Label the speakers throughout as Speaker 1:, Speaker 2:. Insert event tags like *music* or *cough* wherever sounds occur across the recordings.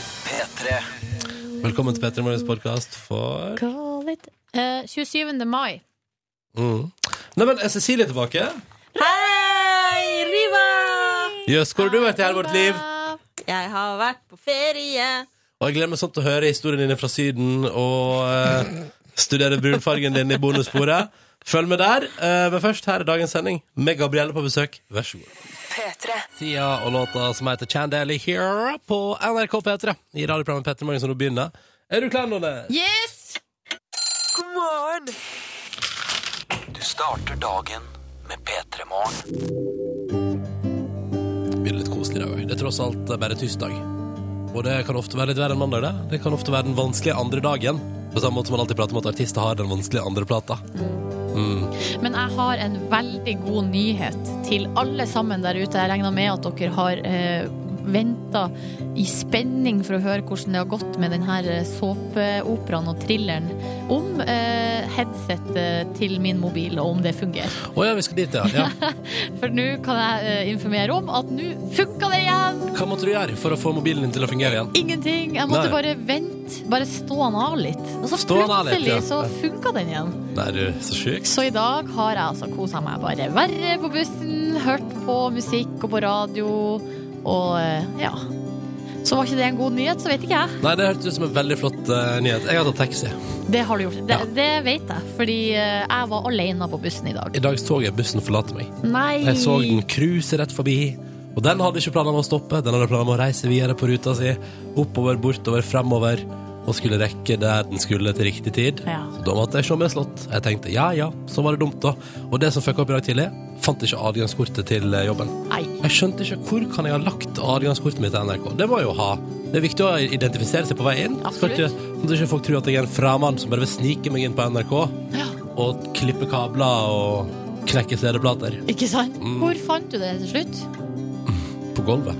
Speaker 1: P3.
Speaker 2: Velkommen til P3 Morgens podkast for
Speaker 3: Call it Eh, 27. mai.
Speaker 2: mm. Nei, men er Cecilie tilbake?
Speaker 4: Hei, Riva!
Speaker 2: Jøss, hvor har du vært i hele vårt liv?
Speaker 4: Jeg har vært på ferie.
Speaker 2: Og jeg gleder meg sånn til å høre historien din fra Syden og eh, studere brunfargen din i bonussporet. Følg med der. Eh, men først, her er dagens sending med Gabrielle på besøk. Vær så god. Sia og låta som heter Chandelier Here på NRK P3 i radioprogrammet Petter Morgen som nå begynner. Er du klar, Nonne?
Speaker 3: Yes!
Speaker 1: Du starter dagen med P3 Morgen.
Speaker 2: blir det litt koselig i dag òg. Det er tross alt bare tirsdag. Og det kan ofte være litt verre enn mandag, det. Det kan ofte være den vanskelige andre dagen. På samme måte som man alltid prater om at artister har den vanskelige andre plata.
Speaker 3: Men jeg har en veldig god nyhet til alle sammen der ute. Jeg regner med at dere har eh, venta i spenning for å høre hvordan det har gått med denne eh, såpeoperaen og thrilleren om eh, headsetet til min mobil, og om det fungerer.
Speaker 2: Å ja, vi skal dit, ja. ja.
Speaker 3: For nå kan jeg eh, informere om at nå funka det igjen!
Speaker 2: Hva måtte du gjøre for å få mobilen din til å fungere igjen?
Speaker 3: Ingenting. Jeg måtte
Speaker 2: Nei.
Speaker 3: bare vente. Bare stå den av litt. Og så
Speaker 2: Stå den av litt,
Speaker 3: plutselig
Speaker 2: ja.
Speaker 3: så funka den igjen.
Speaker 2: Nei, du, så sjukt.
Speaker 3: Så i dag har jeg altså kosa meg bare verre på bussen, hørt på musikk og på radio, og eh, ja. Så var ikke det en god nyhet, så vet ikke jeg.
Speaker 2: Nei, det hørtes ut som en veldig flott eh, nyhet. Jeg har tatt taxi.
Speaker 3: Det har du gjort. Det,
Speaker 2: Ja.
Speaker 3: det vet jeg, fordi eh, jeg var alene på bussen i dag.
Speaker 2: I dags tog er bussen forlater meg.
Speaker 3: Nei!
Speaker 2: Jeg så den cruise rett forbi. Og den hadde ikke planer om å stoppe, den hadde planer om å reise videre på ruta si. Oppover, bortover, fremover. Og skulle rekke der den skulle til riktig tid.
Speaker 3: Ja.
Speaker 2: Så da måtte jeg se meg slått. Jeg tenkte ja ja, så var det dumt, da. Og det som fucka opp i dag tidlig, fant ikke adgangskortet til eh, jobben.
Speaker 3: Nei.
Speaker 2: Jeg skjønte ikke hvor kan jeg ha lagt adgangskortet mitt til NRK. Det må jeg jo ha. Det er viktig å identifisere seg på vei inn. Skal
Speaker 3: Absolutt.
Speaker 2: ikke, så ikke folk tror at jeg er en framann som bare vil snike meg inn på NRK
Speaker 3: Ja,
Speaker 2: og klippe kabler og knekke CD-plater
Speaker 3: ikke sant? Hvor fant du det til slutt?
Speaker 2: på gulvet.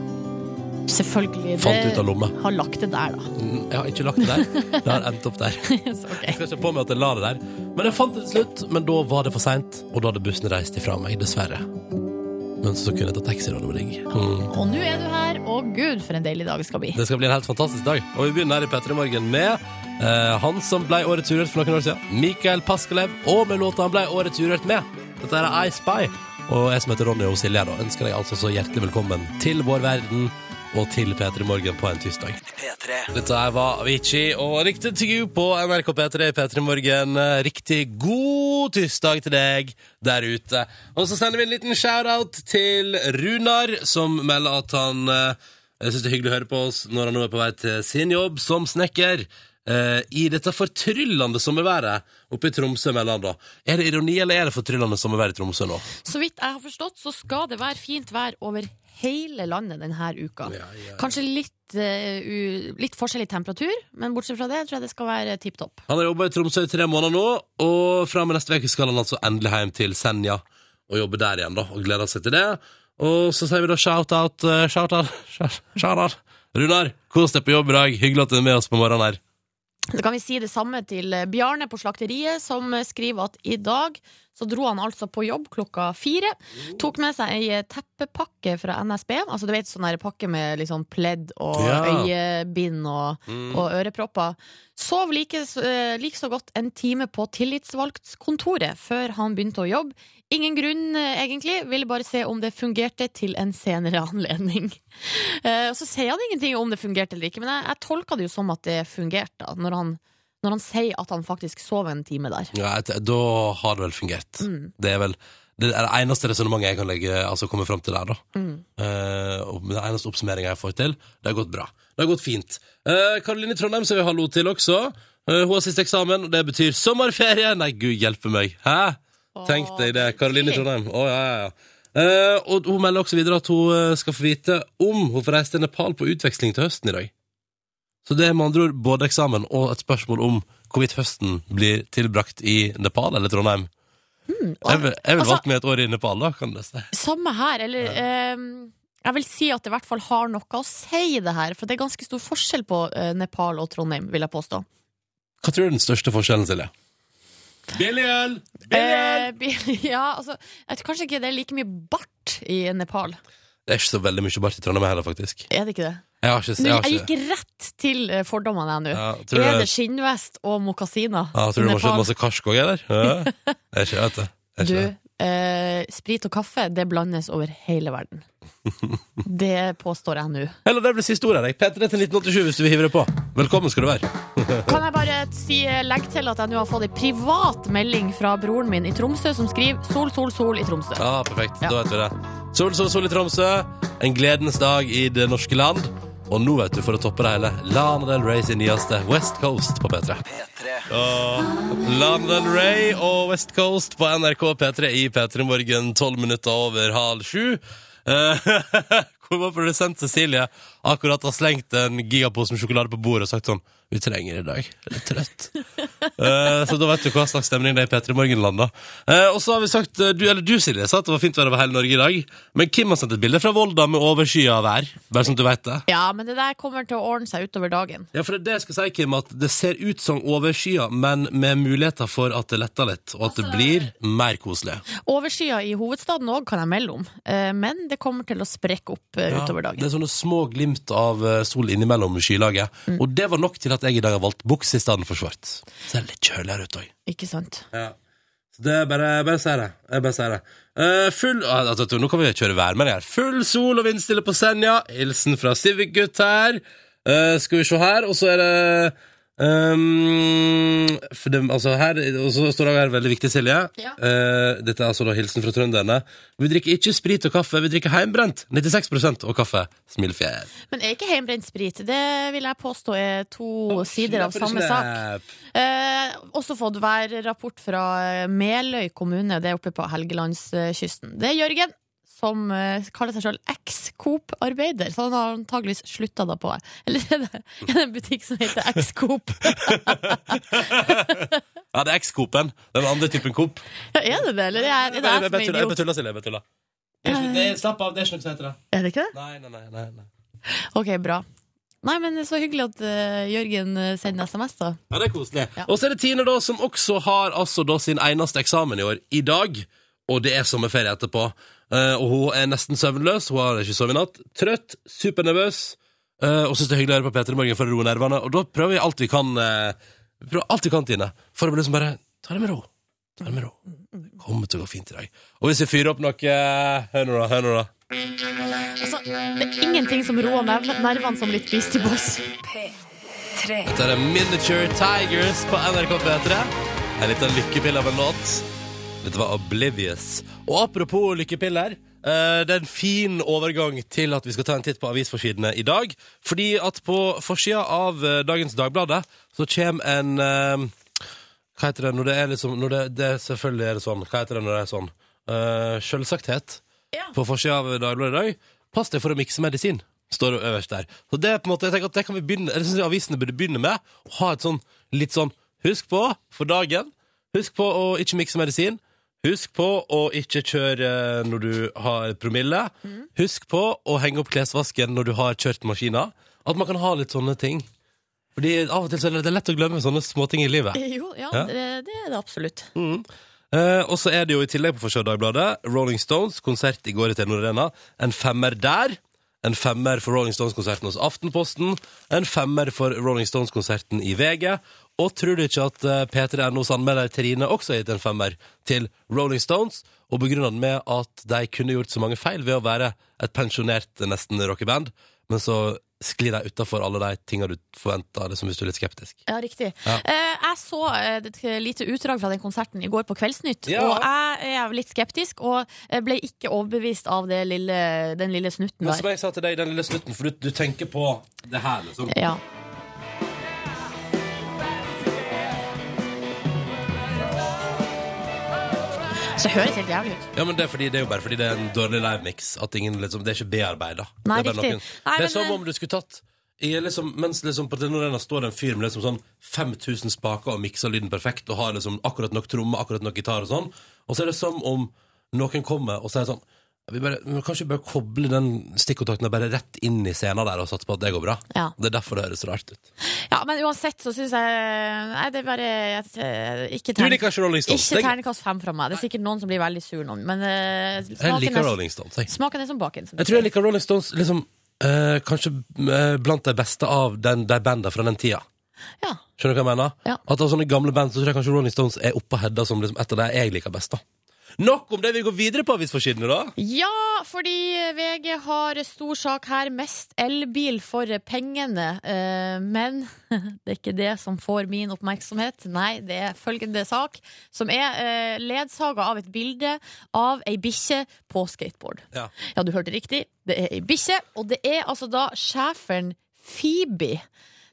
Speaker 3: Selvfølgelig.
Speaker 2: Fant
Speaker 3: det-
Speaker 2: ut av lomma.
Speaker 3: Har lagt det der, da.
Speaker 2: Mm, Jeg har ikke lagt det der. Det har endt opp der. Jeg
Speaker 3: så ok.
Speaker 2: skal ikke på meg at jeg la det der. Men jeg fant det til slutt. Men da var det for seint, og da hadde bussen reist ifra meg, dessverre. Men så kunne jeg ta taxi, da. Det var digg. Mm.
Speaker 3: Og nå er du her, og gud, for en deilig dag det skal bli.
Speaker 2: Det skal bli en helt fantastisk dag. Og vi begynner her i P3 Morgen med eh, han som ble årets urørt for noen år siden. Mikael Paskelev. Og med låta han ble årets urørt med. Dette her er I Spy. Og jeg som heter Ronny og Silje, da, ønsker deg altså så hjertelig velkommen til vår verden og til P3 Morgen på en tirsdag.
Speaker 1: P3.
Speaker 2: Dette her var Avicii og Riktig til you på NRK P3 P3 Morgen. Riktig god tirsdag til deg der ute. Og så sender vi en liten shout-out til Runar, som melder at han eh, syns det er hyggelig å høre på oss når han nå er på vei til sin jobb som snekker. eh, I dette fortryllende sommerværet oppe i Tromsø, melder han da. Er det ironi, eller er det fortryllende sommervær i Tromsø nå?
Speaker 3: Så vidt jeg har forstått, så skal det være fint vær over hele landet denne uka.
Speaker 2: Ja, ja, ja.
Speaker 3: Kanskje litt, eh, u, litt forskjellig temperatur, men bortsett fra det tror jeg det skal være tipp topp.
Speaker 2: Han har jobba i Tromsø i tre måneder nå, og fra og med neste uke skal han altså endelig hjem til Senja og jobbe der igjen, da, og gleder seg til det. Og så sier vi da shout-out, eh, shout-out, *laughs* shout-out. Runar, kos deg på jobb i dag. Hyggelig at du er med oss på morgenen her.
Speaker 3: Så kan vi si det samme til eh, Bjarne på Slakteriet, som eh, skriver at i dag så dro han altså på jobb klokka fire. Tok med seg ei eh, teppepakke fra NSB. Altså du vet sånn der pakke med liksom pledd og
Speaker 2: Ja.
Speaker 3: øyebind og og ørepropper. Sov like, eh, like så godt en time på tillitsvalgtskontoret før han begynte å jobbe. Ingen grunn, eh, egentlig. Ville bare se om det fungerte til en senere *laughs* anledning. Eh, og så sier han ingenting om det fungerte eller ikke, men jeg, jeg tolka det jo som at det fungerte, da, når han, når han sier at han faktisk sov en time der.
Speaker 2: Ja, et- da har det vel fungert. Det er vel det er det eneste resonnementet jeg kan legge, altså komme fram til der, da. Eh, og med den eneste oppsummeringa jeg får til. Det har gått bra. Det har gått fint. Eh, Karoline i Trondheim sier vi hallo til også. Eh, hun har siste eksamen, og det betyr sommerferie! Nei, gud hjelpe meg. Hæ? Tenk deg det. Karoline i Trondheim. Å, ja, ja, ja. Eh, og hun melder også videre at hun eh, skal få vite om hun får reise til Nepal på utveksling til høsten i dag. Så det er med andre ord både eksamen og et spørsmål om hvorvidt høsten blir tilbrakt i Nepal eller Trondheim. Jeg vil, jeg vil
Speaker 3: altså-
Speaker 2: valgt meg et år i Nepal, da, kan det si.
Speaker 3: Samme her, eller ehm, Jeg vil si at det i hvert fall har noe å si, det her. For det er ganske stor forskjell på eh, Nepal og Trondheim, vil jeg påstå.
Speaker 2: Hva tror du er den største forskjellen, Silje? Billig øl!
Speaker 3: Eh, bil- *laughs* ja, altså, jeg tror kanskje ikke det er like mye bart i Nepal.
Speaker 2: Det er ikke så veldig mye bart i Trondheim heller, faktisk.
Speaker 3: Er det ikke det?
Speaker 2: Jeg har ikke
Speaker 3: Nå,
Speaker 2: jeg har
Speaker 3: jeg
Speaker 2: ikke-
Speaker 3: gikk rett til eh, fordommene jeg nå.
Speaker 2: Ja, tror du
Speaker 3: er det
Speaker 2: det-
Speaker 3: skinnvest og mokasiner?
Speaker 2: ja, Tror du
Speaker 3: i
Speaker 2: det må
Speaker 3: Nepal?
Speaker 2: skjønne masse karsk òg, eller? Ja. Det er ikke det, vet du. Det er
Speaker 3: Du,
Speaker 2: ikke det.
Speaker 3: eh, sprit og kaffe, det blandes over hele
Speaker 2: *laughs*
Speaker 3: verden. Det påstår jeg nå.
Speaker 2: Eller det blir siste ordet. jeg. P3 til 1987 hvis du vil hive deg på. Velkommen skal du være.
Speaker 3: Kan jeg bare si, eh, legge til at jeg nå har fått en privat melding fra broren min i Tromsø, som skriver 'Sol, sol, sol' i Tromsø.
Speaker 2: Ja, perfekt.
Speaker 3: Ja.
Speaker 2: Da vet vi det. Sol, sol, sol i Tromsø. En gledens dag i det norske land. Og nå, vet du, for å toppe det hele, Lana Del Rey sin nyeste West Coast på P3.
Speaker 1: P3.
Speaker 2: Lana Del Rey og West Coast på NRK P3 i P3 Morgen, tolv minutter over halv sju. Eh, *laughs* Hvor vår produsent Cecilie akkurat har slengt en gigapose med sjokolade på bordet og sagt sånn Vi trenger i dag. Jeg er litt trøtt. Eh, så da vet du hva slags stemning det er i P3 Morgen-land, da. Eh, og så har vi sagt, eh, du, eller du Silje, sa at det var fint vær over hele Norge i dag. Men Kim har sendt et bilde fra Volda med overskya vær. Bare sånn at du vet det.
Speaker 3: Ja, men det der kommer til å ordne seg utover dagen.
Speaker 2: Ja, for det er det jeg skal si, Kim, at det ser ut som overskya, men med muligheter for at det letter litt, og at det blir mer koselig.
Speaker 3: Overskya i hovedstaden òg kan jeg melde om, eh, men det kommer til å sprekke opp eh, utover
Speaker 2: Det
Speaker 3: dagen.
Speaker 2: er sånne små glimt av eh, sol innimellom skylaget, og det var nok til at jeg i dag har valgt buks i stedet for svart. Så det er litt kjøligere ut òg.
Speaker 3: Ikke sant?
Speaker 2: Så det er bare, bare si det. Jeg bare sier det. Eh, full ah, altså, Nå kan vi kjøre værmelding her. Full sol og vindstille på Senja. Hilsen fra Civic-gutt her. Eh, skal vi se her, og så er det ehm, for dem, altså her, og så står det her veldig viktig, Silje.
Speaker 3: Ja.
Speaker 2: Eh, dette er altså da hilsen fra trønderne. Vi drikker ikke sprit og kaffe, vi drikker heimbrent. 96 og kaffe. Smilefjes.
Speaker 3: Men er ikke heimbrent sprit? Det vil jeg påstå er to sider av samme sak. Eh, også fått værrapport fra eh, Meløy kommune, det er oppe på Helgelandskysten. Det er Jørgen, som eh, kaller seg selv eks-Coop-arbeider, så han har antageligvis slutta da på Eller er det, er det en butikk som heter X-Coop?
Speaker 2: Ja, det er X-Coop-en. Den andre typen Coop.
Speaker 3: Ja, *laughs* er det det, eller er, er det jeg
Speaker 2: Jeg
Speaker 3: som
Speaker 2: bare
Speaker 3: er
Speaker 2: tuller, jeg bare
Speaker 3: idiot?
Speaker 2: tuller, Silje. Jeg bare tuller. Det er ikke- det er- Slapp av, det er ikke noe som heter det.
Speaker 3: Er det ikke det?
Speaker 2: Nei, nei, nei, nei, nei.
Speaker 3: Ok, bra. Nei, men det er så hyggelig at eh, Jørgen eh, sender SMS, da.
Speaker 2: Ja, det er koselig.
Speaker 3: Ja.
Speaker 2: Og så er det Tine, da, som også har altså da sin eneste eksamen i år i dag. Og det er sommerferie etterpå. Eh, og hun er nesten søvnløs. Hun har ikke sovet i natt. Trøtt, supernervøs. eh, og syns det er hyggelig å høre på P3 Morgen for å roe nervene. Og da prøver vi alt vi kan, eh, vi prøver alt vi kan, Tine. For å liksom bare ta det med ro. Ta det med ro.
Speaker 3: Mm,
Speaker 2: Det kommer til å gå fint i dag. Og hvis vi fyrer opp noe eh, Hør nå, da. Hør nå, da.
Speaker 3: Altså, det er ingenting som roer nerv- nervene som litt Beastie Boys.
Speaker 2: Dette er Miniature Tigers på NRK P3. En liten lykkepille av en låt. Dette var Oblivious. Og apropos lykkepiller. eh, Det er en fin overgang til at vi skal ta en titt på avisforsidene i dag. Fordi at på forsida av eh, dagens Dagbladet så kommer en eh, Hva heter det når det er liksom når det, det er Selvfølgelig er det sånn. Hva heter det når det er sånn? Uh, Sjølsakthet. På forsida av Dagbladet i dag. Pass deg for å mikse medisin, står det øverst der. Så det er på en måte, jeg tenker at det kan vi begynne, jeg synes avisene burde begynne med å ha et sånn litt sånn Husk på for dagen. Husk på å ikke mikse medisin. Husk på å ikke kjøre når du har promille. Husk på å henge opp klesvasken når du har kjørt maskiner. At man kan ha litt sånne ting. Fordi av og til så er det- det er lett å glemme sånne småting i livet.
Speaker 3: Eh, *laughs* Jo, ja,
Speaker 2: Ja.
Speaker 3: Det, det er det absolutt.
Speaker 2: Eh, og så er det jo i tillegg på Forsida av Dagbladet Rolling Stones konsert i går i Telenor Arena. En femmer der. En femmer for Rolling Stones-konserten hos Aftenposten. En femmer for Rolling Stones-konserten i VG. Og tror du ikke at eh, P3NOs anmelder Trine også har gitt en femmer til Rolling Stones, og begrunna den med at de kunne gjort så mange feil ved å være et pensjonert eh, nesten rockeband, men så sklir de utafor alle de tinga du forventa, liksom hvis du er litt skeptisk.
Speaker 3: Ja, riktig.
Speaker 2: Ja.
Speaker 3: Eh, jeg så eh, et lite utdrag fra den konserten i går på Kveldsnytt,
Speaker 2: Ja.
Speaker 3: og jeg er litt skeptisk, og eh, ble ikke overbevist av det lille, den lille snutten
Speaker 2: Men som
Speaker 3: der.
Speaker 2: jeg sa til deg i den lille slutten, for du, du tenker på det her, liksom.
Speaker 3: Ja. Så det høres helt jævlig ut.
Speaker 2: Ja, men det er, fordi, det er jo bare fordi det er en dårlig livemix. At ingen, liksom, det er ikke bearbeida.
Speaker 3: Nei,
Speaker 2: det er, bare
Speaker 3: riktig. Nei,
Speaker 2: det
Speaker 3: men,
Speaker 2: er som
Speaker 3: eh,
Speaker 2: om du skulle tatt i, liksom, Mens liksom, på Telenor Arena står det en fyr med liksom sånn 5000 spaker og mikser lyden perfekt og har liksom akkurat nok tromme, akkurat nok gitar og sånn, og så er det som om noen kommer og sier sånn vi bare, vi må kanskje bare koble den stikkontakten bare rett inn i scenen der og satse på at det går bra.
Speaker 3: Ja.
Speaker 2: Det er derfor det høres rart ut.
Speaker 3: Ja, men uansett så syns jeg Nei, det er bare jeg- Ikke
Speaker 2: Du
Speaker 3: tern-
Speaker 2: liker ikke Rolling Stones.
Speaker 3: Ikke
Speaker 2: Jeg-
Speaker 3: terningkast fem fra meg. Det er sikkert noen som blir veldig sur nå, men eh,
Speaker 2: Jeg
Speaker 3: smaken,
Speaker 2: liker
Speaker 3: er,
Speaker 2: Rolling Stones. Jeg.
Speaker 3: smaken er som baken. Som
Speaker 2: Jeg tror jeg liker Rolling Stones liksom eh, kanskje eh, blant de beste av den, de banda fra den tida.
Speaker 3: Ja.
Speaker 2: Skjønner du hva jeg mener?
Speaker 3: Ja.
Speaker 2: At av sånne gamle band så tror jeg kanskje Rolling Stones er oppe og hedda som liksom et av de jeg liker best. da Nok om det vi går videre på avisforsidene, da.
Speaker 3: Ja, fordi VG har stor sak her. Mest elbil for pengene. Eh, Men *laughs* det er ikke det som får min oppmerksomhet. Nei, det er følgende sak, som er eh, ledsaga av et bilde av ei bikkje på skateboard.
Speaker 2: Ja.
Speaker 3: Ja, du hørte riktig. Det er ei bikkje, og det er altså da schæferen Phoebe.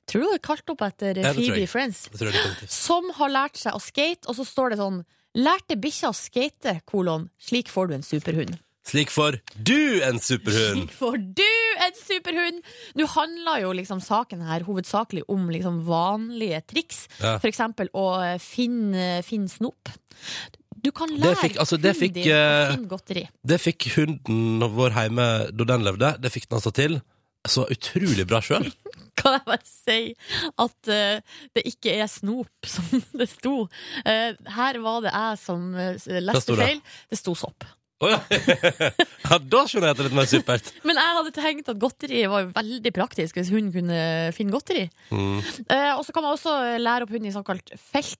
Speaker 3: Tror du hun er kalt opp etter
Speaker 2: det tror
Speaker 3: Phoebe
Speaker 2: jeg.
Speaker 3: Friends?
Speaker 2: Det tror jeg definitivt.
Speaker 3: Som har lært seg å skate, og så står det sånn Lærte bikkja å skate, kolon. Slik får du en superhund.
Speaker 2: Slik får du en superhund.
Speaker 3: Slik får du en superhund! Nå handler jo liksom saken her hovedsakelig om liksom vanlige triks.
Speaker 2: Ja.
Speaker 3: For eksempel å eh, finne, finne snop. Du kan lære
Speaker 2: Det fikk- altså, det fikk,
Speaker 3: hunden din å
Speaker 2: eh,
Speaker 3: finne godteri.
Speaker 2: Det fikk hunden vår hjemme da den levde. Det fikk den altså til. Så utrolig bra sjøl.
Speaker 3: *laughs* kan jeg bare si at eh, det ikke er snop, som *laughs* det sto. Eh, her var det jeg som eh, leste
Speaker 2: sto det?
Speaker 3: feil. Det sto sopp.
Speaker 2: Oh, ja. *laughs* ja, da skjønner jeg at det er litt mer supert.
Speaker 3: Men jeg hadde tenkt at godteri var jo veldig praktisk hvis hunden kunne finne godteri.
Speaker 2: Mm.
Speaker 3: Eh, og så kan man også lære opp hunden i såkalt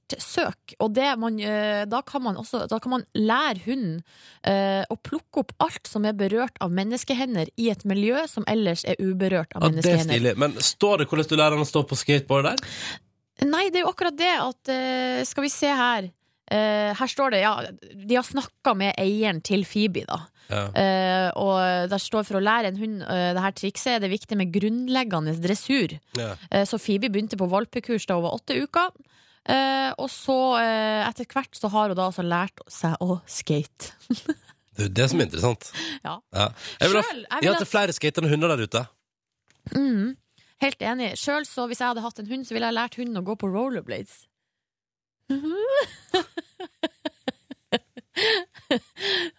Speaker 3: feltsøk. Og det man, eh, da, kan man også, da kan man lære hunden eh, å plukke opp alt som er berørt av menneskehender i et miljø som ellers er uberørt av
Speaker 2: Ja, det er
Speaker 3: menneskehender.
Speaker 2: stilig. Men står det hvordan du lærer han å stå på skateboard der?
Speaker 3: Nei, det er jo akkurat det at eh, Skal vi se her. Eh, her står det, ja, de har snakka med eieren til Phoebe, da.
Speaker 2: Ja.
Speaker 3: Eh, og der står for å lære en hund eh, det her trikset er det viktig med grunnleggende dressur.
Speaker 2: Ja.
Speaker 3: Eh, Så Phoebe begynte på valpekurs da hun var åtte uker. Eh, og så, eh, etter hvert, så har hun da altså lært seg å skate.
Speaker 2: Det er jo det som er interessant.
Speaker 3: Ja.
Speaker 2: Jeg vil ha,
Speaker 3: Selv, jeg
Speaker 2: jeg
Speaker 3: vil
Speaker 2: har
Speaker 3: ha-
Speaker 2: hatt flere skatende hunder der ute.
Speaker 3: Mm, helt enig. Sjøl så, hvis jeg hadde hatt en hund, så ville jeg lært hunden å gå på rollerblades. *laughs*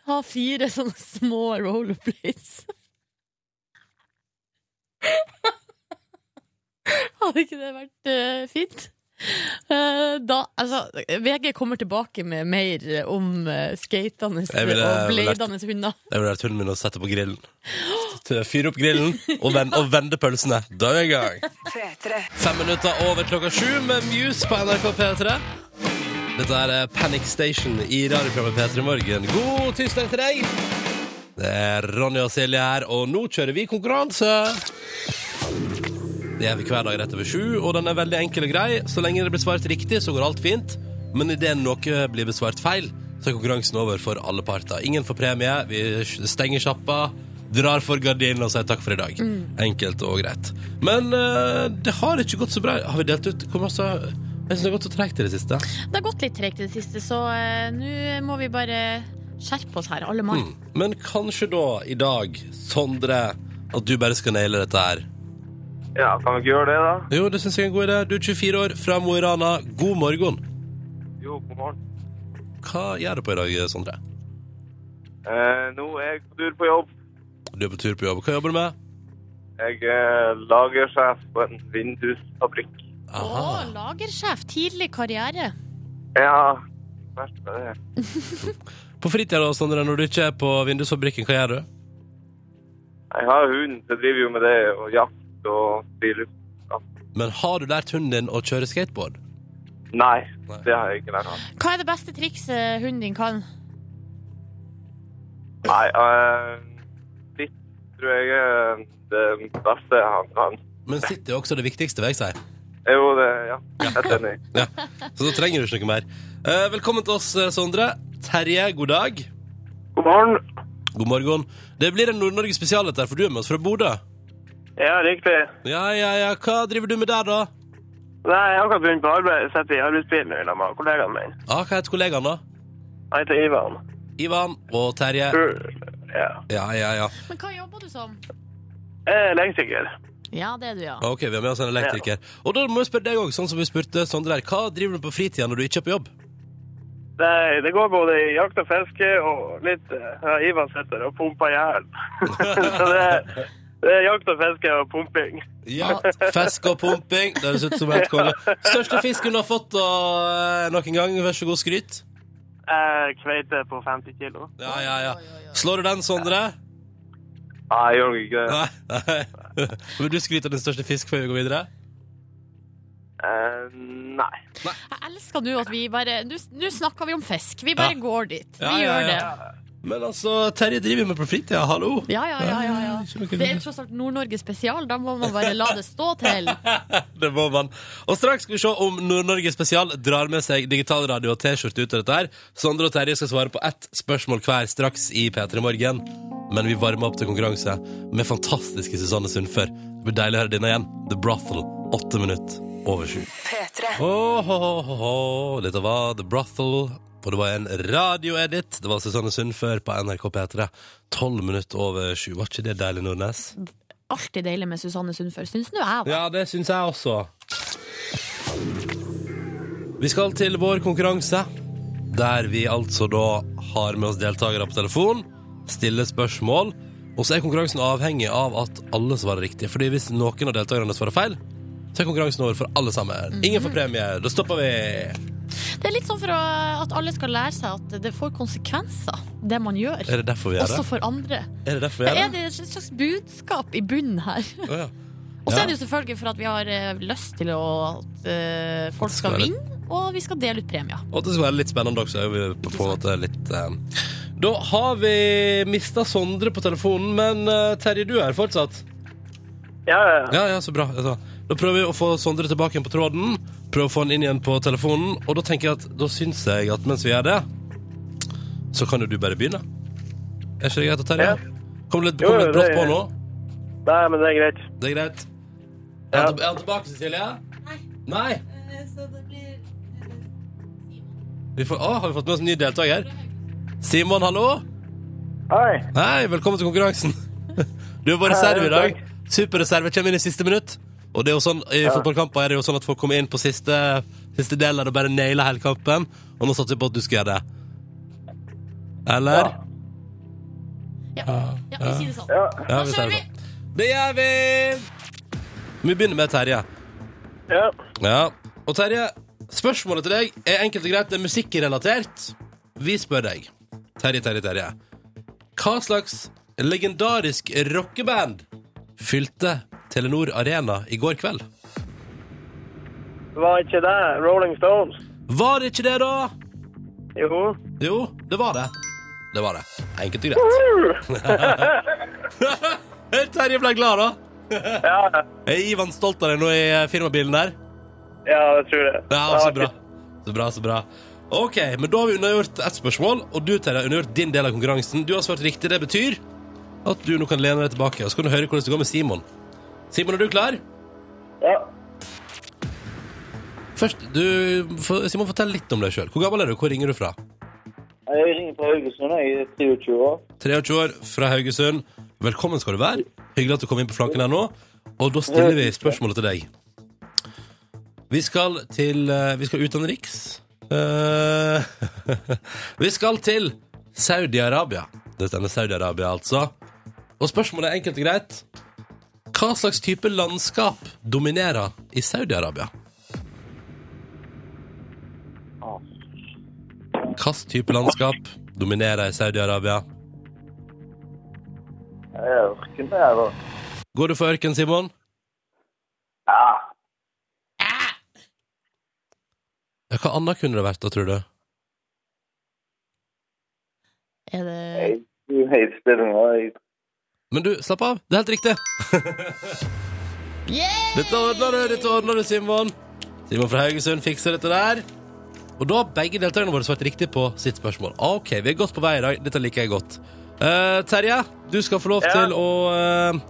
Speaker 3: ha fire sånne små rollerblades. *laughs* hadde ikke det vært eh, fint? Eh, da, altså, VG kommer tilbake med mer om eh, skatende
Speaker 2: Jeg ville-
Speaker 3: og
Speaker 2: ville lært-
Speaker 3: bladende hunder.
Speaker 2: Jeg vil lært hunden min å sette på grillen. Til å Fyre opp grillen og vende, og vende pølsene. Da er vi i gang. Fem minutter over klokka sju med Muse på NRK P3. Dette er Panic Station i radioprogrammet P3 Morgen. God tirsdag til deg! Det er Ronny og Silje her, og nå kjører vi konkurranse. Det gjør vi hver dag rett over sju, og den er veldig enkel og grei. Så lenge det blir svart riktig, så går alt fint. Men idet noe blir besvart feil, så er konkurransen over for alle parter. Ingen får premie, vi stenger sjappa, drar for gardinen og sier takk for i dag. Enkelt og greit. Men eh, det har ikke gått så bra. Har vi delt ut Hvor masse Jeg syns det har gått så tregt i det siste.
Speaker 3: Det har gått litt tregt i det siste, så eh, nå må vi bare skjerpe oss her, alle mann.
Speaker 2: Mm. Men kanskje da, i dag, Sondre, at du bare skal naile dette her.
Speaker 5: Ja, kan vi ikke gjøre det, da?
Speaker 2: Jo, det syns jeg er en god idé. Du er 24 år, fra Mo i Rana. God morgen.
Speaker 5: Jo, god morgen.
Speaker 2: Hva gjør du på i dag, Sondre?
Speaker 5: Eh, nå er jeg på tur på jobb.
Speaker 2: Du er på tur på jobb. Hva jobber du med?
Speaker 5: Jeg er lagersjef på en vindusfabrikk.
Speaker 3: Å, lagersjef. Tidlig karriere.
Speaker 5: Ja, verst med det.
Speaker 2: På fritida, da, Sondre, når du ikke er på vindusfabrikken, hva gjør du?
Speaker 5: Jeg har hund, så jeg driver jo med det, og jakt og friluft.
Speaker 2: Men har du lært hunden din å kjøre skateboard?
Speaker 5: Nei,
Speaker 2: Nei.
Speaker 5: det har jeg ikke lært. av.
Speaker 3: Hva er det beste trikset eh, hunden din kan?
Speaker 5: Nei, eh, litt tror jeg er det beste han kan.
Speaker 2: Men sitt er jo også det viktigste, vil jeg si.
Speaker 5: Jo, det, ja, helt enig.
Speaker 2: Ja. Så da trenger du ikke noe mer. Eh, velkommen til oss, eh, Sondre. Terje, god dag.
Speaker 5: God morgen.
Speaker 2: God morgen. Det blir en Nord-Norge spesial, dette, her, for du er med oss fra Bodø.
Speaker 5: Ja, riktig.
Speaker 2: Ja, ja, ja. Hva driver du med der, da?
Speaker 5: Nei, jeg har akkurat begynt på arbeid. Sitter i arbeidsbilen nå sammen med kollegaen min.
Speaker 2: Ah, hva heter kollegaen, da?
Speaker 5: Han heter Ivan.
Speaker 2: Ivan og Terje.
Speaker 5: Ja.
Speaker 2: Ja, ja, ja.
Speaker 3: Men hva jobber du som?
Speaker 5: Jeg er elektriker.
Speaker 3: Ja, det er du, ja.
Speaker 2: Ok, vi har med oss en elektriker. Og da må jeg spørre deg òg, sånn som vi spurte Sondre her. Hva driver du med på fritida når du ikke er på jobb?
Speaker 5: Nei, det går både i jakt og fiske og litt eh, ja, Ivan sitter og pumper jern. *laughs* Så det, er- det er jakt og fiske og pumping.
Speaker 2: Ja, Fisk og pumping. Det høres ut som helt konge. Største fisken du har fått og, noen gang. Vær så god, skryt.
Speaker 5: Jeg kveiter på 50 kilo.
Speaker 2: Ja, ja, ja. Slår du den, Sondre?
Speaker 5: Nei, jeg gjør nok ikke det.
Speaker 2: Nei, *laughs* nei. Vil du skryte av din største fisk før vi går videre?
Speaker 5: Eh, nei.
Speaker 3: Jeg elsker nå at vi bare Nå nå snakker vi om fisk. Vi bare
Speaker 2: Ja.
Speaker 3: går dit. Vi
Speaker 2: Ja, ja,
Speaker 3: gjør det.
Speaker 2: ja. Men altså, Terje driver med på fritida, hallo!
Speaker 3: Ja, ja, ja, ja, ja.
Speaker 2: Ikke noe
Speaker 3: Det er jo tross alt Nord-Norge spesial. Da må man bare la det stå til.
Speaker 2: *laughs* Det må man. Og straks skal vi se om Nord-Norge Spesial drar med seg digitalradio og T-skjorte ut av dette her. Sondre og Terje skal svare på ett spørsmål hver straks i P3 Morgen. Men vi varmer opp til konkurranse med fantastiske Susanne Sundfør. Det blir deilig å høre denne igjen. The Brothel, åtte minutter over sju. Åh, åh, åh, åh. Dette var The Brothel, og det var en radioedit. Det var Susanne Sundfør på NRK P3. Tolv minutter over sju. Var ikke det deilig, Nordnes?
Speaker 3: Alltid deilig med Susanne Sundfør, syns nå jeg. da.
Speaker 2: Ja, det syns jeg også. Vi skal til vår konkurranse, der vi altså da har med oss deltakere på telefon, stiller spørsmål, og så er konkurransen avhengig av at alle svarer riktig. Fordi hvis noen av deltakerne svarer feil, så er konkurransen over for alle sammen. Ingen får premie. Da stopper vi.
Speaker 3: Det er litt sånn for å, at alle skal lære seg at det får konsekvenser, det man gjør.
Speaker 2: Er det derfor vi gjør
Speaker 3: Også
Speaker 2: det?
Speaker 3: for andre.
Speaker 2: Er det derfor vi
Speaker 3: Det
Speaker 2: gjør
Speaker 3: er
Speaker 2: det?
Speaker 3: det et slags budskap i bunnen her.
Speaker 2: Å, ja.
Speaker 3: Og så
Speaker 2: Ja.
Speaker 3: er det jo selvfølgelig for at vi har eh, lyst til å, at eh, folk skal
Speaker 2: skal være-
Speaker 3: vinne, og vi skal dele ut premier.
Speaker 2: Og det skal være litt spennende også. er vi På, på en måte litt, eh. Da har vi mista Sondre på telefonen, men eh, Terje, du er her fortsatt?
Speaker 5: Ja, ja, ja.
Speaker 2: Ja, ja, så bra. Altså, da prøver vi å få Sondre tilbake igjen på tråden. Prøver å få han inn igjen på telefonen. Og da tenker jeg at, da syns jeg at mens vi gjør det, så kan jo du bare begynne. Er ikke det greit å Terje?
Speaker 5: Ja.
Speaker 2: Kom litt,
Speaker 5: Jo,
Speaker 2: kom
Speaker 5: jo,
Speaker 2: litt brått
Speaker 5: det-
Speaker 2: på nå.
Speaker 5: Nei, men det er greit.
Speaker 2: Det er greit. Er
Speaker 5: Ja.
Speaker 2: han til- er han tilbake, Cecilie?
Speaker 4: Nei. Eh,
Speaker 2: Nei?
Speaker 4: Så det blir eh,
Speaker 2: Vi får, å, har vi fått med oss en ny deltaker? Simon, hallo?
Speaker 5: Hei.
Speaker 2: Hei, velkommen til konkurransen. Du er på reserve i dag. Superreserve kommer inn i siste minutt. Og det er jo sånn, I fotballkamper er det jo sånn at folk kommer inn på siste, siste del og bare nailer hele kampen. Og nå satser vi på at du skal gjøre det. Eller?
Speaker 3: Ja, ja vi sier det sånn.
Speaker 5: Ja.
Speaker 2: Ja,
Speaker 3: Da
Speaker 2: sier
Speaker 3: kjører
Speaker 2: det
Speaker 3: vi!
Speaker 2: sånn. Det gjør vi! Vi begynner med Terje.
Speaker 5: ja.
Speaker 2: Ja. Og Terje, spørsmålet til deg er enkelt og greit. Det er musikkrelatert. Vi spør deg, Terje, Terje, Terje. Hva slags legendarisk rockeband fylte Telenor Arena i går kveld?
Speaker 5: Var ikke det Rolling Stones?
Speaker 2: Var det ikke det, da?
Speaker 5: Jo.
Speaker 2: Jo, det var det. Det var det. Enkelt og greit. Terje ble glad, da.
Speaker 5: Ja,
Speaker 2: Er Ivan stolt av deg nå i firmabilen der?
Speaker 5: ja det altså tror jeg.
Speaker 2: Ja, så bra. Så bra, så bra. Ok, men da har vi unnagjort ett spørsmål, og du Terje, har unnagjort din del av konkurransen. Du har svart riktig. Det betyr at du nå kan lene deg tilbake, og så kan du høre hvordan det går med Simon. Simon, er du klar?
Speaker 5: Ja.
Speaker 2: Først, du, for, Simon, fortell litt om deg sjøl. Hvor gammel er du? Hvor ringer du fra?
Speaker 5: Jeg ringer fra Haugesund, jeg er 23 år.
Speaker 2: 23 år, fra Haugesund. Velkommen skal du være. Hyggelig at du kom inn på flanken her nå. Og da stiller vi spørsmålet til deg. Vi skal til eh, Vi skal utenriks. Eh, *laughs* vi skal til Saudi-Arabia. Dette er Saudi-Arabia, altså. Og spørsmålet er enkelt og greit. Hva slags type landskap dominerer i Saudi-Arabia? Hvilken type landskap dominerer i Saudi-Arabia?
Speaker 5: Jeg er ørken der, da.
Speaker 2: Går du for ørken, Simon?
Speaker 5: Ja.
Speaker 2: Ja, hva annet kunne det vært da, tror du?
Speaker 3: Er det
Speaker 5: Jeg er helt stille nå. Jeg
Speaker 2: Men du, slapp av. Det er helt riktig. Dette ordner du, dette ordner du, Simon. Simon fra Haugesund fikser dette der. Og da har begge deltakerne våre svart riktig på sitt spørsmål. Ah, Ok, vi er godt på vei i dag. Dette liker jeg godt. Eh, Terje, du skal få lov
Speaker 5: Ja.
Speaker 2: til å eh,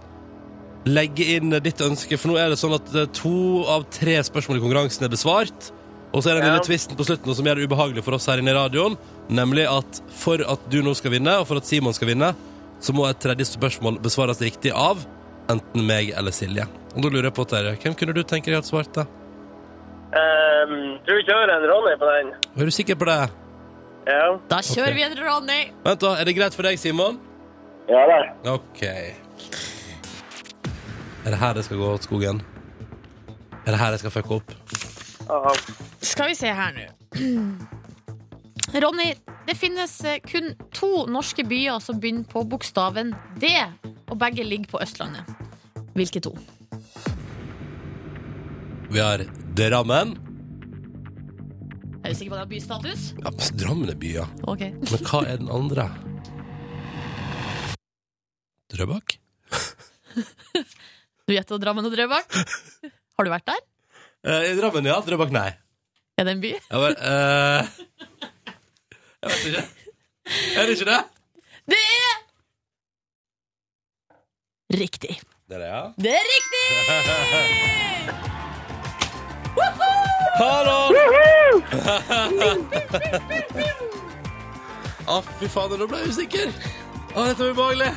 Speaker 2: legge inn ditt ønske, for nå er det sånn at eh, to av tre spørsmål i konkurransen er besvart. Og så er det den
Speaker 5: Ja.
Speaker 2: lille tvisten på slutten som gjør det ubehagelig for oss her inne i radioen, nemlig at for at du nå skal vinne, og for at Simon skal vinne, så må et tredje spørsmål besvares riktig av enten meg eller Silje. Og da lurer jeg på, Terje, hvem kunne du tenke deg at svarte?
Speaker 5: Ehm, tror du kjører en Ronny på den?
Speaker 2: Er du sikker på det?
Speaker 5: Ja.
Speaker 3: Da kjører
Speaker 2: Ok.
Speaker 3: vi en Ronny!
Speaker 2: Vent da, er det greit for deg, Simon?
Speaker 5: Ja da.
Speaker 2: Ok. Er det her det skal gå åt skogen? Er det her jeg skal fucke opp?
Speaker 5: Aha.
Speaker 3: Skal vi se her nå. *clears throat* Ronny, det finnes eh, kun to norske byer som begynner på bokstaven D og begge ligger på Østlandet. Hvilke to?
Speaker 2: Vi har Drammen.
Speaker 3: Er du sikker på at det har bystatus?
Speaker 2: Ja, men Drammen er by, ja.
Speaker 3: Ok.
Speaker 2: Men hva er den andre? Drøbak?
Speaker 3: Du gjetter Drammen og *laughs* Drøbak? Har du vært der?
Speaker 2: Eh, Drammen, ja. Drøbak, nei.
Speaker 3: Er det en by?
Speaker 2: Jeg bare eh, Jeg vet ikke. Er det ikke det?
Speaker 3: Det er Riktig.
Speaker 2: Det er det, ja.
Speaker 3: Det er riktig!
Speaker 2: Hallo! Å, fy fader, nå ble jeg usikker. Å, dette var ubehagelig.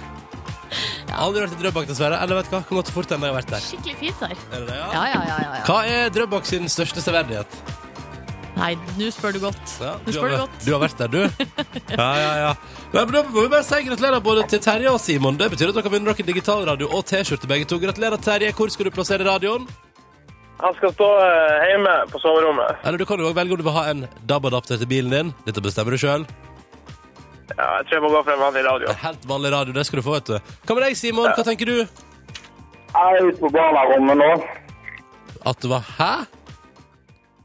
Speaker 2: Aldri vært i Drøbak, dessverre. Eller vet du hva, kan gå til fort enn jeg har vært der.
Speaker 3: Skikkelig fint der.
Speaker 2: Er det det,
Speaker 3: Ja, ja, ja. ja, ja.
Speaker 2: Hva er Drøbak sin største severdighet?
Speaker 3: Nei, nå spør du godt.
Speaker 2: Ja,
Speaker 3: Nå
Speaker 2: du,
Speaker 3: spør
Speaker 2: har,
Speaker 3: du
Speaker 2: vært-
Speaker 3: godt.
Speaker 2: du har vært der,
Speaker 3: *laughs*
Speaker 2: du? Ja, ja, ja. Men da må vi bare si gratulerer både til Terje og Simon. Det betyr at dere vinner dere digitalradio og T-skjorte, begge to. Gratulerer, Terje. Hvor skal du plassere radioen?
Speaker 5: Han skal stå eh, hjemme på soverommet.
Speaker 2: Eller du kan jo også velge om du vil ha en DAB-adapter til bilen din. Dette bestemmer du sjøl.
Speaker 5: Ja, jeg tror jeg må gå for en vanlig radio.
Speaker 2: Helt vanlig radio, det skal du få, vet du. Hva med deg, Simon? Hva tenker du?
Speaker 5: Jeg er ute på barnerommet nå.
Speaker 2: At det var Hæ?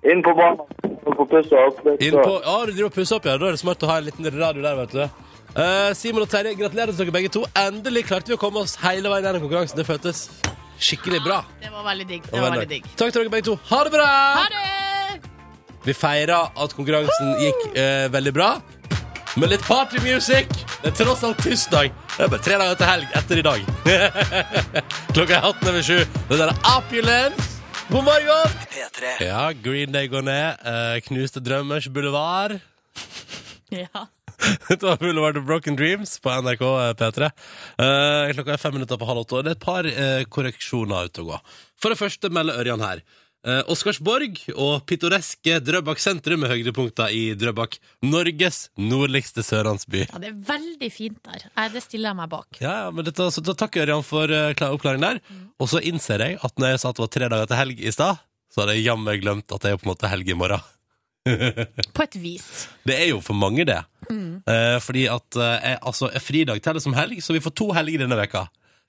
Speaker 5: Inn på barnerommet på pussa opp.
Speaker 2: Inn på Ja, du driver og pusser opp, ja. Da er det smart å ha en liten radio der, vet du. Eh, Simon og Terje, gratulerer til dere begge to. Endelig klarte vi å komme oss hele veien gjennom konkurransen. Det føltes skikkelig bra.
Speaker 3: Det var veldig digg. Det var veldig digg.
Speaker 2: Takk til dere begge to. Ha det bra!
Speaker 3: Ha det!
Speaker 2: Vi feirer at konkurransen gikk eh, veldig bra. Med litt partymusikk. Det er tross alt tirsdag. Det er bare tre dager til helg etter i dag. *laughs* Klokka er 18 over sju. Det der er Opulence. God morgen!
Speaker 1: P3.
Speaker 2: Ja, Green Day går ned. Eh, knuste drømmers boulevard.
Speaker 3: Ja.
Speaker 2: *laughs* Dette var Boulevard of Broken Dreams på NRK eh, P3. Eh, klokka er fem minutter på halv åtte, og det er et par eh, korreksjoner ute å gå. For det første melder Ørjan her. Eh, Oscarsborg og pittoreske Drøbak sentrum med høydepunkter i Drøbak. Norges nordligste sørlandsby.
Speaker 3: ja, det er veldig fint der. Nei, det stiller jeg meg bak.
Speaker 2: Ja, ja, men dette, så da takker jeg Ørjan for eh, klar- oppklaringen der. Og så innser jeg at når jeg sa at det var tre dager til helg i stad, så hadde jeg jammen glemt at det er på en måte helg i morgen.
Speaker 3: På et vis.
Speaker 2: Det er jo for mange, det.
Speaker 3: Mm.
Speaker 2: Eh, fordi at eh, jeg, altså, er fridag teller som helg, så vi får to helger denne veka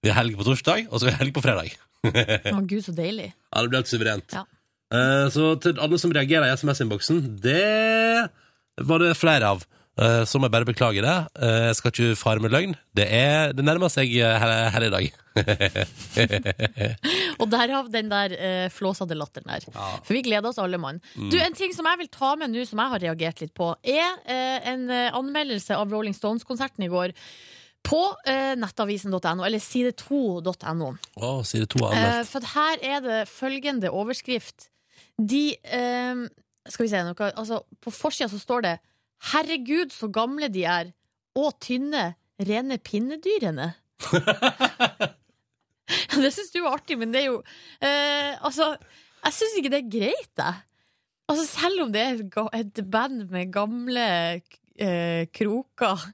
Speaker 2: Vi har helg på torsdag, og så har vi helg på fredag.
Speaker 3: Å, gud, så deilig.
Speaker 2: Ja, Det blir helt suverent.
Speaker 3: Ja.
Speaker 2: Eh, så til alle som reagerer i SMS-innboksen, det var det flere av. Eh, så må jeg bare beklage det. Eh, jeg skal ikke fare med løgn. Det, er, det nærmer seg eh, her, her i dag.
Speaker 3: Og derav den der eh, flåsete latteren der. For vi gleder oss alle, mann. Du, En ting som jeg vil ta med nå, som jeg har reagert litt på, er eh, en eh, anmeldelse av Rolling Stones-konserten i går. På eh, nettavisen.no, eller side2.no.
Speaker 2: Å, sier det to har
Speaker 3: Eh,
Speaker 2: anmeldt.
Speaker 3: for at her er det følgende overskrift. De eh, Skal vi se noe altså, På forsida så står det 'Herregud, så gamle de er', og 'tynne, rene pinnedyrene'. *laughs* det syns du var artig, men det er jo eh, Altså, jeg syns ikke det er greit, jeg. Altså, selv om det er et ga- et band med gamle eh, kroker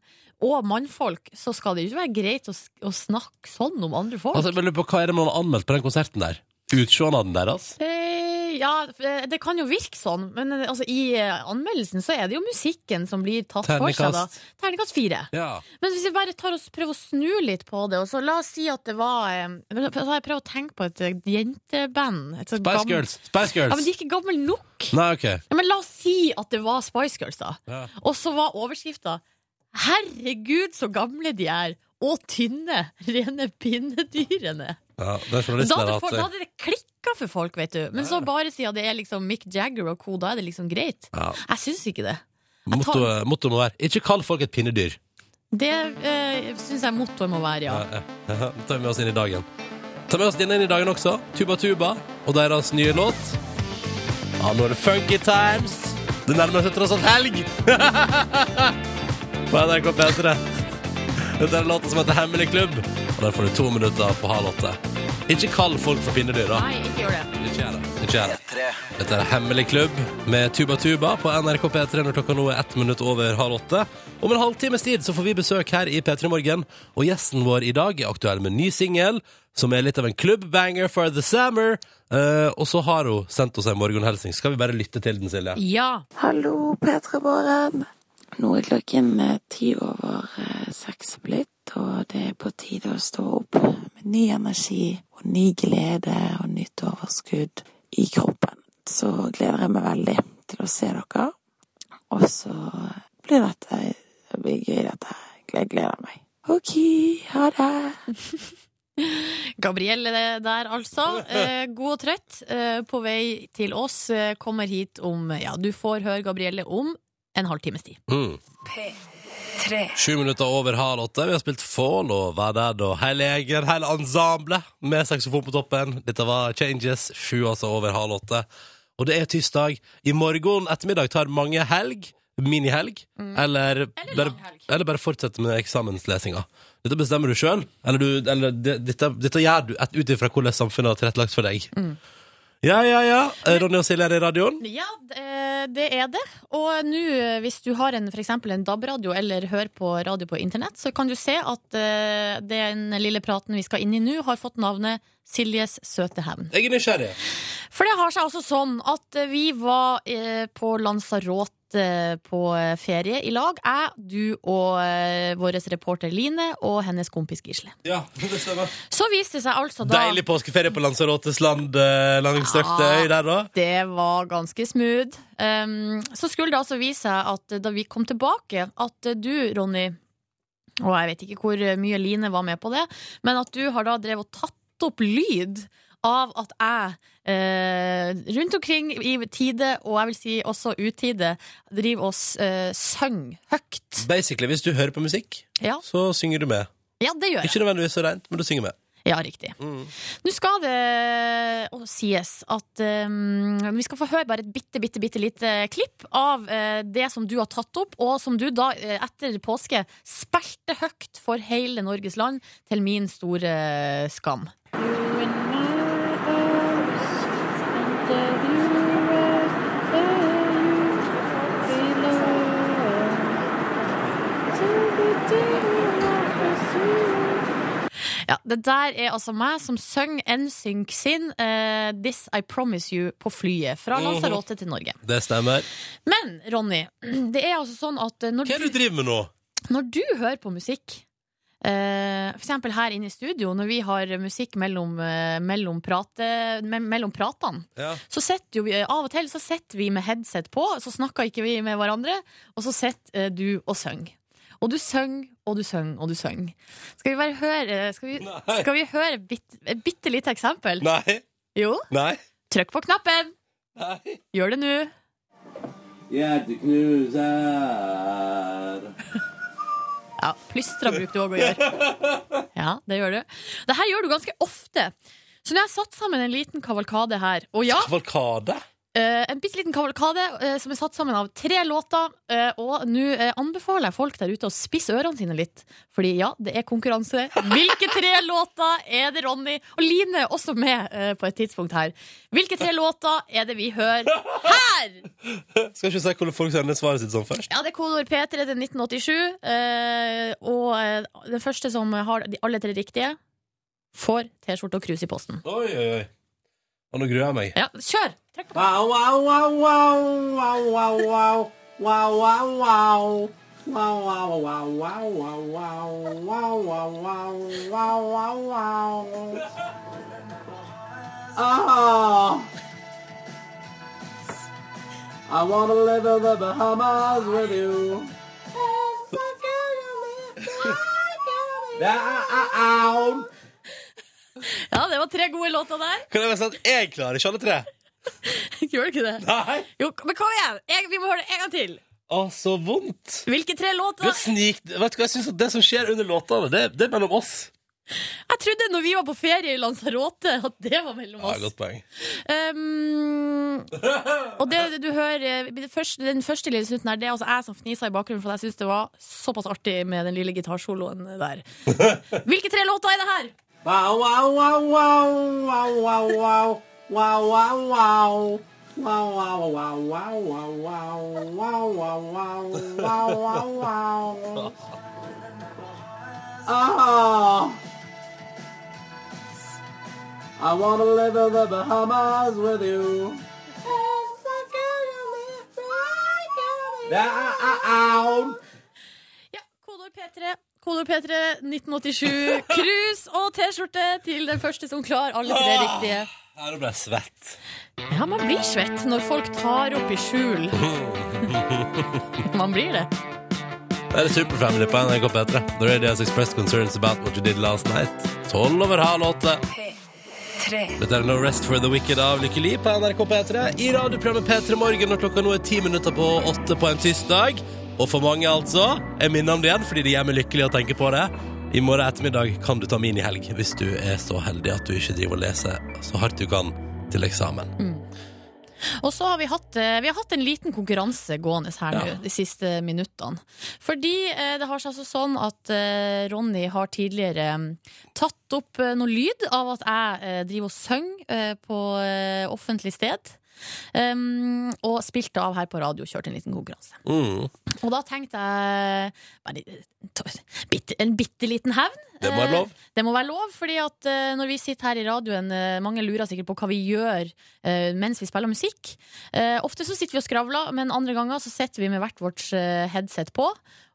Speaker 3: og mannfolk, så skal det jo ikke være greit å, s- å snakke sånn om andre folk.
Speaker 2: altså, jeg lurer på Hva er det man har anmeldt på den konserten der? Utsjånaden deres?
Speaker 3: Eh, Ja, eh, det kan jo virke sånn, men eh, altså, i eh, anmeldelsen så er det jo musikken som blir tatt for seg. da
Speaker 2: Terningkast.
Speaker 3: Terningkast fire.
Speaker 2: Ja.
Speaker 3: Men hvis vi bare tar og s- prøver å snu litt på det, og så la oss si at det var eh, men så har Jeg prøvd å tenke på et eh, jenteband. Et sånt
Speaker 2: Spice
Speaker 3: gammel-
Speaker 2: Girls. Spice
Speaker 3: Ja,
Speaker 2: Girls.
Speaker 3: men de er ikke gamle nok!
Speaker 2: Nei, OK.
Speaker 3: Ja, men la oss si at det var Spice Girls, da.
Speaker 2: Ja.
Speaker 3: Og så var overskrifta 'Herregud, så gamle de er', og tynne, rene pinnedyrene'.
Speaker 2: Ja, den
Speaker 3: Da
Speaker 2: journalisten
Speaker 3: hadde,
Speaker 2: har hatt
Speaker 3: folk, da hadde det klikka for folk, vet du. Men så bare siden det er liksom Mick Jagger og co., da er det liksom greit.
Speaker 2: Ja.
Speaker 3: Jeg syns ikke det. Jeg tar-
Speaker 2: Mottoet motto må være 'ikke kall folk et pinnedyr'.
Speaker 3: Det eh, syns jeg mottoet må være, ja.
Speaker 2: Ja, *laughs* ja. Det tar vi med oss inn i dagen. Ta med oss denne inn i dagen også. Tuba Tuba og deres nye låt. Ja, nå er det funky times. Det nærmer seg tross alt helg! *laughs* På NRK P3. Dette er låta som heter Hemmelig klubb. Og der får du to minutter på halv åtte. Ikke kall folk for pinnedyr, da.
Speaker 3: Nei, ikke gjør det.
Speaker 2: Ikke gjør det. Ikke gjør det.
Speaker 1: P3.
Speaker 2: Dette er Hemmelig klubb med Tuba Tuba på NRK P3 når klokka nå er ett minutt over halv åtte. Om en halvtimes tid så får vi besøk her i P3 Morgen, og gjesten vår i dag er aktuell med en ny singel, som er litt av en klubbbanger for the summer. Eh, og så har hun sendt oss en morgenhilsen. Skal vi bare lytte til den, Silje?
Speaker 3: Ja.
Speaker 6: Hallo, P3-båren. Nå er klokken eh, ti over eh, seks blitt, Så det er på tide å stå opp med ny energi og ny glede og nytt overskudd i kroppen. Så gleder jeg meg veldig til å se dere. Og så blir dette det blir gøy, dette. Jeg gleder meg. OK, ha det.
Speaker 3: Gabrielle der, altså. Eh, god og trøtt, eh, på vei til oss. Eh, kommer hit om Ja, du får høre Gabrielle om en halvtimes tid.
Speaker 2: Mm. Sju minutter over halv åtte. Vi har spilt Fall og Hva der da? Hele jeger, hele ensemblet med saksofon på toppen. Dette var Changes. Sju altså over halv åtte. Og det er tirsdag. I morgen ettermiddag tar mange helg. Minihelg. Eller, bare, eller bare fortsette med eksamenslesinga. Dette bestemmer du sjøl, eller, du, eller det, dette, dette gjør du ut ifra hvordan samfunnet har tilrettelagt for deg. Ja, ja, ja. Ronny og Silje er i radioen.
Speaker 3: Ja, eh, det er det. Og nå, eh, hvis du har en, for eksempel en DAB-radio eller hører på radio på internett, så kan du se at eh, den lille praten vi skal inn i nå, har fått navnet Siljes søte hevn.
Speaker 2: Jeg er nysgjerrig.
Speaker 3: For det har seg altså sånn at eh, vi var eh, på Lanzarote eh, på eh, ferie i lag. Jeg, du og eh, vår reporter Line og hennes kompis Gisle.
Speaker 2: Ja, det stemmer.
Speaker 3: Så viste det seg altså da
Speaker 2: Deilig påskeferie på Lanzarotes land, eh, langstrøkte
Speaker 3: Ja.
Speaker 2: øy der, da.
Speaker 3: Det var ganske smooth. Um, så skulle det altså vise seg at da vi kom tilbake, at du, Ronny, og jeg vet ikke hvor mye Line var med på det, men at du har da drevet og tatt opp lyd av at jeg eh, rundt omkring i tide, og jeg vil si også utide, driver og uh, synger høyt.
Speaker 2: Basically, hvis du hører på musikk,
Speaker 3: Ja.
Speaker 2: så synger du med.
Speaker 3: Ja, det gjør jeg.
Speaker 2: Ikke nødvendigvis så rent, men du synger med.
Speaker 3: Ja, riktig.
Speaker 2: Mm.
Speaker 3: Nå skal det å, sies at eh, vi skal få høre bare et bitte, bitte, bitte lite klipp av eh, det som du har tatt opp, og som du da eh, etter påske spilte høyt for hele Norges land, til min store eh, skam. Ja, det der er altså meg som synger NSYNC sin eh, This I Promise You på flyet fra
Speaker 2: Mhm.
Speaker 3: Lanzarote til Norge.
Speaker 2: Det stemmer.
Speaker 3: Men, Ronny, *clears throat* det er altså sånn at når
Speaker 2: Hva er det du driver med nå?
Speaker 3: når du hører på musikk eh, For eksempel her inne i studio Når vi har musikk mellom, eh, mellom, prate, me mellom pratene
Speaker 2: Ja.
Speaker 3: Så setter jo vi eh, Av og til så setter vi med headset på Så snakker ikke vi med hverandre Og så setter eh, du og søng og du søng, og du søng, og du søng Skal vi bare høre eh, Skal vi,
Speaker 2: Nei.
Speaker 3: skal vi høre et bitte, et bitte lite eksempel?
Speaker 2: Nei.
Speaker 3: Jo,
Speaker 2: Nei.
Speaker 3: trykk på knappen
Speaker 2: Nei.
Speaker 3: Gjør det nå
Speaker 7: Hjerteknuser.
Speaker 3: Ja, plystra bruker du òg å gjøre. Ja, det gjør du. Det her gjør du ganske ofte. Så når jeg satt sammen en liten kavalkade her Og ja,
Speaker 2: Kavalkade?
Speaker 3: eh, en bitte liten kavalkade eh, som er satt sammen av tre låter. eh, Og nå eh, anbefaler jeg folk der ute å spisse ørene sine litt. Fordi ja, det er konkurranse. Hvilke tre *laughs* låter er det Ronny og Line er også med eh, på et tidspunkt her? Hvilke tre låter er det vi hører her?
Speaker 2: Skal ikke vi se hvordan folk sender svaret sitt sånn først?
Speaker 3: Ja, det er kodeord P3 til 1987. eh, og eh, den første som har de alle tre riktige, får T-skjorte og krus i posten.
Speaker 2: Oi, oi, oi. Og nå gruer jeg meg.
Speaker 3: Ja, kjør! Trekk på
Speaker 7: Wow, wow, wow, wow, wow, wow, wow. Wow, wow, wow. Wow, wow, wow, wow, wow, wow, wow, wow, wow, wow, wow, wow. Ah. I wanna live in the Bahamas with
Speaker 3: *laughs*
Speaker 7: you. uh, Down.
Speaker 3: Ja, det var tre gode låter der. *laughs*
Speaker 2: Kan jeg bare si at jeg klarer ikke alle tre?
Speaker 3: Gjør du ikke det?
Speaker 2: Nei.
Speaker 3: Jo, men kom igjen! Jeg, vi må høre det en gang til.
Speaker 2: Å, så vondt.
Speaker 3: Hvilke tre
Speaker 2: Du
Speaker 3: låter?
Speaker 2: snik... Vet du hva, jeg synes at det som skjer under låtene, det, det er mellom oss.
Speaker 3: Jeg trodde når vi var på ferie i Lanzarote, at det var mellom
Speaker 2: Ja,
Speaker 3: oss.
Speaker 2: godt poeng.
Speaker 3: Um, og det du hører eh, det første, Den første lille snutten her Det er altså jeg som fnisa i bakgrunnen For jeg synes det var såpass artig Med den lille gitarsoloen
Speaker 2: *laughs*
Speaker 3: der Hvilke tre låter er det her?
Speaker 7: Wow, wow, wow, wow, wow, wow, wow, wow, wow, wow. Wow, wow, wow, wow, wow, wow, wow, wow, wow, wow, wow, wow. Ah. I want to live in the Bahamas with you. Down.
Speaker 3: Ja, kodord P3 Kodord P3 1987.
Speaker 2: *laughs*
Speaker 3: Krus og T-skjorte til den første som klarer alle
Speaker 2: Ah.
Speaker 3: tre riktige.
Speaker 2: Ja, Nå ble jeg svett.
Speaker 3: Ja, man blir svett når folk tar opp i skjul. Man blir det.
Speaker 2: Det er Superfamily på NRK P3. The Radios expressed concerns about what you did last night. Tolv over halv åtte. Dette er No Rest for the Wicked av Lykkeli på NRK P3. I radioprogrammet P3 Morgen når klokka nå er ti minutter på åtte på en tirsdag. Og for mange, altså. Jeg minner om det igjen fordi det gjør meg lykkelig å tenke på det. I morgen ettermiddag kan du ta minihelg hvis du er så heldig at du ikke driver og leser så hardt du kan til eksamen.
Speaker 3: Og så har vi hatt, eh, vi har hatt en liten konkurranse gående her nå de siste minuttene. Fordi eh, det har seg altså sånn at eh, Ronny har tidligere mm, tatt opp eh, noe lyd av at jeg eh, driver og synger eh, på eh, offentlig sted. Um, og spilte av her på radio, kjørte en liten konkurranse.
Speaker 2: Mm.
Speaker 3: Og da tenkte jeg bare, ta- bitte, en bitte liten hevn.
Speaker 2: Det må være lov.
Speaker 3: Eh, Det må være lov, fordi at eh, når vi sitter her i radioen, eh, mange lurer sikkert på hva vi gjør eh, mens vi spiller musikk. Eh, Ofte så sitter vi og skravler, men andre ganger så sitter vi med hvert vårt eh, headset på.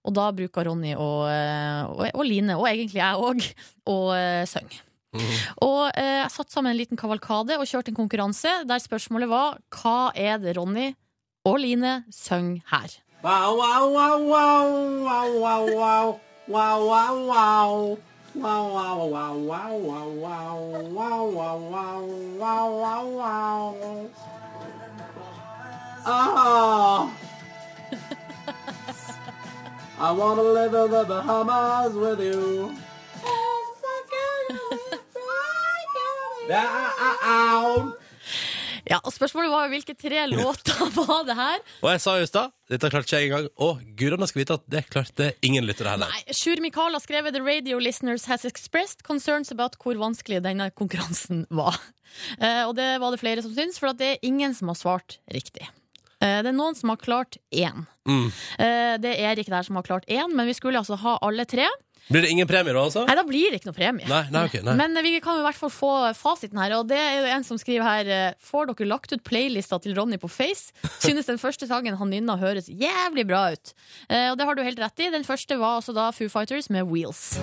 Speaker 3: Og da bruker Ronny og, eh, og, og Line, og egentlig jeg òg, å eh, synge.
Speaker 2: Mhm.
Speaker 3: Og eh, jeg satte sammen en liten kavalkade og kjørte en konkurranse der spørsmålet var hva er det Ronny og Line synger her?
Speaker 7: Wow, wow, wow, wow, wow, wow, wow, wow, wow, wow. Wow, wow, wow, wow, wow, wow, wow, wow, wow, wow, wow, wow. Ah! I wanna live in the Bahamas with you. Down.
Speaker 3: Ja, og Spørsmålet var jo hvilke tre låter *laughs* var det her?
Speaker 2: Og jeg sa jo i stad, dette klarte ikke jeg engang. Å, gudene skal vite at det klarte ingen lyttere heller.
Speaker 3: Nei, Sjur Mikael har skrevet The Radio Listeners Has Expressed Concerns About hvor vanskelig denne konkurransen var. Eh, og det var det flere som syns, for at det er ingen som har svart riktig. Eh, det er noen som har klart én.
Speaker 2: Mm.
Speaker 3: Eh, det er Erik der som har klart én, men vi skulle altså ha alle tre.
Speaker 2: Blir det ingen premie da, altså?
Speaker 3: Nei, da blir det ikke noe premie.
Speaker 2: Nei, nei, ok, nei.
Speaker 3: Men eh, vi kan jo i hvert fall få fasiten her, og det er jo en som skriver her eh, Får dere lagt ut playlista til Ronny på Face? Synes den første sangen han nynna høres jævlig bra ut. Eh, Og det har du helt rett i. Den første var altså da Foo Fighters med Wheels.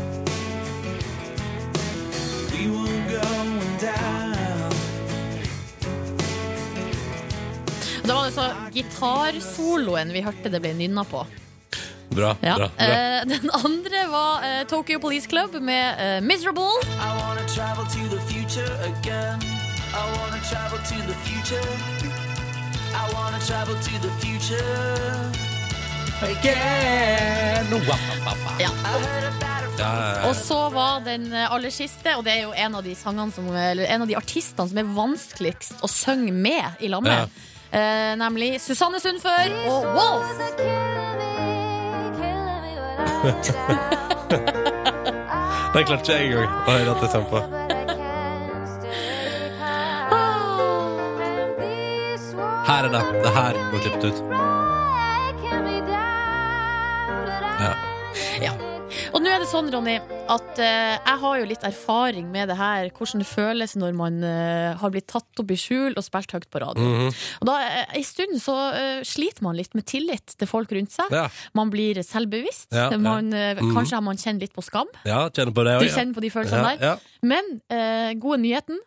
Speaker 3: Og Det var altså gitarsoloen vi hørte det ble nynna på.
Speaker 2: Bra,
Speaker 3: Ja.
Speaker 2: bra, bra.
Speaker 3: Eh, den andre var eh, Tokyo Police Club med eh, Miserable. Ja.
Speaker 2: Ja, ja, ja.
Speaker 3: Og så var den eh, aller siste, og det er jo en av de sangene som, eller en av de artistene som er vanskeligst å synge med i lammet.
Speaker 2: Ja.
Speaker 3: Eh, nemlig Susanne Sundfør og Wolf.
Speaker 2: Den klarte ikke jeg engang å høre at jeg sang på. Her er det. Det er her går klippet ut. Ja.
Speaker 3: Ja. Og nå er det sånn, Ronny, at eh, jeg har jo litt erfaring med det her. Hvordan det føles når man eh, har blitt tatt opp i skjul og spilt høyt på radio.
Speaker 2: Mhm.
Speaker 3: Og da, eh, En stund så eh, sliter man litt med tillit til folk rundt seg.
Speaker 2: Ja.
Speaker 3: Man blir selvbevisst.
Speaker 2: Ja, ja.
Speaker 3: Man, eh, Kanskje har man kjenner litt på skam.
Speaker 2: ja, kjenner på det
Speaker 3: Du
Speaker 2: òg.
Speaker 3: kjenner på de følelsene der.
Speaker 2: Ja, *laughs*
Speaker 3: Men eh, gode nyheten,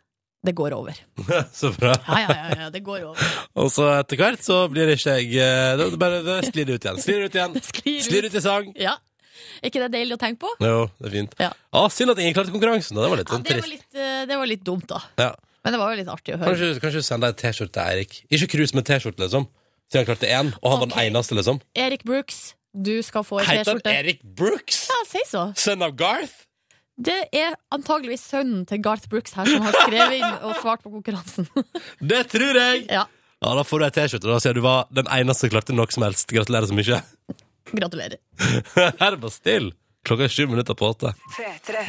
Speaker 3: det går over.
Speaker 2: ja. Så bra.
Speaker 3: Ja, ja, ja, ja, det går over.
Speaker 2: Og så etter hvert så blir ikke jeg eh, Det det bare det sklir ut igjen. Sklir ut
Speaker 3: *laughs*
Speaker 2: igjen.
Speaker 3: Det sklir ut.
Speaker 2: Sklir ut i sang.
Speaker 3: Ja. ikke det deilig å tenke på?
Speaker 2: Jo, det er fint.
Speaker 3: Ja.
Speaker 2: Ah, synd at ingen klarte konkurransen. da. Det var litt
Speaker 3: Ja,
Speaker 2: sånn
Speaker 3: det, var
Speaker 2: trist.
Speaker 3: litt, eh, det var litt dumt, da.
Speaker 2: Ja.
Speaker 3: Men det var jo litt artig å høre.
Speaker 2: Kanskje, kanskje send deg en T-skjorte til Eirik. Ikke krus med T-skjorte, liksom. Siden han klarte én, og han var
Speaker 3: Ok.
Speaker 2: den eneste, liksom.
Speaker 3: Erik Brooks, du skal få ei
Speaker 2: Heter
Speaker 3: T-skjorte.
Speaker 2: han Erik Brooks?
Speaker 3: Ja, si så.
Speaker 2: Sønn av Garth?
Speaker 3: Det er antageligvis sønnen til Garth Brooks her som har skrevet inn og svart på konkurransen. *laughs*
Speaker 2: Det tror jeg!
Speaker 3: Ja,
Speaker 2: Ja, Da får du ei T-skjorte. Da sier du var den eneste som klarte noe som helst. Gratulerer så mye. *laughs*
Speaker 3: gratulerer.
Speaker 2: Her er Bastille. Klokka er sju minutter på åtte.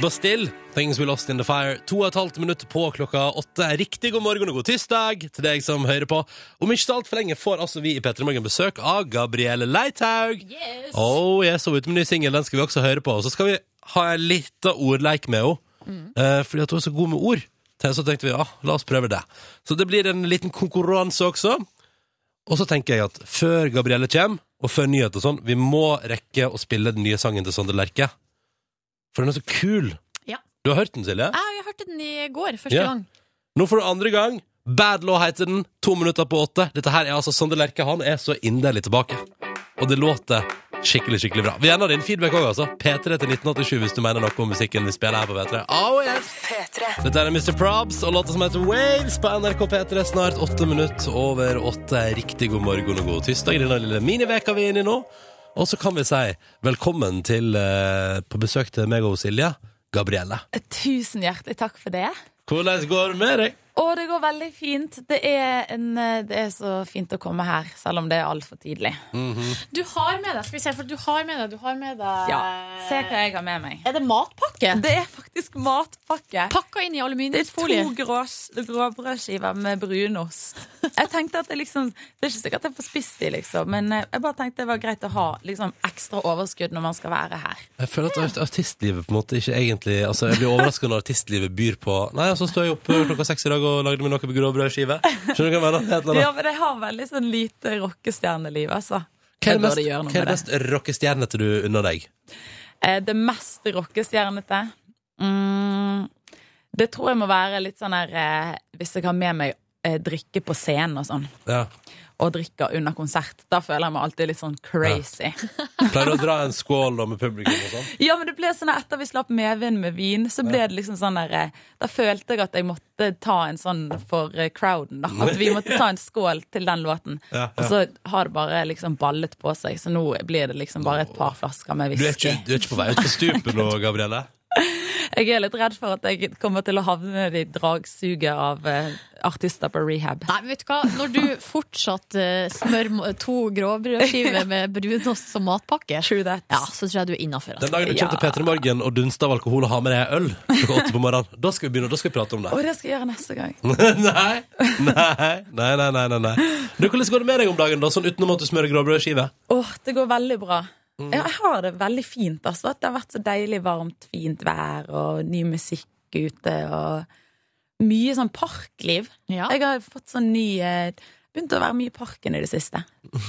Speaker 2: Bastille, Things We Lost In The Fire. To og et halvt minutt på klokka åtte. Riktig god morgen og god tirsdag til deg som hører på. Om ikke så altfor lenge får altså vi i P3 Morgen besøk av Gabrielle Leithaug.
Speaker 3: Yes.
Speaker 2: Oh, jeg så ut med en ny singel, den skal vi også høre på. Og så skal vi ha en liten ordleik med henne. Eh, fordi at hun er så god med ord. Til Så tenkte vi ja, la oss prøve det. Så det blir en liten konkurranse også. Og så tenker jeg at før Gabrielle kommer, og før nyhet og sånn, vi må rekke å spille den nye sangen til Sondre Lerche. For den er så kul.
Speaker 3: Ja.
Speaker 2: Du har hørt den, Silje?
Speaker 3: Jeg, jeg hørte den i går, første
Speaker 2: Ja.
Speaker 3: gang.
Speaker 2: Nå for andre gang. Bad Law heter den. To minutter på åtte. Dette her er altså Sander Lerche. Han er så inderlig tilbake. Og det låter skikkelig, skikkelig bra. Vi gjerne har din feedback òg, altså. P3 til 1987 hvis du mener noe om musikken vi spiller her på P3. Oh, yes. Dette er Mr. Probs og låta som heter Waves på NRK P3. Snart åtte minutter over åtte. Riktig god morgen og god tirsdag. i Denne lille miniveka vi er inne i nå. Og så kan vi si velkommen til, eh, på besøk til meg og Silje, Gabrielle.
Speaker 8: Tusen hjertelig takk for det.
Speaker 2: Hvordan går det med deg?
Speaker 8: Og det går veldig fint. Det er, en, eh, det er så fint å komme her, selv om det er altfor tidlig.
Speaker 3: Du har med deg, skal vi se, for du har med deg, du har med deg
Speaker 8: Ja, Se hva jeg har med meg.
Speaker 3: Er det matpakke?
Speaker 8: Det er faktisk matpakke.
Speaker 3: Pakka inn i
Speaker 8: Det er
Speaker 3: aluminiumsfolie.
Speaker 8: to grås- gråbrødskiver med brunost. Jeg tenkte at Det liksom Det er ikke sikkert jeg får spist de, liksom, *laughs* men eh, jeg bare tenkte det var greit å ha liksom, ekstra overskudd når man skal være her.
Speaker 2: Jeg føler at art- artistlivet på en måte ikke egentlig Altså, jeg blir overraska når artistlivet byr på Nei, så står jeg opp klokka seks i dag og lagde meg noe med gråbrødskive. Skjønner du hva jeg mener? Det er et eller annet.
Speaker 8: Ja, men jeg har veldig sånn lite rockestjerneliv, altså.
Speaker 2: Hva er
Speaker 8: Jeg
Speaker 2: det mest,
Speaker 8: burde gjøre noe
Speaker 2: hva er
Speaker 8: med
Speaker 2: det mest rockestjernete du unner deg?
Speaker 8: Eh, Det mest rockestjernete mm, Det tror jeg må være litt sånn her eh, Hvis jeg har med meg eh, drikke på scenen og sånn,
Speaker 2: Ja.
Speaker 8: og drikker under konsert, da føler jeg meg alltid litt sånn crazy.
Speaker 2: Pleier du å dra en skål da med publikum og sånn?
Speaker 8: Ja, men det ble sånn at Etter vi slapp medvind med vin, så ble det liksom sånn der eh, Da følte jeg at jeg måtte ta en sånn for eh, crowden, da. At vi måtte ta en skål til den låten.
Speaker 2: Ja, ja.
Speaker 8: Og så har det bare liksom ballet på seg, så nå blir det liksom bare et par flasker med
Speaker 2: Du er ikke,
Speaker 8: whisky.
Speaker 2: du er ikke på vei ut på stupet nå, Gabrielle?
Speaker 8: Jeg er litt redd for at jeg kommer til å havne i dragsuget av eh, artister på rehab.
Speaker 3: Nei, vet du hva? Når du fortsatt eh, smører mo- to gråbrødskiver med brunost som matpakke,
Speaker 8: True that.
Speaker 3: ja, så tror jeg du er innafor. altså.
Speaker 2: Den dagen du kommer til P3 Morgen og dunster av alkohol og har med deg øl klokka åtte på morgenen, da skal vi begynne, da skal vi prate om det.
Speaker 8: Og det skal jeg gjøre neste gang.
Speaker 2: *laughs* Nei, nei, nei, nei, nei, nei. Du, Hvordan går det med deg om dagen, da? Sånn utenom at du smører gråbrødskive?
Speaker 8: Åh, det går veldig bra.
Speaker 3: Mm.
Speaker 8: Ja, jeg har det veldig fint. altså. Det har vært så deilig varmt, fint vær og ny musikk ute. og Mye sånn parkliv.
Speaker 3: Ja.
Speaker 8: Jeg har fått sånn ny eh, Begynt å være mye i parken i det siste.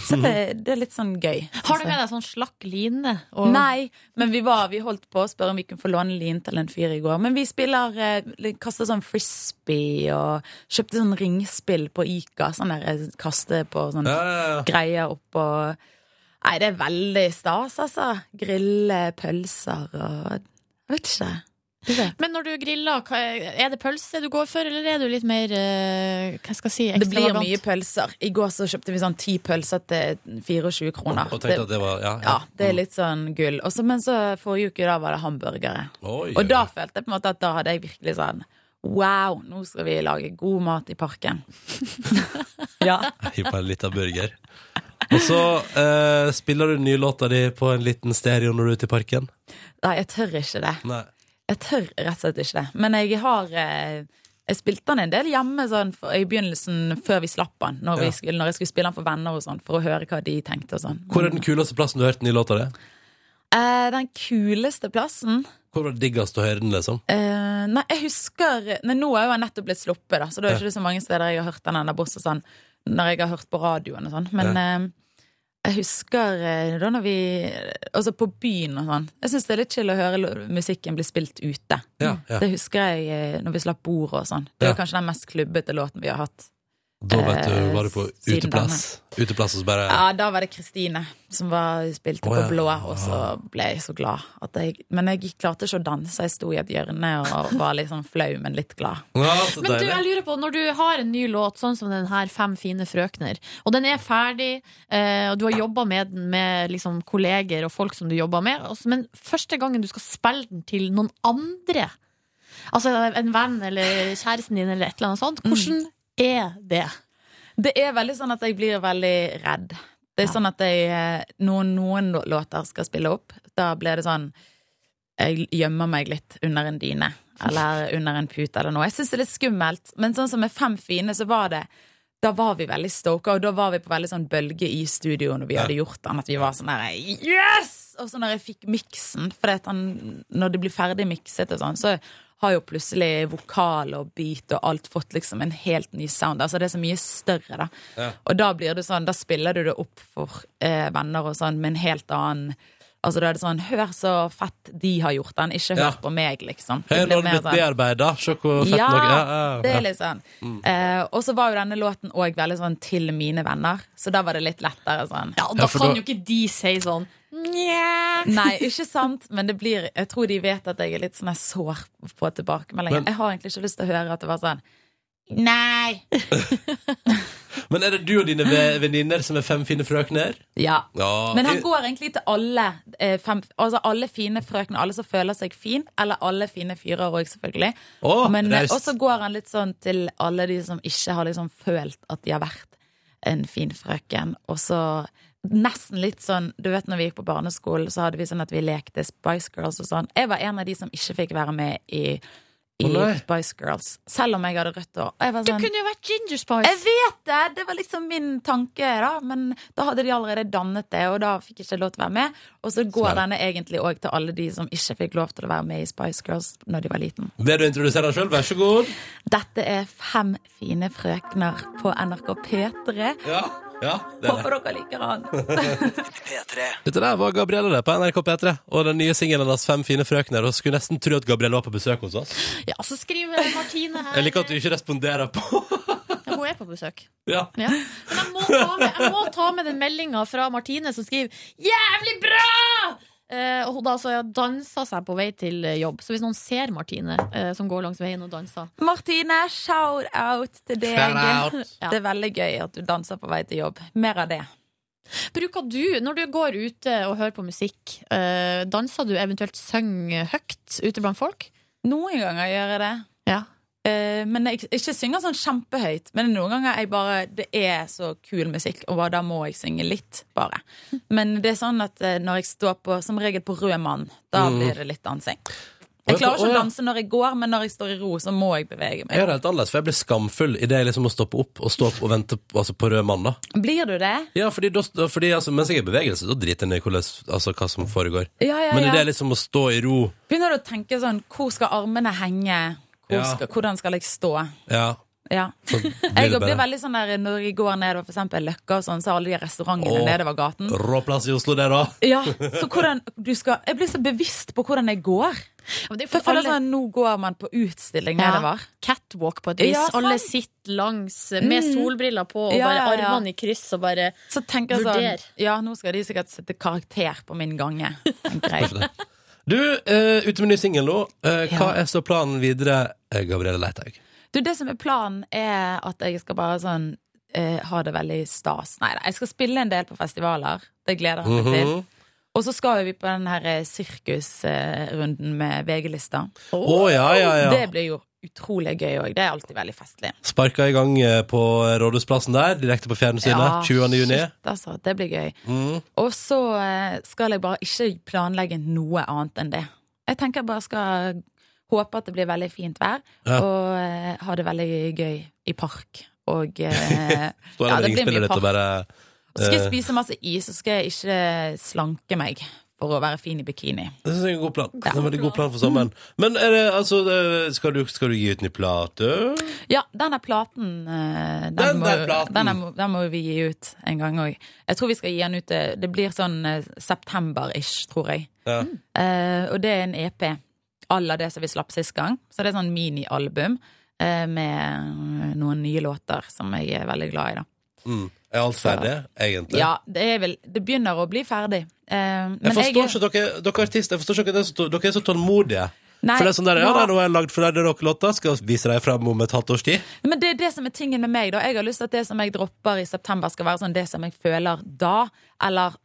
Speaker 8: Så det, det er litt sånn gøy.
Speaker 3: Har du med deg sånn slakk line? Og...
Speaker 8: Nei, men vi, var, vi holdt på å spørre om vi kunne få låne lin til en fyr i går. Men vi spiller eh, kaster sånn frisbee og kjøpte sånn ringspill på Ica. Sånn der eh, kaste på sånn
Speaker 2: Ja, ja, ja.
Speaker 8: greier oppå Nei, det er veldig stas, altså. Grille pølser og Jeg vet ikke. Du vet.
Speaker 3: Men når du griller, hva- er det pølse du går for, eller er du litt mer eh, hva skal jeg si,
Speaker 8: Det blir
Speaker 3: ekstravagant?
Speaker 8: mye pølser. I går så kjøpte vi sånn ti pølser til 24 kroner.
Speaker 2: Og tenkte at det var Ja. Mm.
Speaker 8: ja, det er litt sånn gull. Og så- men så forrige uke da var det hamburgere.
Speaker 2: Oi,
Speaker 8: Og da følte jeg på en måte at da hadde jeg virkelig sånn Wow, nå skal vi lage god mat i parken. ja.
Speaker 2: Hiv på en liten burger. Og så eh, spiller du nye låta di på en liten stereo når du er ute i parken.
Speaker 8: Nei, jeg tør ikke det.
Speaker 2: Nei.
Speaker 8: Jeg tør rett og slett ikke det. Men jeg har eh, Jeg spilte den en del hjemme sånn, for, i begynnelsen, før vi slapp den. Når,
Speaker 2: Ja.
Speaker 8: vi skulle, når jeg skulle spille den for venner og sånn, for å høre hva de tenkte og sånn.
Speaker 2: Hvor er den kuleste plassen du har hørt den nye låta di?
Speaker 8: Eh, den kuleste plassen
Speaker 2: Hvor var det diggest å høre den, liksom?
Speaker 8: Eh, nei, jeg husker nei, Nå er jo jeg nettopp blitt sluppet, da, så det er ikke det så mange steder jeg har hørt den ennå, bortsett sånn når jeg har hørt på radioen og sånn. Men eh, jeg husker eh, da når vi Altså på byen og sånn. Jeg syns det er litt chill å høre lo- musikken bli spilt ute.
Speaker 2: Ja, ja.
Speaker 8: Det husker jeg eh, når vi slapp bordet og sånn. Det er
Speaker 2: Ja.
Speaker 8: jo kanskje den mest klubbete låten vi har hatt.
Speaker 2: Da vet du, var du på
Speaker 8: Eh, siden
Speaker 2: uteplass. Uteplass og så bare
Speaker 8: Ja, da var det Kristine som var, spilte
Speaker 2: Å,
Speaker 8: på
Speaker 2: ja.
Speaker 8: blå, og så ble jeg så glad. At jeg, men jeg gikk- klarte ikke å danse. Jeg sto i et hjørne og var litt sånn flau, men litt glad.
Speaker 2: ja, så
Speaker 3: Men du, jeg
Speaker 8: altså.
Speaker 2: deilig.
Speaker 3: lurer på, når du har en ny låt, sånn som den her Fem fine frøkner, og den er ferdig, eh, og du har jobba med den med liksom, kolleger og folk som du jobber med, og så- men første gangen du skal spille den til noen andre, altså en venn eller kjæresten din eller et eller annet sånt,
Speaker 2: Mm.
Speaker 3: hvordan er det?
Speaker 8: Det er veldig sånn at jeg blir veldig redd. Det er sånn at jeg, eh, når noen lå- låter skal spille opp, da blir det sånn Jeg gjemmer meg litt under en dyne eller under en pute eller noe. Jeg syns det er litt skummelt, men sånn som med Fem fine, så var det da var vi veldig stoka, og da var vi på veldig sånn bølge i studio når vi hadde gjort den. At vi var sånn der Yes! Og så når jeg fikk miksen, for når det blir ferdig mikset og sånn, så har jo plutselig vokal og beat og alt fått liksom en helt ny sound. Altså det er så mye større, da. Og da blir det sånn, da spiller du det opp for eh, venner og sånn med en helt annen Altså, da er det sånn Hør så fett de har gjort den, ikke hør
Speaker 2: Ja.
Speaker 8: på meg, liksom.
Speaker 2: Her
Speaker 8: Det blir
Speaker 2: har den
Speaker 8: mer
Speaker 2: blitt
Speaker 8: sånn-
Speaker 2: bearbeida. Se hvor fett
Speaker 8: ja,
Speaker 2: noe ja,
Speaker 8: det
Speaker 2: ja,
Speaker 8: er
Speaker 2: ja.
Speaker 8: litt sånn. Eh, og så var jo denne låten òg veldig sånn til mine venner, så da var det litt lettere sånn.
Speaker 3: Ja,
Speaker 2: Ja,
Speaker 3: da
Speaker 2: for
Speaker 3: kan
Speaker 2: da-
Speaker 3: jo ikke de si sånn Nja
Speaker 8: *laughs* Nei, ikke sant, men det blir Jeg tror de vet at jeg er litt sånn her sår på tilbakemeldinger.
Speaker 2: Men-
Speaker 8: Jeg har egentlig ikke lyst til å høre at det var sånn Nei!
Speaker 2: Men er det du og dine ve- venninner som er fem fine frøkner?
Speaker 8: Ja.
Speaker 2: Ja.
Speaker 8: Men han går egentlig til alle eh, fem, altså alle fine frøkene, alle som føler seg fin, eller alle fine fyrer òg, selvfølgelig.
Speaker 2: Å,
Speaker 8: Men eh,
Speaker 2: raust.
Speaker 8: også går han litt sånn til alle de som ikke har liksom følt at de har vært en fin frøken. Og så nesten litt sånn Du vet når vi gikk på barneskolen, så hadde vi sånn at vi lekte Spice Girls og sånn. Jeg var en av de som ikke fikk være med i, i
Speaker 2: Å, nei.
Speaker 8: Spice Girls, selv om jeg hadde rødt hår. Og jeg var
Speaker 3: Du
Speaker 8: sånn-
Speaker 3: kunne jo vært Ginger
Speaker 8: jeg
Speaker 3: Spice.
Speaker 8: vet det! Det var liksom min tanke, da. Men da hadde de allerede dannet det, og da fikk jeg ikke lov til å være med. Og så går
Speaker 2: Smart.
Speaker 8: denne egentlig òg til alle de som ikke fikk lov til å være med i Spice Girls når de var liten.
Speaker 2: Vil du introdusere deg sjøl? Vær så god.
Speaker 8: Dette er Fem fine frøkner på NRK P3.
Speaker 2: Ja, ja, det er det.
Speaker 8: Håper dere liker han.
Speaker 1: P3.
Speaker 2: Dette der var Gabrielle der på NRK P3 og den nye singelen hennes Fem fine frøkner. Og skulle nesten tro at Gabrielle var på besøk hos oss.
Speaker 3: Ja, så skriver Martine her
Speaker 2: Jeg liker at du ikke responderer på *laughs*
Speaker 3: Ja, Hun er på besøk.
Speaker 2: Ja,
Speaker 3: Ja. Men jeg må ta med, jeg må ta med den meldinga fra Martine som skriver 'jævlig bra'! Eh, og hun da altså dansa seg på vei til eh, jobb. Så hvis noen ser Martine eh, som går langs veien og danser
Speaker 8: Martine, shout-out til deg.
Speaker 2: Shout out.
Speaker 8: Det er veldig gøy at du danser på vei til jobb. Mer av det.
Speaker 3: Bruker du, når du går ute og hører på musikk, eh, danser du eventuelt synger høyt ute blant folk?
Speaker 8: Noen ganger gjør jeg det.
Speaker 3: Ja.
Speaker 8: Eh, men jeg ikke synger sånn kjempehøyt. Men noen ganger jeg bare Det er så kul musikk, og bare da må jeg synge litt, bare. Men det er sånn at eh, når jeg står på som regel på Rød mann, da blir det litt dansing.
Speaker 2: Mm. Å, ja,
Speaker 8: Jeg klarer ikke
Speaker 2: å,
Speaker 8: å
Speaker 2: ja.
Speaker 8: danse når jeg går, men når jeg står i ro, så må jeg bevege
Speaker 2: jeg
Speaker 8: meg.
Speaker 2: gjør det helt annerledes, for jeg blir skamfull idet jeg liksom må stoppe opp og stå opp og vente på- altså, på rød mann. da
Speaker 8: Blir du det?
Speaker 2: Ja, fordi, da- fordi altså, Mens jeg er i bevegelse, så driter jeg i hvordan- altså, hva som foregår.
Speaker 8: Ja, ja,
Speaker 2: Men
Speaker 8: ja.
Speaker 2: idet jeg liksom må stå i ro
Speaker 8: Begynner du å tenke sånn Hvor skal armene henge? Hvor
Speaker 2: Ja.
Speaker 8: skal, hvordan skal jeg stå?
Speaker 2: Ja,
Speaker 8: Ja.
Speaker 2: så
Speaker 8: *laughs*
Speaker 2: blir
Speaker 8: Jeg
Speaker 2: det
Speaker 8: blir
Speaker 2: bare
Speaker 8: veldig sånn der når jeg går nedover for eksempel Løkka og sånn, så har alle de restaurantene
Speaker 2: Å.
Speaker 8: nedover gaten.
Speaker 2: rå plass i Oslo, det, da.
Speaker 8: Ja, så hvordan du skal Jeg blir så bevisst på hvordan jeg går.
Speaker 3: Men det er jo
Speaker 8: For
Speaker 3: for
Speaker 8: jeg føler
Speaker 3: alle-
Speaker 8: sånn, Nå går man på utstilling
Speaker 3: Ja.
Speaker 8: nedover.
Speaker 3: catwalk på et vis.
Speaker 8: Ja, sant. Mm.
Speaker 3: Alle sitter langs med solbriller på og
Speaker 8: Ja,
Speaker 3: bare
Speaker 8: ja, ja.
Speaker 3: armene i kryss og bare
Speaker 8: Så tenker jeg sånn
Speaker 3: Vurder.
Speaker 8: Ja, nå skal de sikkert sette karakter på min gange.
Speaker 2: *laughs*
Speaker 8: tenker jeg.
Speaker 2: Du, eh, ute med ny singel nå. Eh, hva
Speaker 8: Ja.
Speaker 2: er så planen videre, eh, Gabrielle Leithaug?
Speaker 8: Du, det som er planen, er at jeg skal bare sånn eh, ha det veldig stas. Nei da, jeg skal spille en del på festivaler. Det gleder jeg meg
Speaker 2: Mhm.
Speaker 8: til. Og så skal jo vi på den her eh, sirkusrunden med VG-lista.
Speaker 2: Å ja, ja, ja.
Speaker 8: Det blir jo utrolig gøy òg. Det er alltid veldig festlig.
Speaker 2: Sparka i gang eh, på Rådhusplassen der, direkte på fjernsynet. 20. juni.
Speaker 8: Shit, altså, det blir gøy.
Speaker 2: Mm.
Speaker 8: Og så eh, skal jeg bare ikke planlegge noe annet enn det. Jeg tenker jeg bare skal håpe at det blir veldig fint vær,
Speaker 2: Ja.
Speaker 8: og eh, ha det veldig gøy i park. Og
Speaker 2: *laughs*
Speaker 8: eh,
Speaker 2: Står
Speaker 8: Ja,
Speaker 2: der med
Speaker 8: det blir mye
Speaker 2: ringspillet ditt og bare
Speaker 8: og så skal jeg
Speaker 2: eh,
Speaker 8: spise masse is, og så skal jeg ikke slanke meg for å være fin i bikini.
Speaker 2: Det synes jeg er en god plan. Det er en veldig god plan for sommeren. Men er det, altså, eh, skal, du, skal du gi ut ny plate?
Speaker 8: Ja, denne platen eh, Den,
Speaker 2: Den
Speaker 8: må,
Speaker 2: der platen.
Speaker 8: Den, er, må- den må vi gi ut en gang òg. Jeg tror vi skal gi den ut eh, Det blir sånn eh, september-ish, tror jeg.
Speaker 2: Ja.
Speaker 8: Eh, og det er en EP à la det som vi slapp sist gang. Så det er sånn minialbum eh, med eh, noen nye låter som jeg er veldig glad i, da.
Speaker 2: Mm. Er alt ferdig, egentlig?
Speaker 8: Ja, det, er vel, det begynner å bli ferdig. Eh, men
Speaker 2: Jeg forstår ikke
Speaker 8: jeg,
Speaker 2: dere, dere artister Jeg forstår ikke at dere, er så to- dere er så tålmodige.
Speaker 8: Nei,
Speaker 2: for det er sånn der, ja,
Speaker 8: nå-
Speaker 2: nei, nå har jeg lagd for dere rockelåter, skal jeg vise deg fram om et halvt års tid.
Speaker 8: Men det er det som er tingen med meg, da. Jeg har lyst til at det som jeg dropper i september, skal være sånn det som jeg føler da, eller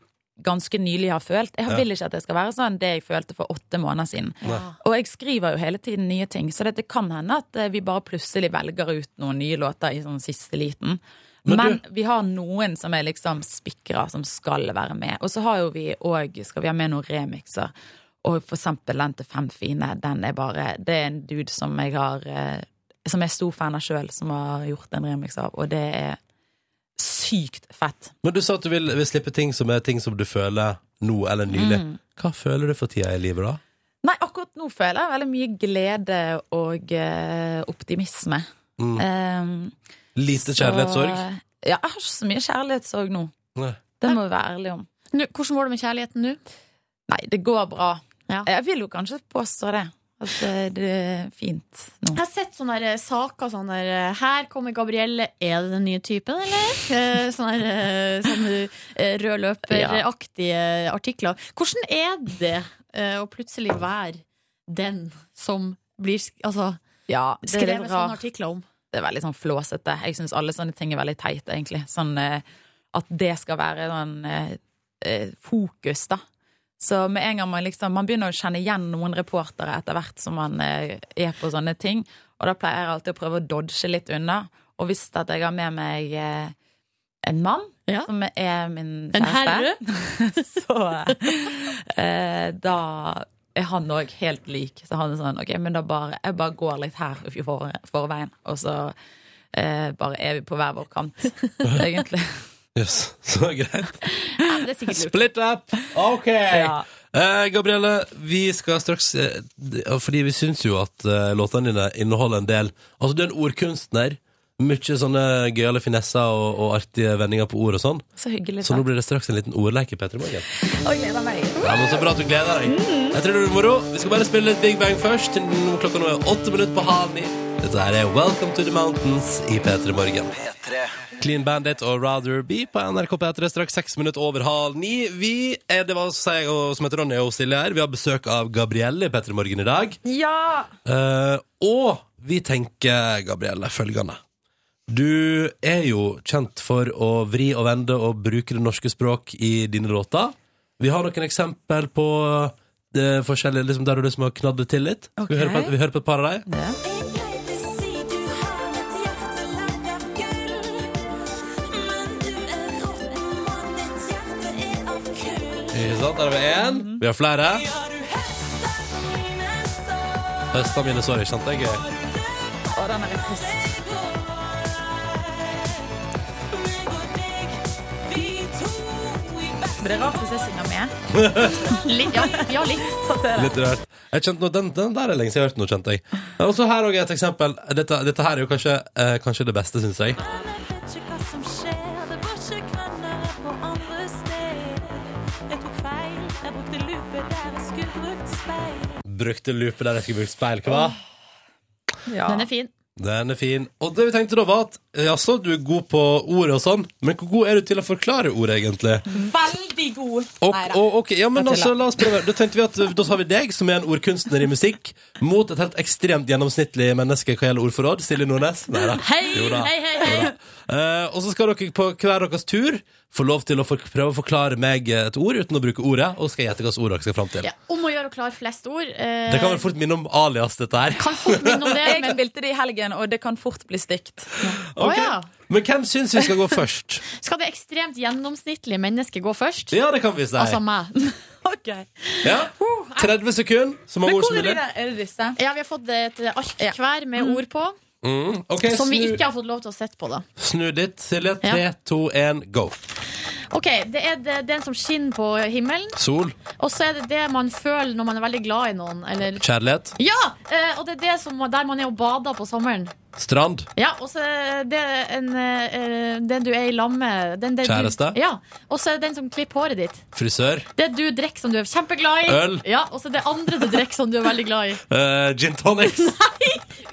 Speaker 8: ganske nylig har følt. Jeg vil ikke at det skal være sånn det jeg følte for åtte måneder siden. Og jeg skriver jo hele tiden nye ting, så det kan hende at eh, vi bare plutselig velger ut noen nye låter i sånn siste liten. Men, vi har noen som er liksom spikra, som skal være med. Og så har jo vi òg Skal vi ha med noen remixer? Og for eksempel den til Fem fine, den er bare Det er en dude som jeg har eh, som jeg er stor fan av sjøl, som har gjort en remix av, og det er sykt fett.
Speaker 2: Men du sa at du vil, vil slippe ting som er ting som du føler nå eller nylig.
Speaker 8: Mm.
Speaker 2: Hva føler du for tida i livet, da?
Speaker 8: Nei, akkurat nå føler jeg veldig mye glede og eh, optimisme.
Speaker 2: Mm.
Speaker 8: Ehm,
Speaker 2: Lite
Speaker 8: så- eh,
Speaker 2: kjærlighetssorg?
Speaker 8: Ja, jeg har ikke så mye kjærlighetssorg nå.
Speaker 2: Nei.
Speaker 8: Det må vi være ærlige om.
Speaker 3: nå, Hvordan går det med kjærligheten nå?
Speaker 8: Nei, det går bra.
Speaker 3: Ja.
Speaker 8: Jeg vil jo kanskje påstå det. At eh, det er fint nå.
Speaker 3: Jeg har sett sånne her, eh, saker sånn der eh, Her kommer Gabrielle, er det den nye typen, eller? Eh, Sånne, her, eh, sånne eh, rød løper-aktige artikler. Hvordan er det eh, å plutselig være den som blir sk- altså,
Speaker 8: Ja, det er
Speaker 3: skrevet
Speaker 8: litt rart.
Speaker 3: sånne artikler om?
Speaker 8: det er veldig sånn flåsete. Jeg syns alle sånne ting er veldig teit, egentlig. Sånn eh, at det skal være sånn eh, eh, fokus, da. Så med en gang man liksom Man begynner å kjenne igjen noen reportere etter hvert som man eh, er på sånne ting, og da pleier jeg alltid å prøve å dodge litt unna. Og hvis at jeg har med meg eh, en mann
Speaker 3: Ja.
Speaker 8: som er min
Speaker 3: En
Speaker 8: *laughs* kjæreste, så eh, da er han òg helt lik. Så han er sånn OK, men da bare Jeg bare går litt her i for, forveien, og så eh, bare er vi på hver vår
Speaker 3: *laughs*
Speaker 8: kant, egentlig.
Speaker 2: Yes. *laughs* Så greit.
Speaker 3: Ja, det er sikkert lurt.
Speaker 2: Split up! OK!
Speaker 8: Ja.
Speaker 2: Eh, Gabrielle, vi skal straks eh, d- Fordi vi syns jo at eh, låtene dine inneholder en del Altså, du er en ordkunstner. Mye sånne gøyale finesser og, og artige vendinger på ord og sånn.
Speaker 8: Så hyggelig.
Speaker 2: Så nå
Speaker 8: da.
Speaker 2: blir det straks en liten ordleke, Petter Morgen.
Speaker 8: Oi, gleder meg.
Speaker 2: Ja, men Så bra at du gleder deg. Jeg tror det blir moro. Vi skal bare spille litt Big Bang først. til nå- Klokka nå er åtte minutter på halv ni. Dette her er Welcome to the Mountains i P3 Morgen.
Speaker 1: P3.
Speaker 2: Clean Bandit og Rather Be på NRK P3 straks seks minutter over halv ni. Vi er det var også jeg og, som heter Ronny og Silje her. Vi har besøk av Gabrielle i P3 Morgen i dag.
Speaker 8: Ja!
Speaker 2: Eh, og vi tenker, Gabrielle, følgende. Du er jo kjent for å vri og vende og bruke det norske språk i dine låter. Vi har noen eksempel på det forskjellige, liksom der du liksom har knadd det til litt. Skal
Speaker 8: Ok.
Speaker 2: vi, høre på et, vi hører på et par av dem?
Speaker 8: Ja.
Speaker 2: Ikke sant? Der har vi én. Vi har flere. Høsta mine sår, ikke sant? Det er gøy.
Speaker 8: Og den er litt trist. Men det er rart hvis jeg synger med.
Speaker 3: Litt, ja, ja, litt.
Speaker 8: Så det
Speaker 2: Litt rørt. Jeg kjente noe, den, den der er lenge siden jeg har hørt noe, kjente jeg. Og så her òg et eksempel. Dette, dette her er jo kanskje, eh, kanskje det beste, syns jeg. Brukte lupe der jeg skulle brukt speil, hva?
Speaker 8: ja.
Speaker 3: Den er fin.
Speaker 2: Den er fin. Og det vi tenkte da var at Jaså, du er god på ord og sånn, men hvor god er du til å forklare ord, egentlig?
Speaker 8: veldig god.
Speaker 2: Og,
Speaker 8: Neida.
Speaker 2: og, ok, ja, men
Speaker 8: Jeg
Speaker 2: altså,
Speaker 8: tuller.
Speaker 2: la oss prøve. Da tenkte vi at eh, da tar vi deg, som er en ordkunstner i musikk, mot et helt ekstremt gjennomsnittlig menneske hva gjelder ordforråd. Silje Nordnes. Nei da.
Speaker 3: Hei,
Speaker 2: Jo da.
Speaker 3: hei, hei, hei.
Speaker 2: Eh, og så skal dere på hver deres tur få lov til å for, prøve å forklare meg et ord uten å bruke ordet, og så skal jeg gjette hvilket ord dere skal fram til.
Speaker 3: Ja, om å gjøre å klare flest ord. eh,
Speaker 2: Det kan vel fort minne om alias, dette her.
Speaker 3: kan fort minne om det,
Speaker 8: *laughs* Jeg
Speaker 3: men
Speaker 8: spilte det i helgen, og det kan fort bli stygt.
Speaker 2: Ok.
Speaker 3: Å, ja.
Speaker 2: Men hvem syns vi skal gå først?
Speaker 3: skal det ekstremt gjennomsnittlige mennesket gå først?
Speaker 2: Ja, det kan vi si.
Speaker 3: Altså uh, meg.
Speaker 8: *laughs* Ok.
Speaker 2: Ja. 30 sekunder, så mange
Speaker 8: Men
Speaker 2: ord
Speaker 8: hvor
Speaker 2: som
Speaker 8: er de
Speaker 2: mulig.
Speaker 8: der? Er det disse?
Speaker 3: Ja, vi har fått et ark
Speaker 8: Ja.
Speaker 3: hver med ord på,
Speaker 2: Mm. Ok,
Speaker 3: som vi
Speaker 2: snu-
Speaker 3: ikke har fått lov til å sette på, da.
Speaker 2: Snu ditt, Silje. Tre,
Speaker 3: Ja.
Speaker 2: to, én, go.
Speaker 3: Ok, Det er det, den som skinner på himmelen,
Speaker 2: Sol,
Speaker 3: og så er det det man føler når man er veldig glad i noen, eller
Speaker 2: kjærlighet,
Speaker 3: Ja! eh, Og det er det som, der man er og bader på sommeren.
Speaker 2: strand,
Speaker 3: Ja, og så er det en, eh, den du er i lag med den, den
Speaker 2: Kjæreste?
Speaker 3: Du, ja. Og så er det den som klipper håret ditt.
Speaker 2: frisør,
Speaker 3: Det du drikker som du er kjempeglad i.
Speaker 2: Øl.
Speaker 3: Ja, Og så det andre du drikker som du er veldig glad i.
Speaker 2: eh,
Speaker 3: *laughs*
Speaker 2: gin tonics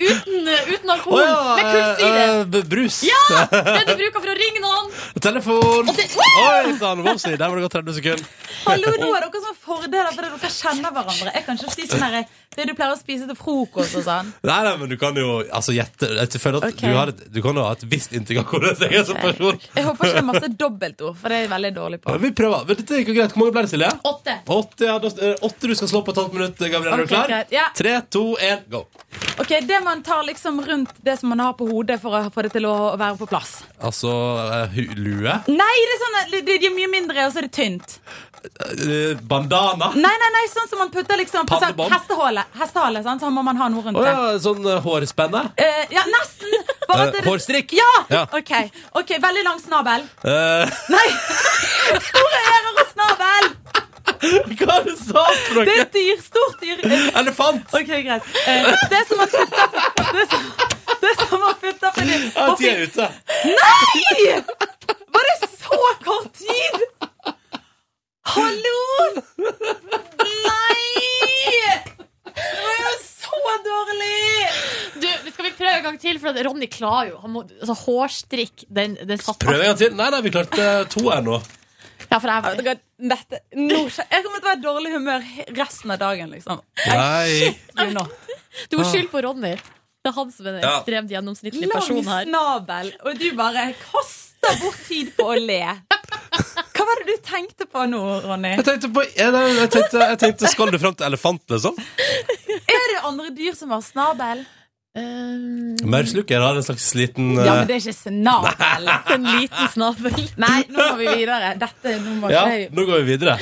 Speaker 3: Uten, eh, uten
Speaker 2: Å
Speaker 3: alkohol,
Speaker 2: ja,
Speaker 3: med kullsyre.
Speaker 2: eh, eh, b- brus.
Speaker 3: Det du bruker for å ringe noen.
Speaker 2: *laughs* Telefon.
Speaker 3: det-
Speaker 2: Oi sann, vopsi, der var det gått 30 sekunder.
Speaker 8: Hallo, nå har dere sånne fordeler fordi dere kjenner hverandre. Jeg kan ikke si sånn her Det du pleier å spise til frokost og sånn.
Speaker 2: Nei, nei, men du kan jo altså, gjette. Jeg føler at
Speaker 8: Ok.
Speaker 2: du, har et, du kan jo ha et visst inntrykk av hvordan jeg er som person.
Speaker 8: Jeg håper ikke det er masse dobbeltord, for det er jeg veldig dårlig på.
Speaker 2: Ja, vi prøver. Men dette gikk jo greit. Hvor mange ble det, Silje?
Speaker 3: Åtte.
Speaker 2: Åtte, ja, da, eh, åtte du skal slå på et halvt minutt, Gabriel. Er
Speaker 8: Ok,
Speaker 2: du klar?
Speaker 8: greit. Ja.
Speaker 2: Tre, to, én, go.
Speaker 8: Ok, Det man tar liksom rundt det som man har på hodet for å få det til å være på plass.
Speaker 2: Altså eh, hu- lue.
Speaker 8: Nei, det er sånn at det, det er mye mindre, og så er det tynt.
Speaker 2: Eh, bandana.
Speaker 8: Nei, nei, nei, sånn som man putter liksom på sånn
Speaker 2: Paddebånd?
Speaker 8: hestehale. Hestehale, sant? Så må man ha noe rundt
Speaker 2: Å
Speaker 8: det.
Speaker 2: ja, sånn eh, hårspenne.
Speaker 8: Eh, ja, nesten! Bare at
Speaker 2: Eh,
Speaker 8: det-
Speaker 2: hårstrikk?
Speaker 8: Ja!
Speaker 2: Ja.
Speaker 8: Ok, ok, Veldig lang snabel.
Speaker 2: Eh, *laughs*
Speaker 8: Nei! Store ører og snabel!
Speaker 2: hva er det du sa for
Speaker 8: Det er
Speaker 2: noe?
Speaker 8: et dyr. Stort dyr. Eh,
Speaker 2: Elefant!
Speaker 8: Ok, greit. Eh, det er som man putter Det er som- det er som man putter fordi
Speaker 2: Ja, de er ute.
Speaker 8: Nei! Var det så kort tid? Hallo! Nei! Det var jo så dårlig!
Speaker 3: Du, skal vi prøve en gang til? For at Ronny klarer jo. Han må, altså, hårstrikk, den, den satt
Speaker 2: Prøv en gang til. Nei, nei, vi klarte eh, to her nå.
Speaker 3: Ja, for
Speaker 8: Vet
Speaker 3: jeg,
Speaker 8: dere hva, Dette, nå, skje- jeg kommer til å være i dårlig humør he- resten av dagen, liksom.
Speaker 2: Nei.
Speaker 8: You know.
Speaker 3: du må skylde på Ronny. Det er han som er en
Speaker 2: Ja.
Speaker 3: ekstremt gjennomsnittlig person
Speaker 8: Lang
Speaker 3: her.
Speaker 8: snabel, og du bare kaster bort tid på å le. Hva var det du tenkte på nå, Ronny?
Speaker 2: Jeg tenkte, på, jeg, jeg tenkte, jeg tenkte Skal du fram til elefant, liksom?
Speaker 8: Er det andre dyr som har snabel?
Speaker 3: Um,
Speaker 2: Maurslukker har en slags liten
Speaker 8: Ja, men
Speaker 2: eh,
Speaker 8: det er ikke snabel.
Speaker 3: en liten snabel.
Speaker 8: Nei, nå må vi videre. Dette, nå må
Speaker 2: ja,
Speaker 8: ikke jeg
Speaker 2: nå går vi videre.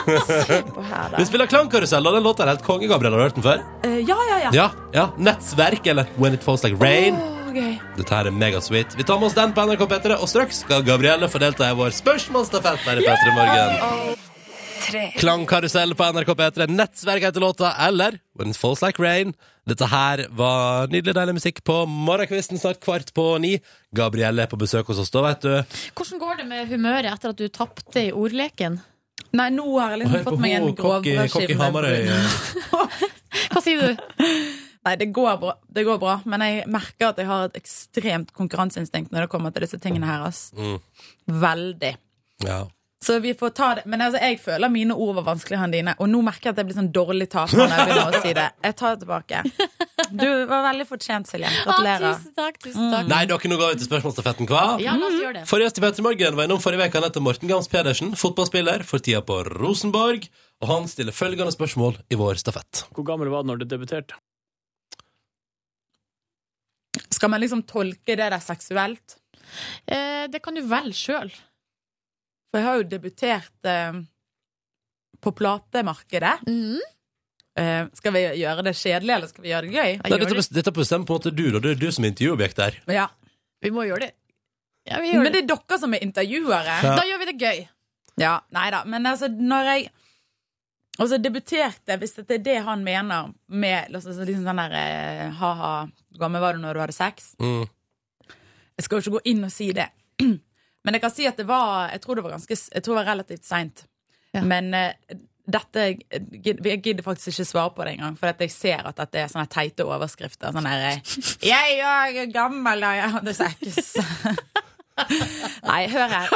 Speaker 8: på her, da.
Speaker 2: Vi spiller Klangkarusell, og den låta er helt konge, Gabriel. Har du hørt den før?
Speaker 8: Eh, ja, ja, ja.
Speaker 2: Ja, ja. Nettverk, eller When It Falls Like Rain.
Speaker 8: Å, gøy.
Speaker 2: Dette her er megasweet. Vi tar med oss den på NRK P3, og straks skal Gabrielle få delta i vår spørsmålsstafett her i P3 Morgen. Klangkarusell på NRK P3. Nettverk heter låta, eller When It Falls Like Rain. Dette her var nydelig, deilig musikk på morgenkvisten snart kvart på ni. Gabrielle er på besøk hos oss da, vet du.
Speaker 3: Hvordan går det med humøret etter at du tapte i ordleken?
Speaker 8: Nei, nå har jeg liksom
Speaker 2: Hør på
Speaker 8: fått meg en
Speaker 2: henne, kokk i- kokk i
Speaker 8: grovbrødskive.
Speaker 2: Hamarøy.
Speaker 3: Hva *laughs* sier du?
Speaker 8: *laughs* Nei, det går, bra. det går bra, men jeg merker at jeg har et ekstremt konkurranseinstinkt når det kommer til disse tingene her. Ass.
Speaker 2: Mm.
Speaker 8: Veldig.
Speaker 2: Ja.
Speaker 8: Så vi får ta det. Men altså, jeg føler mine ord var vanskeligere enn dine, og nå merker jeg at jeg blir sånn dårlig taper når jeg begynner å si det. Jeg tar det tilbake. Du var veldig fortjent, Silje.
Speaker 3: Ah,
Speaker 8: Gratulerer.
Speaker 3: tusen takk. tusen takk
Speaker 2: Nei, dere, nå går vi til spørsmålsstafetten, hva?
Speaker 3: Ja, la oss gjøre det.
Speaker 2: Forrige gjest i Petter Morgen var innom forrige uke etter Morten Gams Pedersen, fotballspiller for tida på Rosenborg, og han stiller følgende spørsmål i vår stafett.
Speaker 9: Hvor gammel var du når du debuterte?
Speaker 8: Skal man liksom tolke det der seksuelt?
Speaker 3: Eh, det kan du velge sjøl.
Speaker 8: For jeg har jo debutert eh, på platemarkedet. Eh, skal vi gjøre det kjedelig, eller skal vi gjøre det gøy?
Speaker 2: Nei, dette, bes- dette bestemmer på en måte du, da. Det er du som er intervjuobjekt der.
Speaker 8: Ja.
Speaker 3: Vi må gjøre det. Ja, vi gjør
Speaker 8: Men det er dere som er intervjuere.
Speaker 2: Ja.
Speaker 3: Da gjør vi det gøy.
Speaker 8: Ja, nei da. Men altså, når jeg Altså, debuterte, hvis det er det han mener med altså, liksom sånn der eh, ha-ha, hvor gammel var du når du hadde sex?
Speaker 2: Mm.
Speaker 8: Jeg skal jo ikke gå inn og si det. *clears throat* Men jeg kan si at det var Jeg tror det var, ganske, s- jeg tror det var relativt seint.
Speaker 3: Ja.
Speaker 8: Men eh, dette jeg gid- Jeg gidder faktisk ikke svare på det engang, for at jeg ser at dette er sånne teite overskrifter. Sånn der eh, *laughs* 'Jeg er jo gammel, og jeg hadde sex'. *laughs* Nei, hør *laughs* her.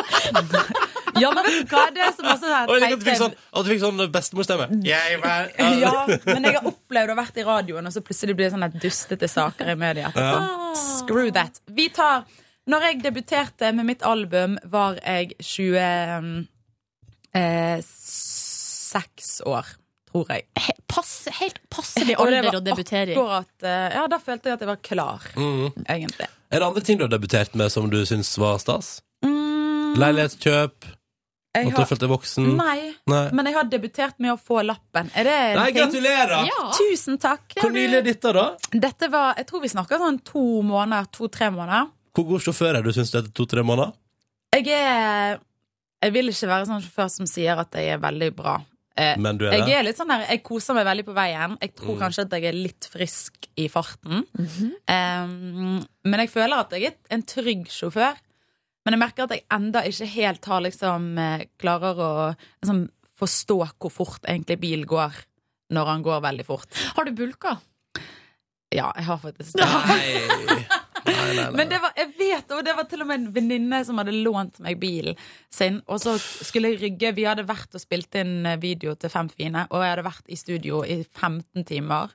Speaker 8: Ja, men vet du hva? Det er så masse sånne
Speaker 2: Og jeg liker at du fikk
Speaker 8: teite
Speaker 2: sånn, at du fikk sånn bestemorstemme. Jeg var-
Speaker 8: Mm. *laughs* ja, men jeg har opplevd å ha vært i radioen, og så plutselig blir det sånne dustete saker i media. etterpå. Screw that. Vi tar Når jeg debuterte med mitt album, var jeg 26 år, tror jeg.
Speaker 3: He pass, helt passelig
Speaker 8: Og det
Speaker 3: alder
Speaker 8: var
Speaker 3: å debutere i.
Speaker 8: akkurat, eh, Ja, da følte jeg at jeg var klar,
Speaker 2: Mm.
Speaker 8: egentlig.
Speaker 2: Er det andre ting du har debutert med som du syns var stas?
Speaker 8: Mm,
Speaker 2: Leilighetskjøp?
Speaker 8: jeg
Speaker 2: At du
Speaker 8: har,
Speaker 2: følte deg voksen?
Speaker 8: nei,
Speaker 2: Nei.
Speaker 8: men jeg har debutert med å få lappen. Er det en
Speaker 2: Nei,
Speaker 8: ting?
Speaker 2: gratulerer!
Speaker 3: Ja.
Speaker 8: Tusen takk.
Speaker 2: Hvor nylig er dette, da?
Speaker 8: Dette var, Jeg tror vi snakker sånn to måneder, to-tre måneder.
Speaker 2: Hvor god sjåfør er du, syns du, etter to-tre måneder?
Speaker 8: Jeg er Jeg vil ikke være sånn sjåfør som sier at jeg er veldig bra. Eh,
Speaker 2: Men du er
Speaker 8: jeg
Speaker 2: det.
Speaker 8: er litt sånn der, jeg koser meg veldig på veien. Jeg tror kanskje at jeg er litt frisk i farten. Eh, men jeg føler at jeg er en trygg sjåfør. Men jeg merker at jeg enda ikke helt har liksom eh, klarer å liksom, forstå hvor fort egentlig bil går når han går veldig fort.
Speaker 3: Har du bulka?
Speaker 8: Ja, jeg har faktisk det. *laughs*
Speaker 2: Nei. Nei, nei, nei.
Speaker 8: Men det var, jeg vet, og det var til og med en venninne som hadde lånt meg bilen sin. Og så skulle jeg rygge. Vi hadde vært og spilt inn eh, video til Fem fine, og jeg hadde vært i studio i 15 timer.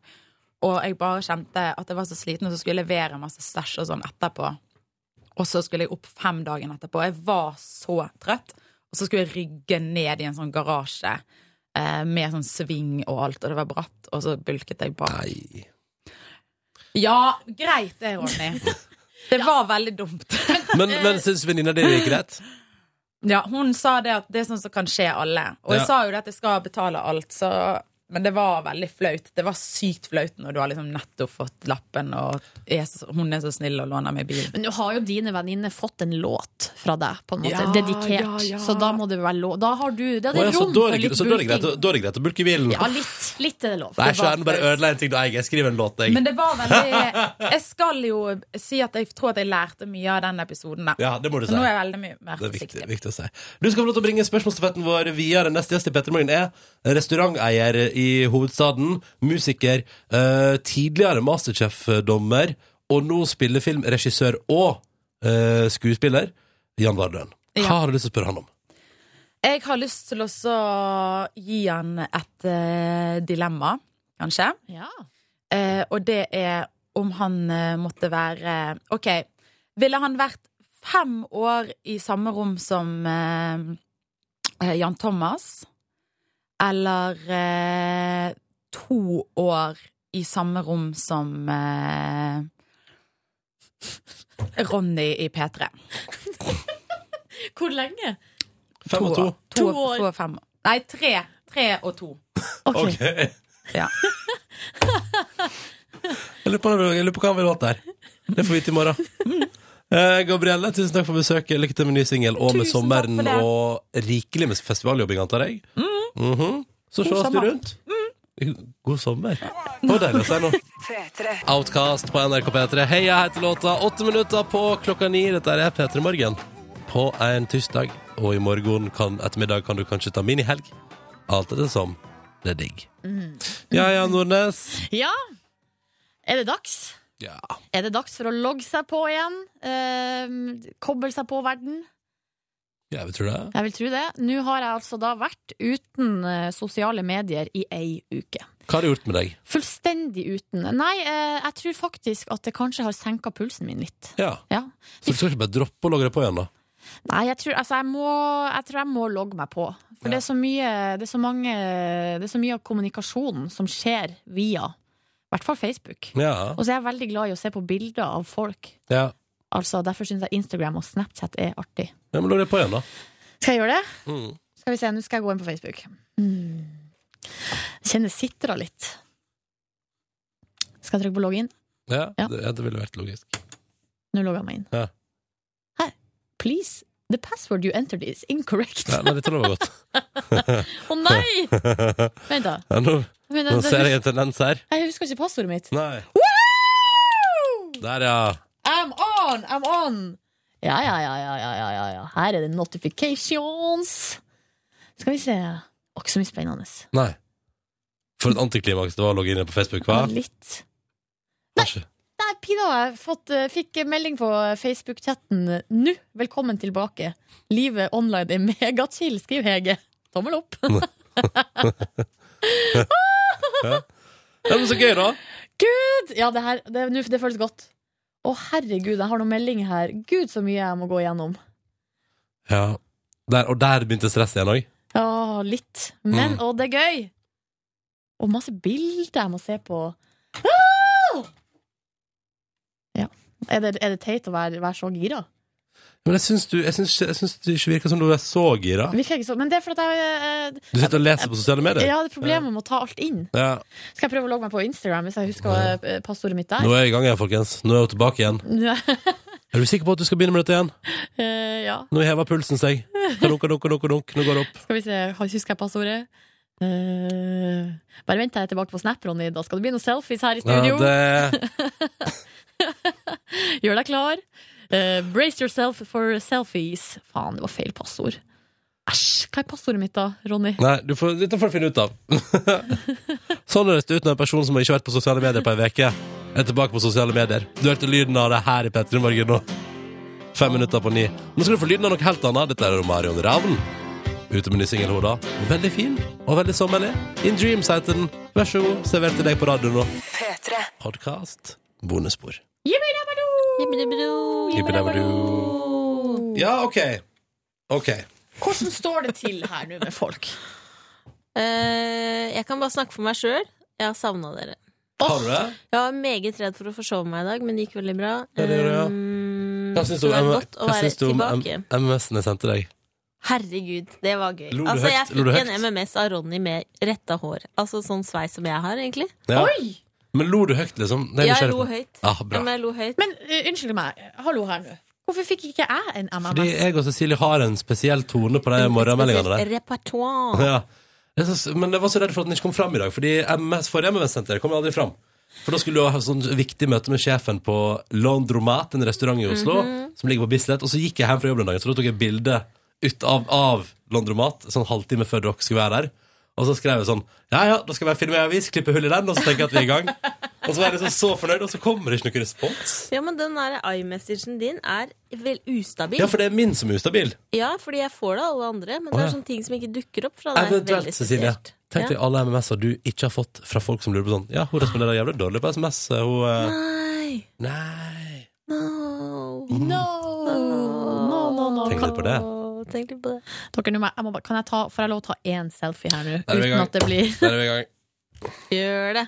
Speaker 8: Og jeg bare kjente at jeg var så sliten, og så skulle jeg levere masse stæsj og sånn etterpå. Og så skulle jeg opp fem dagen etterpå. Jeg var så trøtt. Og så skulle jeg rygge ned i en sånn garasje eh, med sånn sving og alt, og det var bratt. Og så bulket jeg bak.
Speaker 2: Nei.
Speaker 8: Ja, greit det, Ronny. Det var veldig dumt.
Speaker 2: Men, men syns venninna di det gikk greit?
Speaker 8: Ja, hun sa det at det er sånn som kan skje alle. Og jeg
Speaker 2: Ja.
Speaker 8: sa jo det at jeg skal betale alt, så Men det var veldig flaut. Det var sykt flaut når du har liksom nettopp fått lappen, og er så, hun er så snill og låner meg
Speaker 2: *laughs*
Speaker 8: bil.
Speaker 3: Men nå har jo dine venninner fått en låt fra deg, på en måte,
Speaker 8: Ja,
Speaker 3: dedikert.
Speaker 8: ja, ja.
Speaker 3: Så da må det være lov. Da har du da
Speaker 2: Å,
Speaker 3: er
Speaker 2: ja,
Speaker 3: det
Speaker 2: så
Speaker 3: rom
Speaker 2: da er
Speaker 3: for
Speaker 2: det-
Speaker 3: litt
Speaker 2: så da er det greit
Speaker 3: bulking.
Speaker 2: å- da er det greit å bulke i bilen.
Speaker 3: Ja, litt, litt er det lov.
Speaker 2: Nei,
Speaker 3: Det var
Speaker 2: skjæren, bare
Speaker 3: flaut.
Speaker 2: ødela en ting du eier. Skriv en låt, jeg.
Speaker 8: Men det var veldig Jeg skal jo si at jeg tror at jeg lærte mye av den episoden. Da.
Speaker 2: Ja, det må du
Speaker 8: Så
Speaker 2: si.
Speaker 8: nå er jeg veldig mye mer
Speaker 2: Det er viktig,
Speaker 8: forsiktig.
Speaker 2: viktig å si. Du skal få lov til å bringe spørsmålsstafetten vår videre. Neste gjest i Petter Morgen er restauranteier i hovedstaden, musiker, eh, tidligere Masterchef-dommer, og nå spillefilmregissør og eh, skuespiller Jan Vardøen. Hva
Speaker 8: Ja.
Speaker 2: har du lyst til å spørre han om?
Speaker 8: Jeg har lyst til også å gi han et eh, dilemma, kanskje.
Speaker 3: Ja.
Speaker 8: Eh, og det er om han eh, måtte være Ok, ville han vært fem år i samme rom som eh, eh, Jan Thomas? Eller eh, to år i samme rom som eh, Ronny i P3?
Speaker 3: Hvor lenge?
Speaker 2: Fem og to.
Speaker 8: To,
Speaker 3: To år.
Speaker 8: to og fem. Nei, tre. Tre og to.
Speaker 3: Ok.
Speaker 2: Ok.
Speaker 8: *laughs* Ja.
Speaker 2: *laughs* jeg, lurer på, jeg lurer på hva han vil ha der. Det får vi vite i morgen. Eh, Gabrielle, tusen takk for besøket. Lykke til med ny singel og med
Speaker 8: Tusen takk for
Speaker 2: sommeren
Speaker 8: det. Mm.
Speaker 2: og rikelig med festivaljobbing, antar jeg. Mhm. Så ses du
Speaker 8: sommer. Mm.
Speaker 2: rundt. God sommer. Det var deilig å si nå. Outcast på NRK P3. Hei, jeg heter låta. Åtte minutter på klokka ni. Dette er P3 Morgen på en tirsdag. Og i morgen kan, ettermiddag kan du kanskje ta minihelg. Alt er det som. Det er digg.
Speaker 3: Mm.
Speaker 2: Ja, ja, Nordnes.
Speaker 3: Ja. Er det dags?
Speaker 2: Ja.
Speaker 3: Er det dags for å logge seg på igjen? Eh, koble seg på verden?
Speaker 2: Jeg vil tro det.
Speaker 3: Jeg vil tro det. Nå har jeg altså da vært uten eh, sosiale medier i ei uke.
Speaker 2: Hva har det gjort med deg?
Speaker 3: Fullstendig uten. Nei, eh, jeg tror faktisk at det kanskje har senka pulsen min litt.
Speaker 2: Ja.
Speaker 3: Ja.
Speaker 2: Så du skal ikke bare droppe å logre på igjen, da?
Speaker 3: Nei, jeg tror, altså, jeg, må, jeg tror jeg må logge meg på. For
Speaker 2: Ja.
Speaker 3: det, er så mye, det, er så mange, det er så mye av kommunikasjonen som skjer via i hvert fall Facebook.
Speaker 2: Ja.
Speaker 3: Og så er jeg veldig glad i å se på bilder av folk.
Speaker 2: ja.
Speaker 3: Altså, derfor syns jeg Instagram og Snapchat er artig.
Speaker 2: ja men logg deg på igjen, da.
Speaker 3: Skal jeg gjøre det?
Speaker 2: Mm.
Speaker 3: Skal vi se, Nå skal jeg gå inn på Facebook. Mm. Jeg kjenner det sitrer litt. Skal jeg trykke på logg inn?
Speaker 2: Ja.
Speaker 3: Ja.
Speaker 2: Det, ja, det ville vært logisk.
Speaker 3: Nå logger jeg meg inn.
Speaker 2: Ja.
Speaker 3: Her. Please, the password you entered is incorrect.
Speaker 2: Ja, nei, dette lover godt.
Speaker 3: Å
Speaker 2: *laughs*
Speaker 3: nei! Vent, da.
Speaker 2: ja, nå,
Speaker 3: Vent da.
Speaker 2: nå ser jeg en tendens her.
Speaker 3: Jeg husker ikke passordet mitt.
Speaker 2: Nei.
Speaker 3: Woo!
Speaker 2: Der, ja.
Speaker 3: I'm on! I'm on! Ja, ja, ja, ja, ja, ja, ja, ja. Her er det notifications. Skal vi se. Det var ikke så mye spennende.
Speaker 2: Nei. For et antiklimaks det var å logge inn på Facebook, hva?
Speaker 3: Men Litt. Nei, Pina, jeg fått, eh, fikk melding på Facebook-chatten nå. Velkommen tilbake. Livet online er megachill, skriver Hege. Tommel opp. *laughs*
Speaker 2: Ja, men så gøy, da!
Speaker 3: Gud! Ja, det, her, det, nå- det føles godt. Å, herregud, jeg har noen meldinger her. Gud, så mye jeg må gå igjennom.
Speaker 2: Ja. Der, og der begynte stresset igjen òg.
Speaker 3: Ja, litt. Men,
Speaker 2: Mm.
Speaker 3: og det er gøy! Og masse bilder jeg må se på. Ah! Ja. Er det, er det teit å være, være så gira?
Speaker 2: Men jeg syns du, jeg syns, jeg syns du ikke virker som du er så gira.
Speaker 3: Virker ikke sånn. Men det er for at jeg
Speaker 2: Du sitter og leser på sosiale
Speaker 3: eh, Jeg
Speaker 2: medier.
Speaker 3: hadde problemer med å ta alt inn.
Speaker 2: Ja.
Speaker 3: Skal jeg prøve å logge meg på Instagram hvis jeg husker eh, passordet mitt der?
Speaker 2: Nå er jeg i gang igjen, folkens. Nå er jeg tilbake igjen. Er du sikker på at du skal begynne med dette igjen?
Speaker 3: *laughs* Eh, ja.
Speaker 2: Nå hever pulsen seg. Kadunk, kadunk, kadunk, kadunk. Nå går det opp.
Speaker 3: Skal vi se, har- husker jeg passordet? Eh, bare vent til jeg er tilbake på Snap, Ronny. Da skal det bli noen selfies her i studio.
Speaker 2: Ja, det...
Speaker 3: Gjør deg klar. Eh, brace yourself for selfies. Faen, det var feil passord. Æsj, hva er passordet mitt da, Ronny?
Speaker 2: Nei, du får, dette får du finne ut av. sånn høres det ut når en person som ikke har vært på sosiale medier på ei uke, er tilbake på sosiale medier. Du hørte lyden av det her i P3 Morgen nå. Fem minutter på ni. Nå skal du få lyden av noe helt annet. Dette er Marion Ravn. Ute med ny singel Hoda. Veldig fin og veldig sommerlig. In Dreams heter den. Vær så god, servert til deg på radioen nå. Podkast. Bonusspor. Yippidabadoo. Ja, OK. OK.
Speaker 3: Hvordan står det til her nå med folk?
Speaker 4: Eh, jeg kan bare snakke for meg sjøl. Jeg har savna dere.
Speaker 2: Har du det?
Speaker 4: Jeg var meget redd for å forsove meg i dag, men det gikk veldig bra.
Speaker 2: Ja, det gjorde det, ja.
Speaker 4: Um,
Speaker 2: Hva syns du
Speaker 4: det
Speaker 2: om,
Speaker 4: var godt å
Speaker 2: hva
Speaker 4: være
Speaker 2: syns du om
Speaker 4: tilbake.
Speaker 2: M- MMS-en jeg sendte deg?
Speaker 4: Herregud, det var gøy.
Speaker 2: Lo du
Speaker 4: altså,
Speaker 2: høyt?
Speaker 4: jeg
Speaker 2: Lo du
Speaker 4: fikk en
Speaker 2: høyt?
Speaker 4: MMS av Ronny med retta hår. Altså sånn sveis som jeg har, egentlig.
Speaker 2: Ja. Men lo du høyt, liksom? Det er
Speaker 4: Ja, jeg
Speaker 2: nysgjerrig
Speaker 4: lo
Speaker 2: på.
Speaker 4: høyt.
Speaker 2: Ja,
Speaker 4: Ja,
Speaker 2: bra.
Speaker 4: men jeg lo høyt.
Speaker 3: Men eh, unnskyld meg, hallo her nå. Hvorfor fikk ikke jeg en MMS?
Speaker 2: Fordi jeg og Cecilie har en spesiell tone på de morgenmeldingene der.
Speaker 4: Spesielt Repertoire.
Speaker 2: Ja. Jeg synes, men jeg var så redd for at den ikke kom fram i dag, Fordi MS, forrige MMS-senter kom aldri fram. For da skulle du ha et sånn viktig møte med sjefen på Landromat, en restaurant i Oslo, som ligger på Bislett. Og så gikk jeg hjem fra jobb den dagen, så da tok jeg bilde ut av, av Landromat, sånn halvtime før dere skulle være der. Og så skrev jeg sånn Ja, ja, da skal jeg filme en avis, klippe hull i den, og så tenker jeg at vi er i gang. Og så var jeg liksom så fornøyd, og så kommer det ikke noen respons.
Speaker 4: Ja, men den der iMessagen din er vel ustabil.
Speaker 2: Ja,
Speaker 4: Ja,
Speaker 2: for det er min som er ustabil.
Speaker 4: fordi jeg får det av alle andre, men
Speaker 2: Å,
Speaker 4: det
Speaker 2: ja.
Speaker 4: er sånne ting som ikke dukker opp fra deg.
Speaker 2: Eventuelt,
Speaker 4: Veldig
Speaker 2: Cecilie.
Speaker 4: spesielt.
Speaker 2: Tenk deg
Speaker 4: ja.
Speaker 2: alle MMS-er du ikke har fått fra folk som lurer på sånn Ja, hun responderer jævlig dårlig på SMS. Hun eh,
Speaker 4: Nei,
Speaker 2: Nei
Speaker 4: no.
Speaker 2: Mm.
Speaker 3: No! No, no, no.
Speaker 2: Tenk litt på det.
Speaker 4: Åh, Tenk litt på det.
Speaker 3: Dere, nå må jeg- jeg må bare, kan jeg ta, får jeg lov å ta én selfie her nå?
Speaker 2: er vi i
Speaker 3: Uten
Speaker 2: gang.
Speaker 3: at det blir
Speaker 2: Der er vi i gang.
Speaker 4: Gjør det.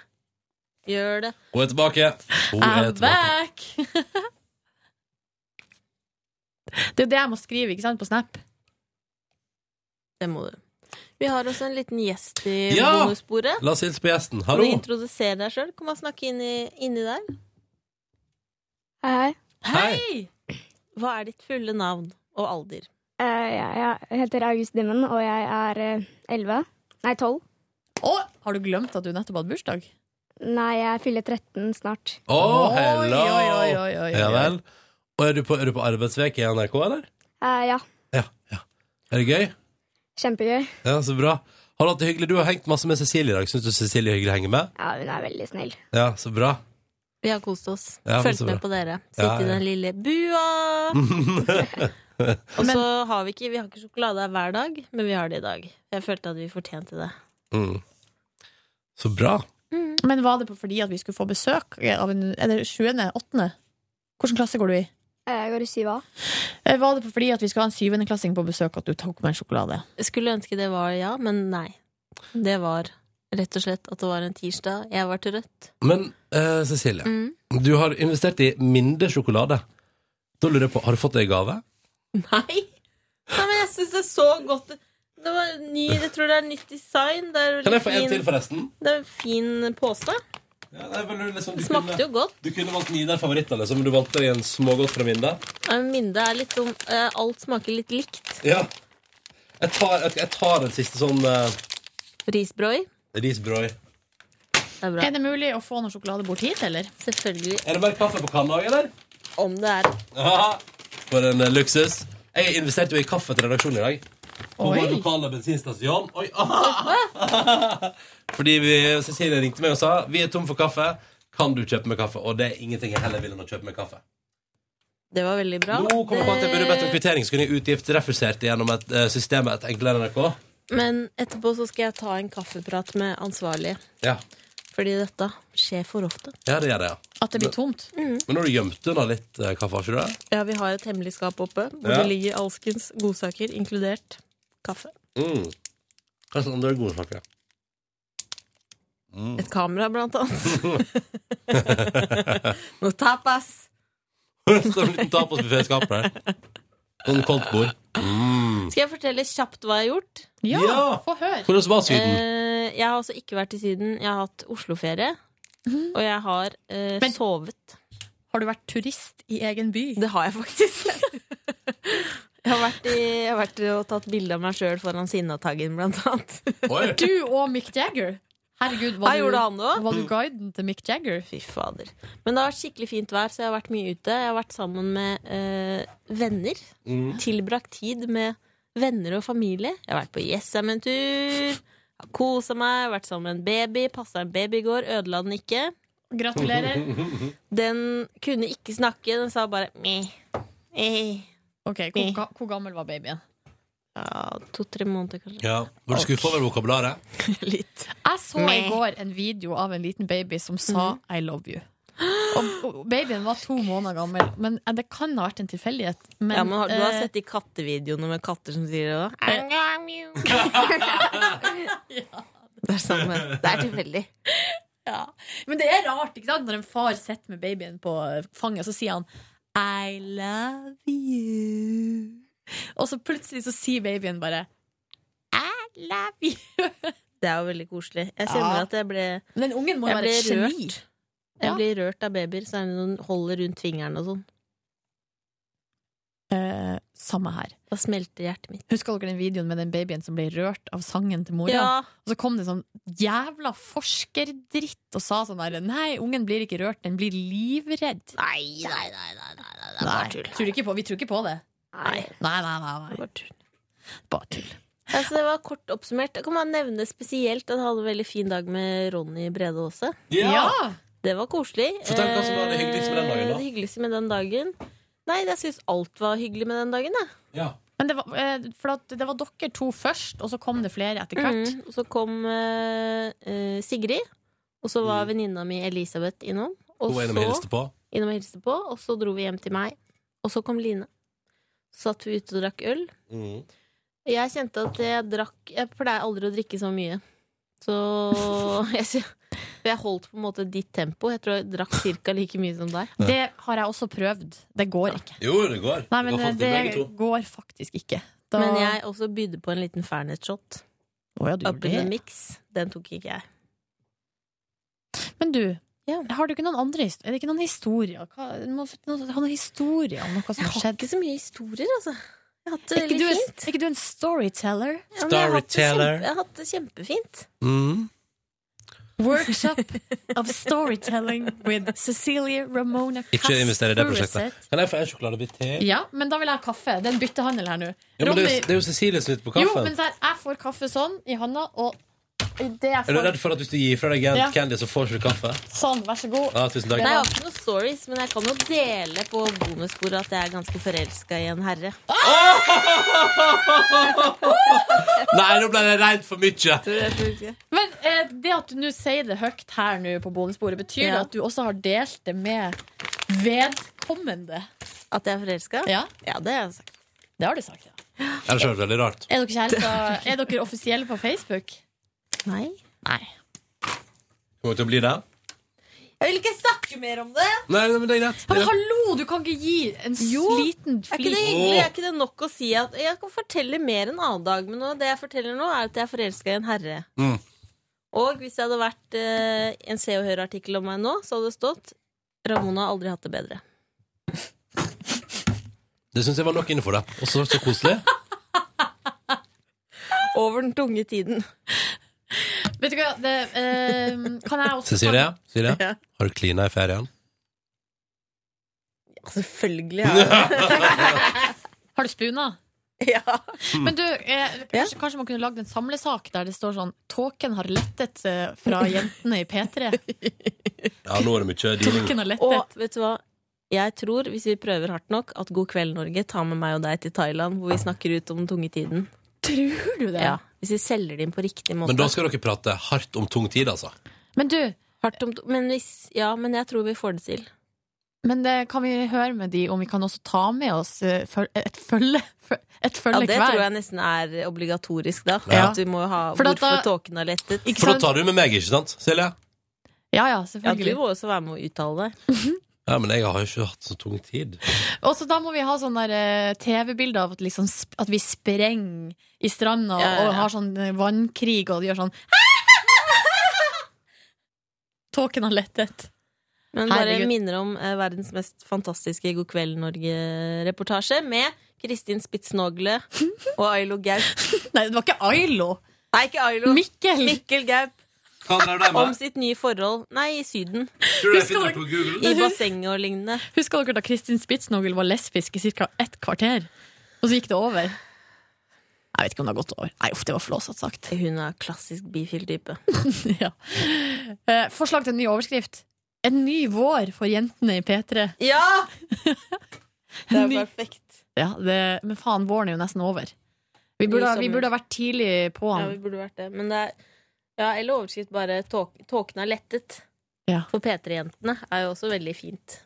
Speaker 4: Gjør det.
Speaker 2: Hun er tilbake. Hun er
Speaker 3: I'm
Speaker 2: tilbake.
Speaker 3: back! *laughs* det er jo det jeg må skrive, ikke sant, på Snap.
Speaker 4: Det må du. Vi har også en liten gjest i
Speaker 2: Ja!
Speaker 4: bonusbordet.
Speaker 2: La oss hilse på gjesten.
Speaker 4: Kan du
Speaker 2: Hallo.
Speaker 4: introdusere deg sjøl? Kom og snakke inni, inni der.
Speaker 9: Hei, hei.
Speaker 2: Hei.
Speaker 4: Hva er ditt fulle navn og alder?
Speaker 9: Eh, ja, jeg heter August Dimmen, og jeg er eh, 11. Nei, 12.
Speaker 3: Å, har du glemt at du nettopp hadde bursdag?
Speaker 9: Nei, jeg fyller 13 snart.
Speaker 2: Å, hello.
Speaker 3: Oi, oi, oi, oi, oi, oi.
Speaker 2: Ja vel. Og er du på, er du på arbeidsveke i NRK, eller?
Speaker 9: Eh, ja,
Speaker 2: Ja. ja. Er det gøy?
Speaker 9: kjempegøy.
Speaker 2: Ja, så bra. Har du hatt det hyggelig? Du har hengt masse med Cecilie i dag. Syns du Cecilie er hyggelig å henge med?
Speaker 9: Ja, hun er veldig snill.
Speaker 2: Ja, så bra. *laughs*
Speaker 4: Vi har kost oss.
Speaker 2: Ja, men
Speaker 4: Fulgt
Speaker 2: så
Speaker 4: med
Speaker 2: bra.
Speaker 4: på dere. Sitt
Speaker 2: Ja, ja.
Speaker 4: i den lille bua.
Speaker 2: Mm.
Speaker 4: og så har vi ikke Vi har ikke sjokolade her hver dag, men vi har det i dag. Jeg følte at vi fortjente det.
Speaker 2: Mm. Så bra.
Speaker 3: Men var det på fordi at vi skulle få besøk av en Er det 7.? 8.? Hvilken klasse går du i?
Speaker 9: Eh, jeg går i 7A.
Speaker 3: Eh, Var det på fordi at vi skal ha en syvendeklassing på besøk at du tok med en sjokolade?
Speaker 4: Jeg skulle ønske det var ja, men nei. Det var rett og slett at det var en tirsdag. Jeg var til Rødt.
Speaker 2: Men eh, Cecilie,
Speaker 4: Mm.
Speaker 2: du har investert i mindre sjokolade. Da lurer jeg på, Har du fått det i gave?
Speaker 4: *laughs* Nei! Nei, men jeg syns det er så godt Det var ny, Jeg tror det er nytt design. Det er,
Speaker 2: Kan
Speaker 4: litt
Speaker 2: jeg få en til,
Speaker 4: fin,
Speaker 2: forresten?
Speaker 4: det er en fin pose.
Speaker 2: Ja, nei, men du liksom, du
Speaker 4: Det smakte
Speaker 2: kunne-
Speaker 4: jo godt.
Speaker 2: Du kunne valgt Nidar favoritter, liksom, men du valgte deg en smågodt fra Minda.
Speaker 4: Ja, men Minde er litt sånn eh, Alt smaker litt likt.
Speaker 2: Ja. Jeg tar, jeg, jeg tar en siste sånn uh,
Speaker 4: Risbrød.
Speaker 2: risbrød.
Speaker 4: Det er bra.
Speaker 3: Er det mulig å få noe sjokolade bort hit, eller?
Speaker 4: Selvfølgelig.
Speaker 2: Er det mer kaffe på kanna òg, eller?
Speaker 4: Om det er
Speaker 2: Haha. For en eh, luksus. Jeg investerte jo i kaffe til redaksjonen i dag. På
Speaker 3: Oi.
Speaker 2: vår lokale bensinstasjon. Oi. *laughs* Fordi vi, Cecilie ringte meg og sa vi er tom for kaffe. Kan du kjøpe meg kaffe? Og det er ingenting jeg heller vil enn å kjøpe meg kaffe.
Speaker 4: Det var veldig bra.
Speaker 2: Nå kom jeg på at jeg burde bedt om
Speaker 4: Det-
Speaker 2: kvittering, så kunne jeg utgiftsrefusert gjennom et eh, system med et enklere NRK.
Speaker 4: Men etterpå så skal jeg ta en kaffeprat med ansvarlig.
Speaker 2: Ja,
Speaker 4: Fordi dette skjer for ofte.
Speaker 2: ja det gjør det, ja. Mm.
Speaker 3: At det blir tomt?
Speaker 2: Men nå har du gjemt unna litt eh, kaffe, har ikke du det?
Speaker 4: Ja, vi har et hemmelig skap oppe, hvor
Speaker 2: Ja.
Speaker 4: det ligger alskens godsaker, inkludert kaffe.
Speaker 2: Mm. Hva slags andre gode *laughs* saker?
Speaker 4: Et kamera, blant annet. Noe tapas.
Speaker 2: Står en liten tapas ved skapet der. Sånn koldtbord.
Speaker 4: Skal jeg fortelle kjapt hva jeg har gjort?
Speaker 3: Ja,
Speaker 2: Ja.
Speaker 3: få høre!
Speaker 2: Hvordan var Syden?
Speaker 4: Eh, jeg har altså ikke vært i Syden. Jeg har hatt Oslo-ferie. Og jeg har eh,
Speaker 3: Mm. Men-
Speaker 4: sovet.
Speaker 3: Har du vært turist i egen by?
Speaker 4: Det har jeg
Speaker 3: *laughs*
Speaker 4: faktisk. jeg, har vært i, jeg har vært og tatt bilde av meg sjøl foran Sinnataggen, blant annet.
Speaker 2: Oi.
Speaker 3: Du og Mick Jagger? Herregud, var
Speaker 4: Hva
Speaker 3: du,
Speaker 4: gjorde han da?
Speaker 3: var du guiden til Mick Jagger?
Speaker 4: Fy fader. Men det har vært skikkelig fint vær, så jeg har vært mye ute. Jeg har vært sammen med eh, venner.
Speaker 2: Mm.
Speaker 4: Tilbrakt tid med venner og familie. Jeg har vært på Jessheim en tur. Har kosa meg, vært sammen med en baby. Passa en baby i går, ødela den ikke.
Speaker 3: Gratulerer.
Speaker 4: Den kunne ikke snakke, den sa bare meh. Eh.
Speaker 3: Ok, hvor, ga, hvor gammel var babyen?
Speaker 4: Ja, To-tre måneder, kanskje.
Speaker 2: Ja. Var du skuffa over vokabularet?
Speaker 4: *laughs* Litt.
Speaker 3: Jeg så i
Speaker 4: Meh.
Speaker 3: går en video av en liten baby som sa
Speaker 9: Mhm.
Speaker 3: 'I love you'. Og- Og babyen var to måneder gammel, men eh, det kan ha vært en tilfeldighet. Men,
Speaker 4: ja, men har, Du har
Speaker 3: eh,
Speaker 4: sett de kattevideoene med katter som sier det da? *laughs*
Speaker 3: eh,
Speaker 4: Det er samme. Det er tilfeldig.
Speaker 3: *laughs* ja. men det er rart, ikke sant? Når en far sitter med eh, babyen på fanget, så sier han 'I love you'. Og så plutselig så sier babyen bare I love you.
Speaker 4: *laughs* Det er jo veldig koselig. Jeg kjenner
Speaker 3: Ja.
Speaker 4: at jeg ble
Speaker 3: Men den ungen må jo
Speaker 4: Jeg
Speaker 3: være et
Speaker 4: ble
Speaker 3: geni.
Speaker 4: Jeg
Speaker 3: Ja.
Speaker 4: blir rørt av babyer, så er det noen holder rundt fingeren og sånn.
Speaker 3: Eh, samme her.
Speaker 4: Da smelter hjertet mitt.
Speaker 3: Husker dere den videoen med den babyen som ble rørt av sangen til mora? Og så kom det sånn jævla forskerdritt og sa sånn der Nei, ungen blir ikke rørt, den blir livredd.
Speaker 4: Nei, nei, nei, nei, nei, nei, det er
Speaker 3: Nei,
Speaker 4: bare tull.
Speaker 3: tror ikke på, vi tror ikke på det.
Speaker 4: Nei,
Speaker 3: Nei, nei, nei.
Speaker 4: det er
Speaker 3: nei.
Speaker 4: bare tull.
Speaker 3: Bare tull.
Speaker 4: Altså, det var kort oppsummert. Da kan man nevne spesielt at jeg hadde en veldig fin dag med Ronny Brede Aase. Det var koselig.
Speaker 2: Fortell hva som var det
Speaker 4: Eh,
Speaker 2: hyggeligste med den dagen, da.
Speaker 4: Det hyggeligste med den dagen? Nei, jeg syns alt var hyggelig med den dagen. Jeg.
Speaker 2: Ja.
Speaker 3: Men det var, eh, for at det var dere to først, og så kom det flere etter hvert.
Speaker 4: Mm. Og så kom eh, eh, Sigrid, og så var
Speaker 2: Mm.
Speaker 4: venninna mi Elisabeth innom. Og
Speaker 2: Hun var
Speaker 4: så
Speaker 2: innom og hilste på.
Speaker 4: innom og hilste på, og så dro vi hjem til meg. Og så kom Line. Så satt vi ute og drakk øl.
Speaker 2: Mm.
Speaker 4: Jeg kjente at jeg drakk eh, Jeg pleier aldri å drikke så mye. Så *laughs* jeg, sy- for jeg holdt på en måte ditt tempo. Jeg tror jeg drakk ca. like mye som deg.
Speaker 3: Det har jeg også prøvd. Det går ikke.
Speaker 2: Jo, det går.
Speaker 3: Nei,
Speaker 2: det går
Speaker 3: men eh,
Speaker 2: fint til begge
Speaker 3: det
Speaker 2: to.
Speaker 3: går faktisk ikke. Da-
Speaker 4: Men jeg også bydde på en liten Fernet-shot
Speaker 3: Å, ja, du gjorde
Speaker 4: oppi
Speaker 3: det.
Speaker 4: en miks. Den tok ikke jeg.
Speaker 3: Men du,
Speaker 4: Ja.
Speaker 3: har du ikke noen andre historier? Er det ikke noen historier? Hva, noen, noen historier om noe som
Speaker 4: Jeg
Speaker 3: har
Speaker 4: har
Speaker 3: skjedd?
Speaker 4: ikke så mye historier, altså. Jeg har hatt det
Speaker 3: Er ikke,
Speaker 4: veldig
Speaker 3: du en,
Speaker 4: fint.
Speaker 3: er ikke du en storyteller?
Speaker 4: Ja, men jeg har hatt det kjempe-
Speaker 2: Storyteller.
Speaker 4: Jeg har hatt det kjempefint.
Speaker 2: Mm.
Speaker 3: Workshop of storytelling with Cecilie Ramona Cass
Speaker 2: Ikke investere i det
Speaker 3: Furuseth.
Speaker 2: prosjektet. Kan jeg få en sjokoladebit til?
Speaker 3: Ja, men da vil jeg ha kaffe. Det er en byttehandel her nå.
Speaker 2: Ja, men det,
Speaker 3: Ronny-
Speaker 2: er jo, det er jo Cecilie som sitter på
Speaker 3: jo, men
Speaker 2: kaffen.
Speaker 3: så her, jeg får kaffe sånn i handa, og det jeg
Speaker 2: Er du
Speaker 3: får
Speaker 2: redd for at hvis du gir fra deg Gent
Speaker 3: Ja.
Speaker 2: Candy, så får du ikke kaffe?
Speaker 3: sånn, vær så god.
Speaker 2: Ja, tusen takk.
Speaker 4: Nei, jeg har ikke noen stories, men jeg kan jo dele på bonusbordet at jeg er ganske forelska i en herre.
Speaker 2: Nei, nå ble det reint for mye.
Speaker 3: Men eh, det at du nå sier det høyt her nå på bonusbordet, betyr det
Speaker 4: Ja.
Speaker 3: at du også har delt det med vedkommende?
Speaker 4: At jeg er forelska?
Speaker 3: Ja,
Speaker 4: ja, det har jeg sagt.
Speaker 3: det har du sagt, ja.
Speaker 2: Ellers er det veldig rart.
Speaker 3: Er dere, kjærester- er dere offisielle på Facebook?
Speaker 4: Nei.
Speaker 3: Nei.
Speaker 2: Kommer til å bli det?
Speaker 4: Jeg vil ikke snakke mer om det!
Speaker 2: Nei, nei, men det er greit. Det
Speaker 3: Men
Speaker 2: er greit.
Speaker 3: hallo, du kan ikke gi en s-
Speaker 4: Jo,
Speaker 3: liten
Speaker 4: Er ikke
Speaker 3: flik.
Speaker 4: det hyggelig? Er ikke det nok å si at Jeg kan fortelle mer en annen dag, men nå, det jeg forteller nå, er at jeg er forelska i en herre.
Speaker 2: Mm.
Speaker 4: Og hvis det hadde vært eh, en Se og Hør-artikkel om meg nå, så hadde det stått Ramona har aldri hatt det bedre.
Speaker 2: Det syns jeg var nok innenfor det. Og så så
Speaker 3: *laughs*
Speaker 2: koselig.
Speaker 4: Over den tunge tiden.
Speaker 3: Vet du hva, det, eh, kan jeg også
Speaker 2: Cecilie, Cecilie,
Speaker 4: Ja.
Speaker 2: har du klina i ferien?
Speaker 4: Selvfølgelig. Ja.
Speaker 3: Har du spuna?
Speaker 4: *laughs* ja.
Speaker 2: Mm.
Speaker 3: Men du, eh,
Speaker 4: Ja.
Speaker 3: kanskje, kanskje man kunne lagd en samlesak der det står sånn Tåken har lettet eh, fra jentene i
Speaker 2: *laughs*
Speaker 3: P3.
Speaker 2: *laughs* Ja, nå er det mye dealing.
Speaker 3: Tåken har lettet.
Speaker 4: Og vet du hva? Jeg tror, hvis vi prøver hardt nok, at God kveld, Norge tar med meg og deg til Thailand, hvor vi snakker ut om den tunge tiden.
Speaker 3: Tror du det?
Speaker 4: Ja. Hvis vi selger det inn på riktig måte.
Speaker 2: Men da skal dere prate hardt om tung tid, altså.
Speaker 3: Men du,
Speaker 4: Hardt om, men hvis, ja, men jeg tror vi får det til.
Speaker 3: men det kan vi høre med de om vi kan også ta med oss eh, føl- et følge? Et
Speaker 4: Ja,
Speaker 3: følge
Speaker 4: det
Speaker 3: hver?
Speaker 4: tror jeg nesten er obligatorisk, da.
Speaker 2: Ja.
Speaker 4: At vi må ha
Speaker 3: For da-
Speaker 4: hvorfor
Speaker 3: da-
Speaker 4: tåken har lettet.
Speaker 3: Ikke
Speaker 2: For da
Speaker 3: sant?
Speaker 2: tar du med meg, ikke sant, Silje?
Speaker 3: Ja, ja,
Speaker 4: Ja, du
Speaker 3: selvfølgelig.
Speaker 4: må også være med å uttale deg.
Speaker 2: Ja, men jeg har jo ikke hatt så tung tid.
Speaker 3: Og så da må vi ha sånn der eh, TV-bilder av at, liksom, sp- at vi sprenger i stranda
Speaker 4: Ja, ja, ja.
Speaker 3: og har sånn eh, vannkrig og gjør sånn *laughs* Tåken har lettet.
Speaker 4: Men bare
Speaker 3: Herregud.
Speaker 4: minner om eh, verdens mest fantastiske God kveld, Norge-reportasje med Kristin Spitsnogle og Ailo Gaup.
Speaker 3: Nei, det var ikke Ailo.
Speaker 4: Nei, ikke Ailo.
Speaker 3: Mikkel.
Speaker 4: Mikkel Gaup
Speaker 2: Hva drev de
Speaker 4: om sitt nye forhold. Nei, i Syden.
Speaker 2: Tror du jeg
Speaker 3: finner det
Speaker 2: på Google?
Speaker 3: *laughs*
Speaker 4: I bassenget og lignende.
Speaker 3: Husker dere da Kristin Spitsnogel var lesbisk i ca. ett kvarter? Og så gikk det over? Jeg vet ikke om det har gått over. Nei, uff, det var flåsete sagt.
Speaker 4: Hun er klassisk bifil
Speaker 3: *laughs*
Speaker 4: type.
Speaker 3: ja. eh, forslag til en ny overskrift. En ny vår for jentene i P3.
Speaker 4: Ja! Det er
Speaker 3: Ny-
Speaker 4: perfekt.
Speaker 3: Ja, det, men faen, våren er jo nesten over. Vi burde, ha- vi burde ha vært tidlig på
Speaker 4: Ja,
Speaker 3: han.
Speaker 4: vi burde vært det. Men det er ja, eller overskrift bare tåk- 'Tåken har lettet'.
Speaker 3: Ja.
Speaker 4: For P3-jentene er jo også veldig fint.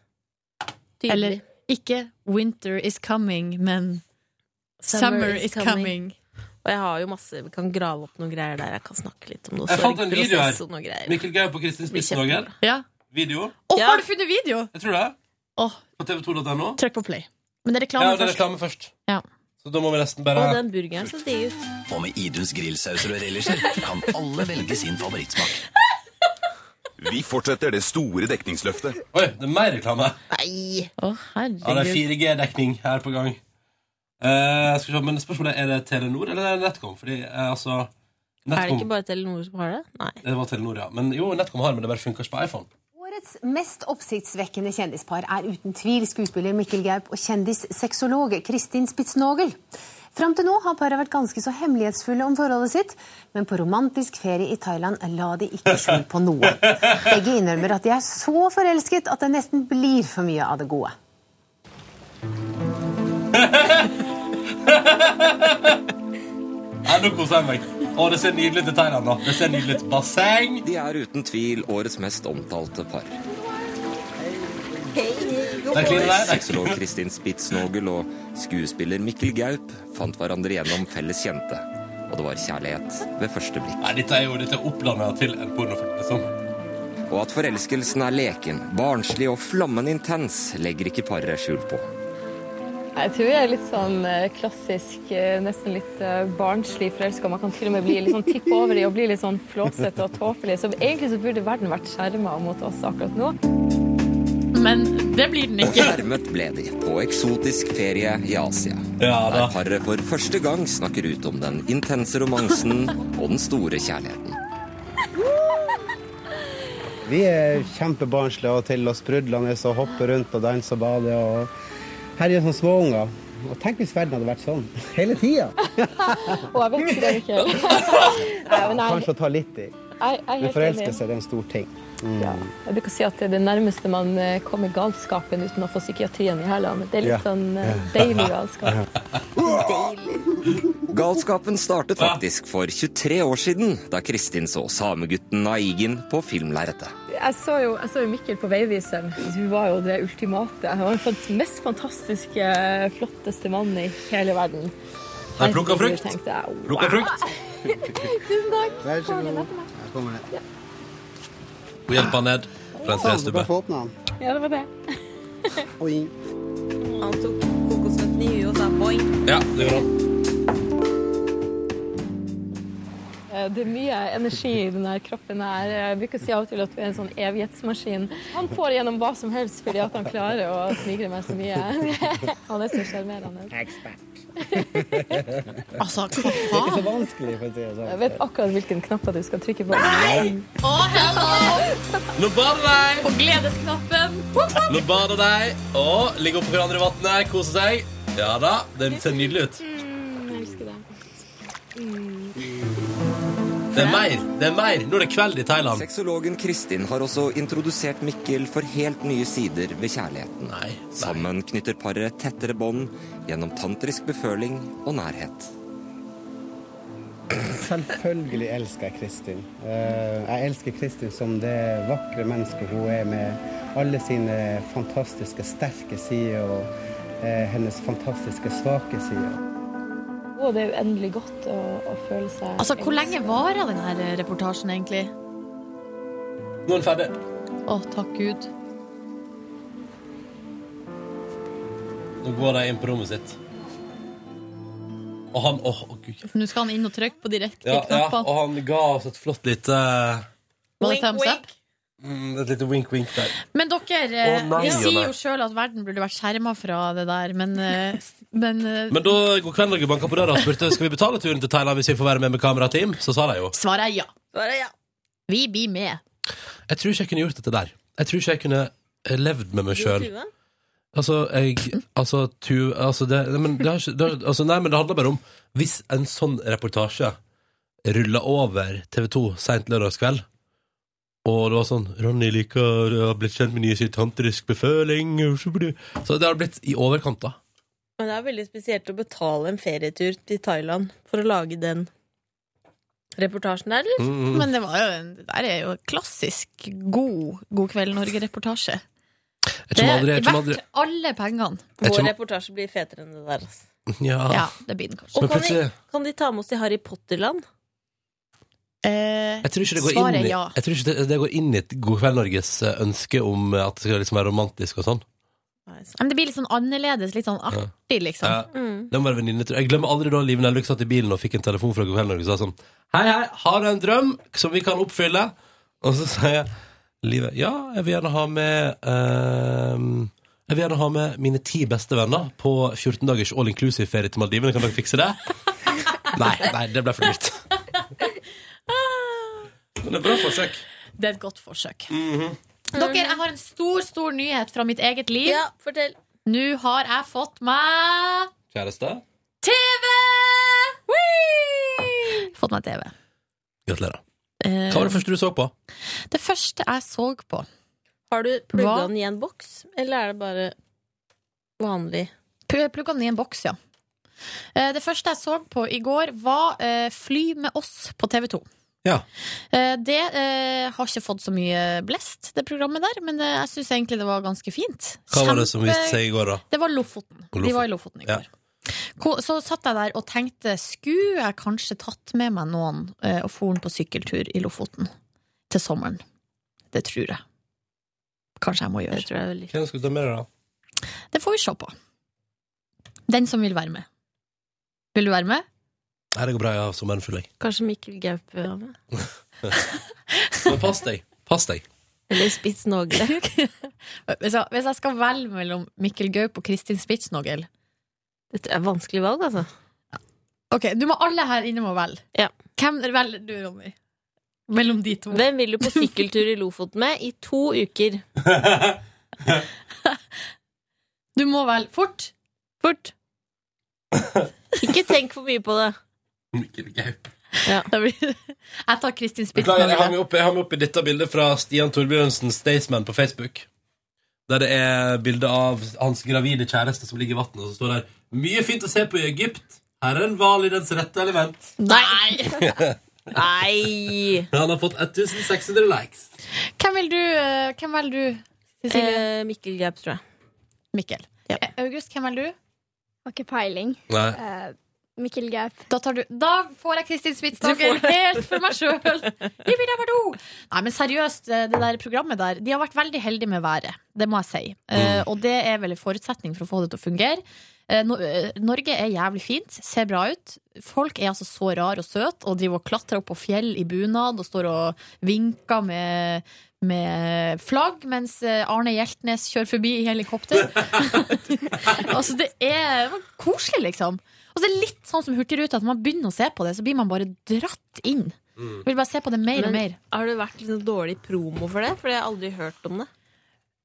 Speaker 4: Tydelig.
Speaker 3: Eller ikke 'Winter is coming', men 'Summer is coming'.
Speaker 4: Og jeg har jo masse Vi kan grave opp noen greier der jeg kan snakke litt om noe
Speaker 2: Jeg fant en
Speaker 4: sorgprosess
Speaker 2: video her.
Speaker 4: og noe greier.
Speaker 2: Mikkel Gaup og Kristin
Speaker 4: Blir
Speaker 2: Spitsnogen.
Speaker 3: Ja.
Speaker 2: Video.
Speaker 3: Å,
Speaker 4: Ja.
Speaker 3: har du funnet video?!
Speaker 2: Jeg tror det.
Speaker 3: Åh,
Speaker 2: På tv2.no.
Speaker 3: trykk på play. Men det er
Speaker 2: Ja,
Speaker 3: reklame
Speaker 2: det er
Speaker 3: først.
Speaker 2: reklame først.
Speaker 3: Ja.
Speaker 2: Så da må vi nesten
Speaker 4: Og
Speaker 2: bare
Speaker 4: den burgeren så digg ut.
Speaker 1: Og med Iduns grillsauser og rellisjer kan alle velge sin favorittsmak.
Speaker 10: Vi fortsetter det store dekningsløftet.
Speaker 2: Oi, det er mer reklame!
Speaker 4: Nei!
Speaker 3: Å,
Speaker 2: Ja, det er
Speaker 3: herregud.
Speaker 2: 4G-dekning her på gang. Eh, skal vi se, men spørsmålet er, er det Telenor eller er det NetCom? Fordi eh, altså
Speaker 4: Er det
Speaker 2: Netcom,
Speaker 4: ikke bare Telenor som har det? Nei.
Speaker 2: det var Telenor, ja. Men jo, NetCom har, men det bare funker ikke på iPhone.
Speaker 11: Årets mest oppsiktsvekkende kjendispar er uten tvil skuespiller Mikkel Gaup og kjendissexolog Kristin Spitsnogel. Fram til nå har paret vært ganske så hemmelighetsfulle om forholdet sitt, men på romantisk ferie i Thailand la de ikke skjul på noe. Begge innrømmer at de er så forelsket at det nesten blir for mye av det gode.
Speaker 2: Nei, nå koser jeg meg. Å, det ser nydelig ut i Thailand, da. Det ser nydelig ut. Basseng!
Speaker 12: De er uten tvil årets mest omtalte par.
Speaker 2: Det er clean der.
Speaker 12: Sexolog Kristin Spitsnogel og skuespiller Mikkel Gaup fant hverandre gjennom felles kjente. Og det var kjærlighet ved første blikk.
Speaker 2: Nei, dette er jo dette er opplandet til en pornofilm, liksom.
Speaker 12: Og at forelskelsen er leken, barnslig og flammende intens, legger ikke paret skjul på.
Speaker 11: Jeg tror jeg er litt sånn eh, klassisk, eh, nesten litt eh, barnslig forelska. Man kan til og med bli litt sånn tippe over i og bli litt sånn flåsete og tåpelig. Så egentlig så burde verden vært skjerma mot oss akkurat nå.
Speaker 3: Men det blir den
Speaker 12: Og
Speaker 3: ikke.
Speaker 12: skjermet ble de på eksotisk ferie i Asia.
Speaker 2: Ja da.
Speaker 12: Der paret for første gang snakker ut om den intense romansen og den store kjærligheten.
Speaker 7: Vi er kjempebarnslige og til og sprudlende og hopper rundt og danser og bader. Og herjer som småunger. Og tenk hvis verden hadde vært sånn hele tida!
Speaker 11: Og jeg vet ikke det
Speaker 7: *laughs*
Speaker 11: ikke. Nei, men jeg,
Speaker 7: Kanskje å ta litt i.
Speaker 11: jeg, jeg er
Speaker 7: Men
Speaker 11: helt enig.
Speaker 7: forelskelse er en stor ting. Mm.
Speaker 11: Ja. Jeg bruker å si at det er det nærmeste man eh, kommer galskapen uten å få psykiatrien i hæla. men Det er litt
Speaker 7: Ja.
Speaker 11: sånn eh, deilig galskap.
Speaker 12: Galskapen startet faktisk for 23 år siden, da Kristin så samegutten Aigen på filmlerretet.
Speaker 11: Jeg så jo, jeg så jo Mikkel på Veiviseren. Du var jo det ultimate. Han var den mest fantastiske, eh, flotteste mannen i hele verden.
Speaker 2: Nei, plukka
Speaker 11: Herregud,
Speaker 2: frukt.
Speaker 11: tenkte jeg, wow.
Speaker 2: Plukka frukt.
Speaker 11: Tusen takk.
Speaker 7: Vær så
Speaker 11: Kom igjen,
Speaker 7: god.
Speaker 11: etter meg.
Speaker 7: Her kommer det.
Speaker 2: Hun hjelper han ned fra
Speaker 7: Sånn,
Speaker 2: en
Speaker 7: du
Speaker 2: trestubbe.
Speaker 7: kan få åpne den.
Speaker 11: Ja, det var det.
Speaker 7: Og inn.
Speaker 4: Han tok kokosnøtten i huet og sa boing.
Speaker 2: Ja, det gjør han.
Speaker 11: Eh, Det er mye energi i den her kroppen her. Eh, Jeg bruker å si av og til at du er en sånn evighetsmaskin. Han får gjennom hva som helst fordi at han klarer å smigre meg så mye. *laughs* Han er så sjarmerende. *laughs*
Speaker 3: Altså, hva
Speaker 7: Det er
Speaker 3: faen?
Speaker 7: ikke så vanskelig, for å si det sånn.
Speaker 11: Jeg vet akkurat hvilken knapper du skal trykke på.
Speaker 3: Å, hello!
Speaker 2: Nå bader de!
Speaker 3: På gledesknappen.
Speaker 2: Nå bader de! Å, ligger oppå hverandre i vannet, koser seg. Ja da, det ser nydelig ut.
Speaker 11: Jeg elsker det.
Speaker 2: Det er mer. det er mer. Nå er det kveld i Thailand.
Speaker 12: Sexologen Kristin har også introdusert Mikkel for helt nye sider ved kjærligheten.
Speaker 2: Nei, nei.
Speaker 12: Sammen knytter paret tettere bånd gjennom tantrisk beføling og nærhet.
Speaker 7: Selvfølgelig elsker jeg Kristin. Eh, Jeg elsker Kristin som det vakre mennesket hun er, med alle sine fantastiske sterke sider og eh, hennes fantastiske svake sider.
Speaker 11: Og det er jo endelig godt å, å føle seg
Speaker 3: Altså, hvor lenge varer den her reportasjen egentlig?
Speaker 2: Nå er den ferdig.
Speaker 3: Å, takk Gud.
Speaker 2: Nå går de inn på rommet sitt. Og han Åh, å, gud.
Speaker 3: For nå skal han inn og trykke på de riktige
Speaker 2: Ja, ja, og
Speaker 3: knappene.
Speaker 2: han ga oss et flott lite
Speaker 3: Var det thumbs up?
Speaker 2: mm, Et lite wink-wink der.
Speaker 3: Men dere, eh,
Speaker 2: Å, nei,
Speaker 3: vi
Speaker 2: Janne.
Speaker 3: sier jo sjøl at verden burde vært skjerma fra det der, men, eh, men eh,
Speaker 2: Men da går Kvennlaget banka på døra og spurte skal vi betale turen til Thailand hvis vi får være med med kamerateam. Så sa de jo
Speaker 3: svaret er ja.
Speaker 4: Svaret er ja.
Speaker 3: Vi blir med.
Speaker 2: Jeg tror ikke jeg kunne gjort dette der. Jeg tror ikke jeg kunne eh, levd med meg sjøl.
Speaker 4: Tue.
Speaker 2: Altså, jeg Altså, tu, altså det, nei, men det har ikke, det, har- altså, nei, men det handler bare om Hvis en sånn reportasje ruller over TV 2 seint lørdagskveld, og det var sånn 'Ronny liker å ha blitt kjent med nye sin tantrisk beføling' Så det har blitt i overkant, da.
Speaker 4: Men det er veldig spesielt å betale en ferietur til Thailand for å lage den reportasjen der, eller?
Speaker 2: Mm, mm.
Speaker 3: Men det, var jo en, det der er jo en klassisk god God kveld Norge-reportasje. Det
Speaker 2: Jeg kommer
Speaker 3: er
Speaker 2: aldri, jeg kommer aldri
Speaker 3: verdt alle pengene.
Speaker 2: Jeg
Speaker 4: Vår
Speaker 2: tror-
Speaker 4: reportasje blir fetere enn det der. Altså.
Speaker 2: Ja.
Speaker 3: Ja, det blir den kanskje.
Speaker 2: Men
Speaker 4: Og kan de,
Speaker 2: plutselig
Speaker 4: kan de ta med oss til Harry Potter-land?
Speaker 3: Eh,
Speaker 2: jeg tror ikke det går
Speaker 3: Svaret
Speaker 2: inn
Speaker 3: er
Speaker 2: i,
Speaker 3: ja.
Speaker 2: jeg tror ikke det, det går inn i et God kveld Norges eh, ønske om eh, at det skal liksom være romantisk og sånn.
Speaker 3: Men det blir litt sånn annerledes, litt sånn artig, liksom.
Speaker 2: Ja.
Speaker 3: Mm.
Speaker 2: Det må være venninne, tror jeg. jeg glemmer aldri da Liv Nelvik satt i bilen og fikk en telefon fra Go Norge og sa sånn Hei, hei, har du en drøm som vi kan oppfylle? Og så sier jeg Livet, ja, jeg vil gjerne ha med ehm, Jeg vil gjerne ha med mine ti beste venner på 14 dagers all inclusive ferie til Maldivene. Kan dere fikse det?
Speaker 3: *laughs*
Speaker 2: nei, nei, det ble for dyrt.
Speaker 3: Ah.
Speaker 2: Men det er bra forsøk.
Speaker 3: Det er et godt forsøk.
Speaker 2: Mhm.
Speaker 3: Dere, jeg har en stor, stor nyhet fra mitt eget liv.
Speaker 4: Ja, fortell.
Speaker 3: Nå har jeg fått meg
Speaker 2: Kjæreste,
Speaker 3: TV! Fått meg TV.
Speaker 2: gratulerer.
Speaker 3: Eh,
Speaker 2: Hva var det første du så på?
Speaker 3: Det første jeg så på
Speaker 4: Har du
Speaker 3: Hva?
Speaker 4: plugga den i en boks, eller er det bare vanlig?
Speaker 3: Pu- Plugga den i en boks, ja. Eh, Det første jeg så på i går, var eh, Fly med oss på TV 2.
Speaker 2: Ja.
Speaker 3: Det eh, har ikke fått så mye blest, det programmet der, men eh, jeg syns egentlig det var ganske fint.
Speaker 2: Hva var det
Speaker 3: Kjempe-
Speaker 2: som viste seg i går, da?
Speaker 3: Det var Lofoten. De var i Lofoten i går.
Speaker 2: Ja.
Speaker 3: Ko- Så satt jeg der og tenkte, skulle jeg kanskje tatt med meg noen eh, og foren på sykkeltur i Lofoten til sommeren? Det tror jeg. Kanskje jeg må gjøre. Det
Speaker 2: Hvem skal du ta med deg, da?
Speaker 3: får vi se på. Den som vil være med. Vil du være med?
Speaker 2: Nei, det går bra, jeg har sommeren full, jeg.
Speaker 4: Kanskje Mikkel Gaup er med?
Speaker 2: *laughs* Men pass deg. Pass deg.
Speaker 4: Eller Spitz Nogle.
Speaker 3: *laughs* Hvis jeg, hvis jeg skal velge mellom Mikkel Gaup og Kristin Spitsnogel
Speaker 4: Dette er vanskelig valg, altså.
Speaker 3: Ok, du må alle her inne må velge. Hvem velger du, Ronny? Mellom de to.
Speaker 4: Hvem vil du
Speaker 3: *laughs*
Speaker 4: på sykkeltur i Lofoten med i to uker?
Speaker 3: Du må velge fort. Fort.
Speaker 4: Ikke tenk for mye på det.
Speaker 3: Da blir det- Jeg tar Kristin
Speaker 2: Beklager, jeg har
Speaker 3: Spitsnogel.
Speaker 2: med opp, jeg har med opp i dette bildet fra Stian Torbjørnsen, Staysman, på Facebook. Der det er bilde av hans gravide kjæreste som ligger i vannet, og så står det her Mye fint å se på i Egypt. Her er en hval i dens rette element. *laughs*
Speaker 4: Nei! Nei!
Speaker 2: Han har fått 1600 likes.
Speaker 3: Hvem vil du, eh, hvem velger du Cecilie?
Speaker 4: Eh, Mikkel Gaup, tror jeg.
Speaker 3: Mikkel. Eh, August, hvem velger du?
Speaker 9: Har ikke peiling.
Speaker 2: Nei.
Speaker 9: Eh, Mikkel Gaup.
Speaker 3: Da, tar du, da får jeg Kristin
Speaker 9: Du
Speaker 3: Spitsnogel
Speaker 9: får-
Speaker 3: helt for meg *laughs* sjøl! Nei, men seriøst, eh, det der programmet der De har vært veldig heldige med været, det må jeg si. Eh, Og det er vel en forutsetning for å få det til å fungere. Eh, Nor- eh, Norge er jævlig fint, ser bra ut. Folk er altså så rare og søte og driver og klatrer opp på fjell i bunad og står og vinker med, med flagg mens eh, Arne Hjeltnes kjører forbi i helikopter. *laughs* altså, det er det var koselig, liksom. Og så er det litt sånn som Hurtigruta, at når man begynner å se på det, så blir man bare dratt inn.
Speaker 4: Mm.
Speaker 3: Vil bare se på det mer og
Speaker 4: Men
Speaker 3: mer.
Speaker 4: Har det vært liksom dårlig promo for det? For jeg har aldri hørt om det.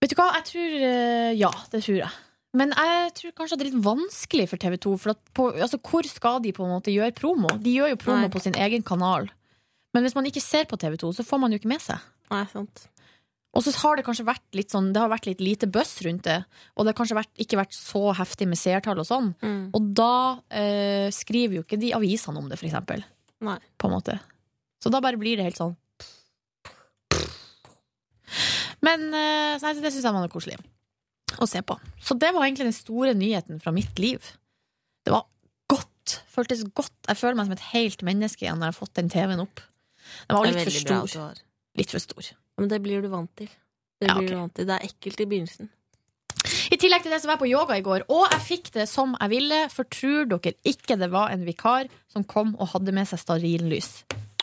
Speaker 3: Vet du hva, jeg tror eh, Ja, det tror jeg. Men jeg tror kanskje at det er litt vanskelig for TV 2. For at på, altså, hvor skal de på en måte gjøre promo? De gjør jo promo
Speaker 4: Nei.
Speaker 3: på sin egen kanal. Men hvis man ikke ser på TV 2, så får man jo ikke med seg.
Speaker 4: Nei, sant.
Speaker 3: Og så har det kanskje vært litt sånn Det har vært litt lite buzz rundt det. Og det har kanskje vært, ikke vært så heftig med seertall og sånn.
Speaker 4: Mm.
Speaker 3: Og da eh, skriver jo ikke de avisene om det, for eksempel.
Speaker 4: Nei.
Speaker 3: På en måte. Så da bare blir det helt sånn Men eh, så nei, så det syns jeg man er koselig å se på. Så det var egentlig den store nyheten fra mitt liv. Det var godt. Føltes godt. Jeg føler meg som et helt menneske igjen når jeg har fått den TV-en opp. Den var
Speaker 4: Det er
Speaker 3: litt for
Speaker 4: veldig bra at du
Speaker 3: stor.
Speaker 4: har.
Speaker 3: Litt for stor.
Speaker 4: Men det blir du vant til. Det,
Speaker 3: Ja, ok.
Speaker 4: blir du vant til. det er ekkelt i begynnelsen.
Speaker 3: I tillegg til det så var jeg på yoga i går, og jeg fikk det som jeg ville, for tror dere ikke det var en vikar som kom og hadde med seg stearinlys?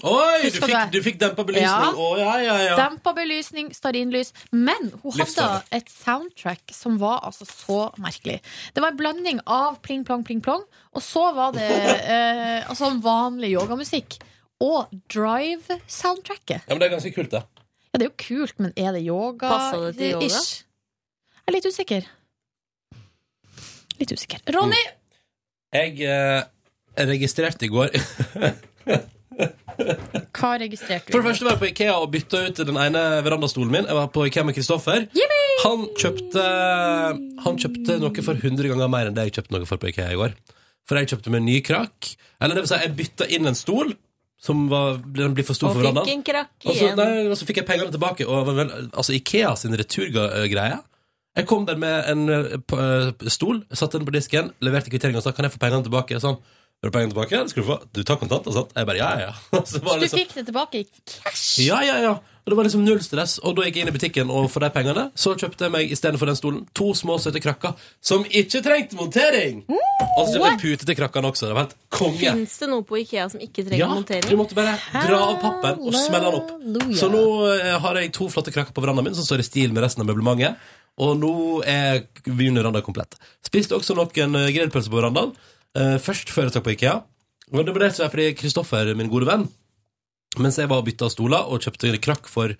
Speaker 2: Oi, du
Speaker 3: Husker
Speaker 2: fikk, du
Speaker 3: det?
Speaker 2: fikk dempa belysning. Å, ja, ja, ja.
Speaker 3: Dempa belysning, stearinlys. Men hun hadde
Speaker 2: Livsfarlig.
Speaker 3: et soundtrack som var altså så merkelig. Det var en blanding av pling plong, pling plong, og så var
Speaker 4: *laughs*
Speaker 3: det eh, altså vanlig yogamusikk. Og drive-soundtracket.
Speaker 2: Ja, men det er ganske kult, det.
Speaker 3: Ja, det er jo kult, men er det yoga?
Speaker 4: Passet det til yoga?
Speaker 3: Ish. Jeg er litt usikker. Litt usikker. Ronny!
Speaker 2: Jeg eh, registrerte i går
Speaker 3: Hva registrerte
Speaker 2: For det første var jeg på Ikea og bytta ut den ene verandastolen min. Jeg var på Ikea med Kristoffer. Han kjøpte, han kjøpte noe for 100 ganger mer enn det jeg kjøpte noe for på Ikea i går. For jeg kjøpte meg en ny krakk. Eller det vil si, jeg bytta inn en stol som var, den blir for stor
Speaker 4: Og
Speaker 2: for
Speaker 4: fikk
Speaker 2: verandaen.
Speaker 4: en krakk
Speaker 2: Og så,
Speaker 4: igjen.
Speaker 2: nei, og så fikk jeg pengene tilbake. Og var vel, altså Ikea sin returgreie. Jeg kom der med en eh, p- eh, stol, satte den på disken, leverte kvitteringa og sa kan jeg få pengene tilbake. Sånn. Vil du ha pengene tilbake? Det skal du få. Du tar kontanter, sant? Jeg bare, ja, ja, ja. *laughs* Så var
Speaker 3: Så
Speaker 2: det
Speaker 3: du
Speaker 2: liksom,
Speaker 3: fikk det tilbake i cash?
Speaker 2: ja, ja, ja. Og det var liksom null stress. Og da gikk jeg inn i butikken, og for de pengene så kjøpte jeg meg istedenfor den stolen to små, søte krakker som ikke trengte montering! Og så kjøpte jeg pute til krakkene også. Det var helt konge.
Speaker 4: Fins det noe på Ikea som ikke trenger
Speaker 2: Ja,
Speaker 4: montering?
Speaker 2: du måtte bare dra av pappen og smelle den opp. Så nå eh, har jeg to flotte krakker på verandaen min som står i stil med resten av møblementet. Og nå er wienerranda komplett. Spiste også noen eh, grillpølser på verandaen. eh, Først før jeg tok på Ikea. Og det ble det som er fordi Kristoffer, min gode venn, mens jeg var og bytta stoler og kjøpte en krakk for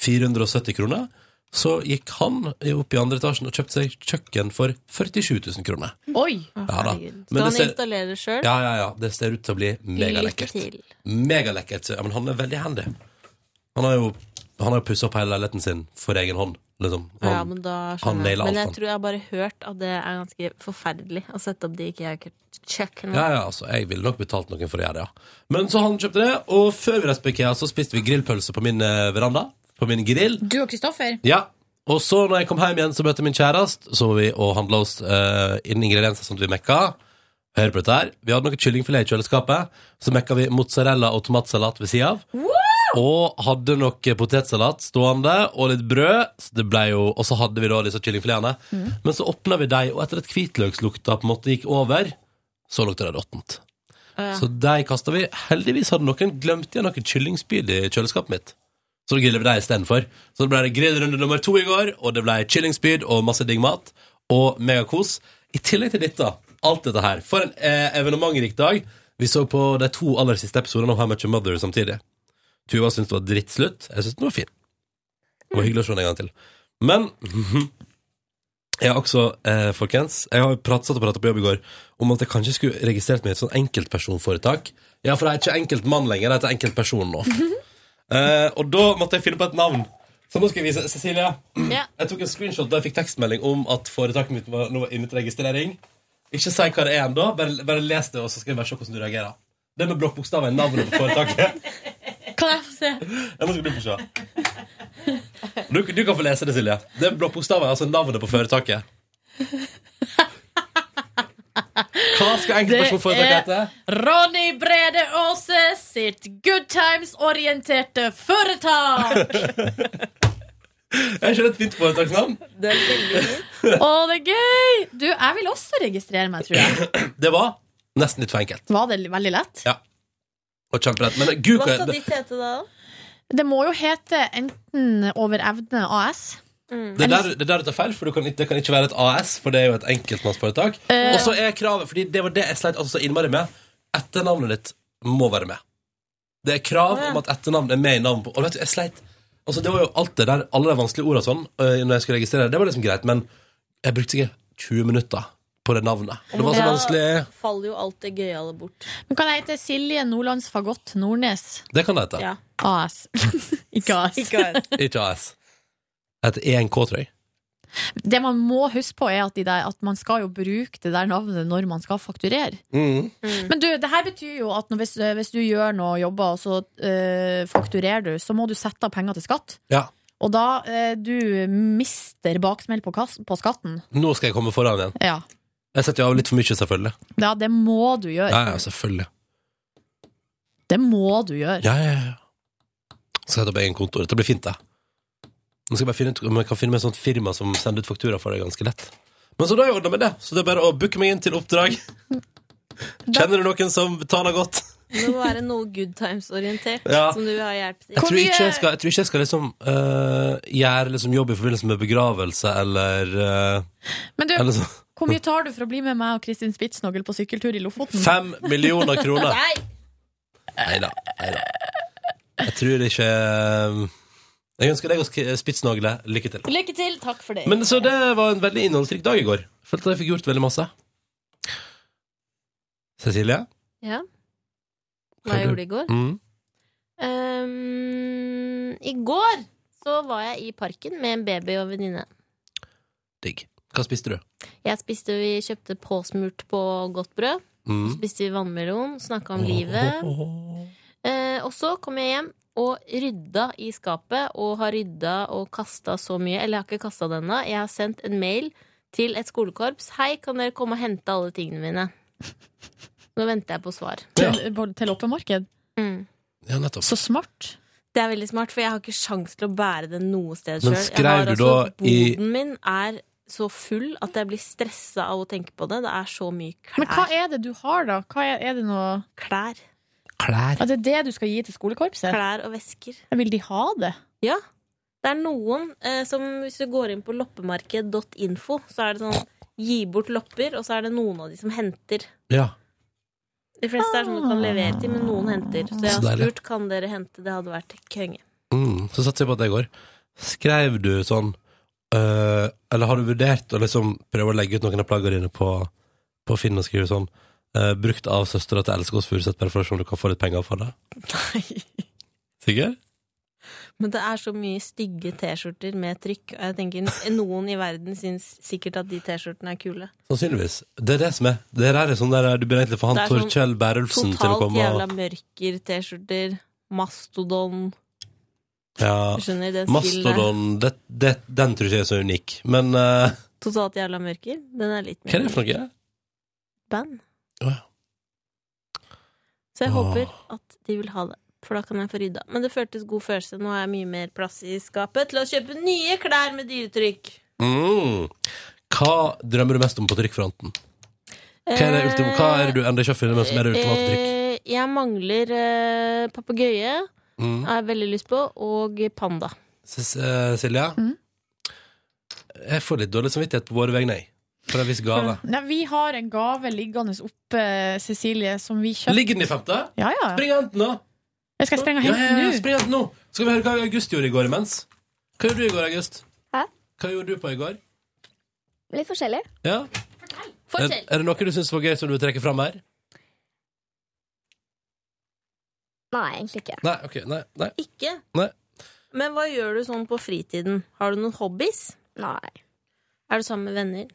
Speaker 2: 470 kroner, så gikk han opp i andre etasjen og kjøpte seg kjøkken for 47 000 kroner.
Speaker 3: Oi!
Speaker 2: Ja da. Men
Speaker 4: Skal
Speaker 2: det
Speaker 4: han
Speaker 2: ser-
Speaker 4: installere det sjøl?
Speaker 2: Ja, ja, ja. Det ser ut til å bli megalekkert.
Speaker 4: til.
Speaker 2: Megalekkert. Ja, men han er veldig handy. Han har jo, han har jo pussa opp hele leiligheten sin for egen hånd, liksom. Han,
Speaker 4: Ja, men da
Speaker 2: han
Speaker 4: skjønner jeg.
Speaker 2: nailer
Speaker 4: Men
Speaker 2: alt,
Speaker 4: jeg
Speaker 2: han.
Speaker 4: tror jeg har bare hørt at det er ganske forferdelig å sette opp de IKEA-kjøkkenene.
Speaker 2: Ja, ja, altså, jeg ville nok betalt noen for å gjøre det, ja. Men så han kjøpte det, og før vi reiste på IKEA, så spiste vi grillpølse på min eh, veranda. På min grill.
Speaker 3: Du og Kristoffer?
Speaker 2: Ja. Og så når jeg kom hjem igjen, så møtte jeg min kjæreste, så var vi og handla oss eh, inn ingredienser som vi mekka. Hør på dette her. Vi hadde noe kyllingfilet i kjøleskapet. Så mekka vi mozzarella og tomatsalat ved sida av. Og hadde noe potetsalat stående, og litt brød. Så det ble jo, og så hadde vi da disse kyllingfiletene.
Speaker 3: Mm.
Speaker 13: Mhm.
Speaker 2: Men så åpna vi dem, og etter at hvitløkslukta på en måte gikk over, så lukta det råttent. Så de kasta vi. Heldigvis hadde noen glemt igjen noen kyllingspyd i kjøleskapet mitt. Så da griller vi det istedenfor. Så det ble det grillrunde nummer to i går, og det ble kyllingspyd og masse digg mat. Og megakos. I tillegg til dette, alt dette her. For en eh, evenementrik dag. Vi så på de to aller siste episodene av How Much a Mother samtidig. Tuva syntes det var drittslutt. Jeg syntes den var fin. Det var hyggelig å se den en gang til. Men jeg har også, eh, folkens Jeg har prat, satt og pratet på jobb i går om at jeg kanskje skulle registrert meg i et sånn enkeltpersonforetak. Ja, for jeg er ikke enkeltmann lenger, jeg heter enkeltperson nå. Eh, og da måtte jeg finne på et navn. Så nå skal jeg vise Cecilia. Jeg tok en screenshot da jeg fikk tekstmelding om at foretaket mitt var, nå var inne til registrering. Ikke si hva det er ennå, bare, bare les det, og så skal jeg bare se hvordan du reagerer. Det med blokkbokstaven er navnet på foretaket.
Speaker 3: Kan jeg få se?
Speaker 2: Ja, nå skal du få se. Du, du kan få lese det, Silje. Det er blokkbokstaven, altså navnet på foretaket. Hva skal enkeltpersonforetaket hete?
Speaker 3: Ronny Brede Aase sitt Good Times-orienterte foretak!
Speaker 2: Er ikke det et fint foretaksnavn?
Speaker 3: Det er veldig Å, det er gøy! Du, jeg vil også registrere meg, tror jeg.
Speaker 2: Det var nesten litt for enkelt.
Speaker 3: Var det veldig lett?
Speaker 2: Ja. Og kjemperett. Men gud, hva det,
Speaker 4: hete da?
Speaker 3: Det må jo hete enten Over evne AS.
Speaker 2: det, der, det der du tar feil, for du kan, ikke- det kan ikke være et AS, for det er jo et enkeltmannsforetak.
Speaker 3: Eh.
Speaker 2: Og så er kravet, fordi det var det jeg sleit altså så innmari med, etternavnet ditt må være med. Det er krav
Speaker 13: Å, ja.
Speaker 2: om at etternavn er med i navnet på Og vet du, jeg sleit Altså, det var jo alt det der, alle de vanskelige ordene sånn, øh, når jeg skulle registrere det, det var liksom greit, men jeg brukte ikke 20 minutter på det navnet. Det var så
Speaker 4: Ja.
Speaker 2: vanskelig.
Speaker 4: Faller jo alt det gøyale bort.
Speaker 3: Men kan jeg hete Silje Nordlands Fagott Nordnes
Speaker 2: Det kan det hete.
Speaker 4: Ja.
Speaker 3: AS? *laughs* Ikke AS.
Speaker 2: *laughs* Ikke AS. Et ENK, tror jeg.
Speaker 3: Det man må huske på, er at, de der, at man skal jo bruke det der navnet når man skal fakturere.
Speaker 2: Mm.
Speaker 3: Men du, det her betyr jo at når, hvis, eh, hvis du gjør noe jobber, og så eh, fakturerer du, så må du sette av penger til skatt.
Speaker 2: Ja.
Speaker 3: Og da eh, du mister baksmell på, kass- på skatten.
Speaker 2: Nå skal jeg komme foran igjen.
Speaker 3: Ja.
Speaker 2: Jeg setter jo av litt for mye, selvfølgelig.
Speaker 3: ja, det må du gjøre.
Speaker 2: Ja, ja, selvfølgelig.
Speaker 3: Det må du gjøre.
Speaker 2: Ja, ja, ja. Skal sette opp egen konto. Dette blir fint, det. Nå skal jeg bare finne ut om jeg kan finne meg et sånt firma som sender ut faktura for deg ganske lett. Men så da har jeg ordna med det, så det er bare å booke meg inn til oppdrag. Kjenner du noen som betaler godt?
Speaker 4: Det må være noe good times-orientert
Speaker 2: Ja.
Speaker 4: som du har hjelp til.
Speaker 2: Jeg tror ikke jeg skal, jeg tror ikke jeg skal liksom øh, gjøre liksom jobb i forbindelse med begravelse eller øh,
Speaker 3: Men du,
Speaker 2: eller sånn.
Speaker 3: hvor mye tar du for å bli med meg og Kristin Spitsnogel på sykkeltur i Lofoten?
Speaker 2: Fem millioner kroner. Nei da. Nei da. Jeg tror ikke eh, Jeg ønsker deg og Sk- Spitsnagle lykke til.
Speaker 3: Lykke til. Takk for det.
Speaker 2: Men så det var en veldig innholdsrik dag i går. Følte at jeg fikk gjort veldig masse. Cecilie?
Speaker 4: Ja. Hva jeg gjorde i går?
Speaker 2: Mm.
Speaker 4: Ehm, I går så var jeg i parken med en baby og venninne.
Speaker 2: Digg. Hva spiste du?
Speaker 4: Jeg spiste, Vi kjøpte påsmurt på godt brød.
Speaker 2: Mm.
Speaker 4: Så spiste vi vannmelon, snakka om livet. Eh, og så kom jeg hjem og rydda i skapet, og har rydda og kasta så mye. Eller jeg har ikke kasta det ennå. Jeg har sendt en mail til et skolekorps. Hei, kan dere komme og hente alle tingene mine? Nå venter jeg på svar.
Speaker 2: Ja.
Speaker 4: Både til loppemarked? *laughs* Mm.
Speaker 2: Ja, nettopp.
Speaker 4: Så smart. Det er veldig smart, for jeg har ikke sjans til å bære det noe sted
Speaker 2: Men
Speaker 4: sjøl.
Speaker 2: skrev du
Speaker 3: altså
Speaker 2: da i-
Speaker 4: Boden min er så full at jeg blir stressa av å tenke på det. Det er så mye klær.
Speaker 3: Men hva er det du har, da? Hva er, er det noe
Speaker 4: Klær.
Speaker 2: Klær?
Speaker 3: At det er det du skal gi til skolekorpset?
Speaker 4: Klær og vesker.
Speaker 3: Vil de ha det?
Speaker 4: Ja. Det er noen eh, som Hvis du går inn på loppemarked.info, så er det sånn gi bort lopper, og så er det noen av de som henter.
Speaker 2: Ja.
Speaker 4: De fleste er sånn du kan levere til, men noen henter. Så jeg
Speaker 2: Så
Speaker 4: har
Speaker 2: deilig.
Speaker 4: spurt kan dere hente. Det hadde vært konge.
Speaker 2: Mm, så satser jeg på at det går. Skrev du sånn øh, Eller har du vurdert å liksom prøve å legge ut noen av plaggene dine på, på Finn og skrive sånn øh, Brukt av søstera til Else Kåss Furuseth, bare for å se om du kan få litt penger for det? Sikker?
Speaker 4: Men det er så mye stygge T-skjorter med trykk, og jeg tenker noen i verden syns sikkert at de T-skjortene er kule.
Speaker 2: Sannsynligvis. Det er det som er. Det her er sånn der øh, du bør egentlig få han
Speaker 4: Det er sånn
Speaker 2: Torkjell Berulfsen til å
Speaker 4: Totalt
Speaker 2: komme
Speaker 4: jævla
Speaker 2: og
Speaker 4: mørker-T-skjorter, mastodon
Speaker 2: ja,
Speaker 4: Du skjønner, den stilen der.
Speaker 2: Mastodon, det, det, den tror ikke jeg er så unik. Men øh,
Speaker 4: Totalt jævla mørker. Den er litt
Speaker 2: hva er det for noe?
Speaker 4: band.
Speaker 2: Å ja.
Speaker 4: Så jeg
Speaker 2: Åh.
Speaker 4: håper at de vil ha det, for da kan jeg få rydda. Men det føltes god følelse. Nå har jeg mye mer plass i skapet til å kjøpe nye klær med dyretrykk.
Speaker 2: Mm. Hva drømmer du mest om på trykkfronten? Hva er det,
Speaker 3: Eh,
Speaker 2: ultim hva er det du enda ikke har funnet, men som er det ultimate trykk?
Speaker 4: Eh, Jeg mangler eh, papegøye,
Speaker 3: ah.
Speaker 2: Mm.
Speaker 4: har jeg veldig lyst på, og panda.
Speaker 2: Sis- eh, Silja? Jeg får litt dårlig samvittighet på våre vegne, jeg. For en viss gave.
Speaker 3: Nei, vi har en gave liggende oppe, Cecilie, som vi kjøpte.
Speaker 2: Ligger den i femte?
Speaker 3: Ja, ja.
Speaker 2: Spring og hent den nå!
Speaker 3: Jeg skal sprenge og
Speaker 2: Ja,
Speaker 3: hente
Speaker 2: ja, ja,
Speaker 3: den nå.
Speaker 2: spring og hent den nå! Skal vi høre hva August gjorde i går imens? Hva gjorde du i går, August? Hva gjorde du på i går?
Speaker 9: Litt forskjellig.
Speaker 2: Ja? Er, er det noe du syns var gøy som du vil trekke fram her?
Speaker 9: Nei, egentlig ikke.
Speaker 2: Nei, ok, nei, nei.
Speaker 4: Ikke?
Speaker 2: Nei.
Speaker 4: Men hva gjør du sånn på fritiden? Har du noen hobbies?
Speaker 9: Nei.
Speaker 4: Er du sammen med venner?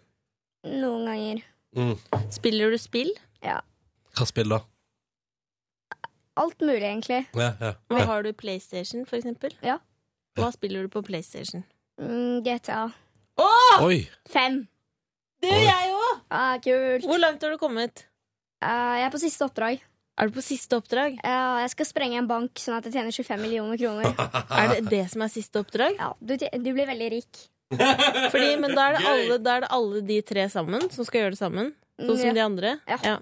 Speaker 9: Noen ganger.
Speaker 2: Mm.
Speaker 4: Spiller du spill?
Speaker 9: Ja.
Speaker 2: Hva spill, da?
Speaker 9: Alt mulig, egentlig.
Speaker 2: Ja, ja.
Speaker 4: Hva
Speaker 2: ja.
Speaker 4: Har du PlayStation, for eksempel?
Speaker 9: Ja.
Speaker 4: Hva spiller du på PlayStation?
Speaker 9: Mm, GTA.
Speaker 2: Oi!
Speaker 9: Fem.
Speaker 4: Du, jeg òg!
Speaker 9: Ah, kult.
Speaker 4: Hvor langt har du kommet?
Speaker 9: Eh, jeg er på siste oppdrag.
Speaker 4: Er du på siste oppdrag?
Speaker 9: Ja, jeg skal sprenge en bank sånn at jeg tjener 25 millioner kroner.
Speaker 4: Er det det som er siste oppdrag?
Speaker 9: Ja, du, tje- du blir veldig rik.
Speaker 4: Fordi, men da er, det
Speaker 9: Gøy.
Speaker 4: alle, da er det alle de tre sammen som skal gjøre det sammen? Sånn som
Speaker 9: Ja.
Speaker 4: de andre? Ja.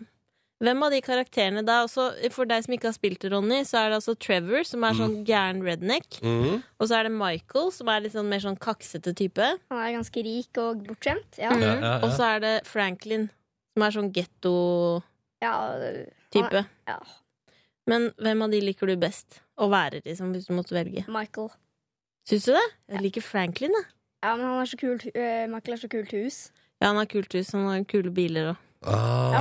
Speaker 4: Hvem av de karakterene da? Også, for deg som ikke har spilt det, Ronny, så er det altså Trevor, som er sånn gæren redneck.
Speaker 2: Mhm.
Speaker 4: Og så er det Michael, som er litt sånn mer sånn kaksete type.
Speaker 9: Han er ganske rik og bortskjemt. Ja.
Speaker 4: Mhm.
Speaker 2: Ja, ja, ja.
Speaker 4: Og så er det Franklin, som er sånn getto-type.
Speaker 9: Ja, øh, han er- Ja.
Speaker 4: Men hvem av de liker du best å være, liksom, hvis du måtte velge?
Speaker 9: Michael.
Speaker 4: Syns du det? Jeg liker Franklin, jeg.
Speaker 9: Ja, men han har så kult, øh, Michael har så kult hus.
Speaker 4: Ja, han har kult hus, han har kule biler og
Speaker 9: Ja,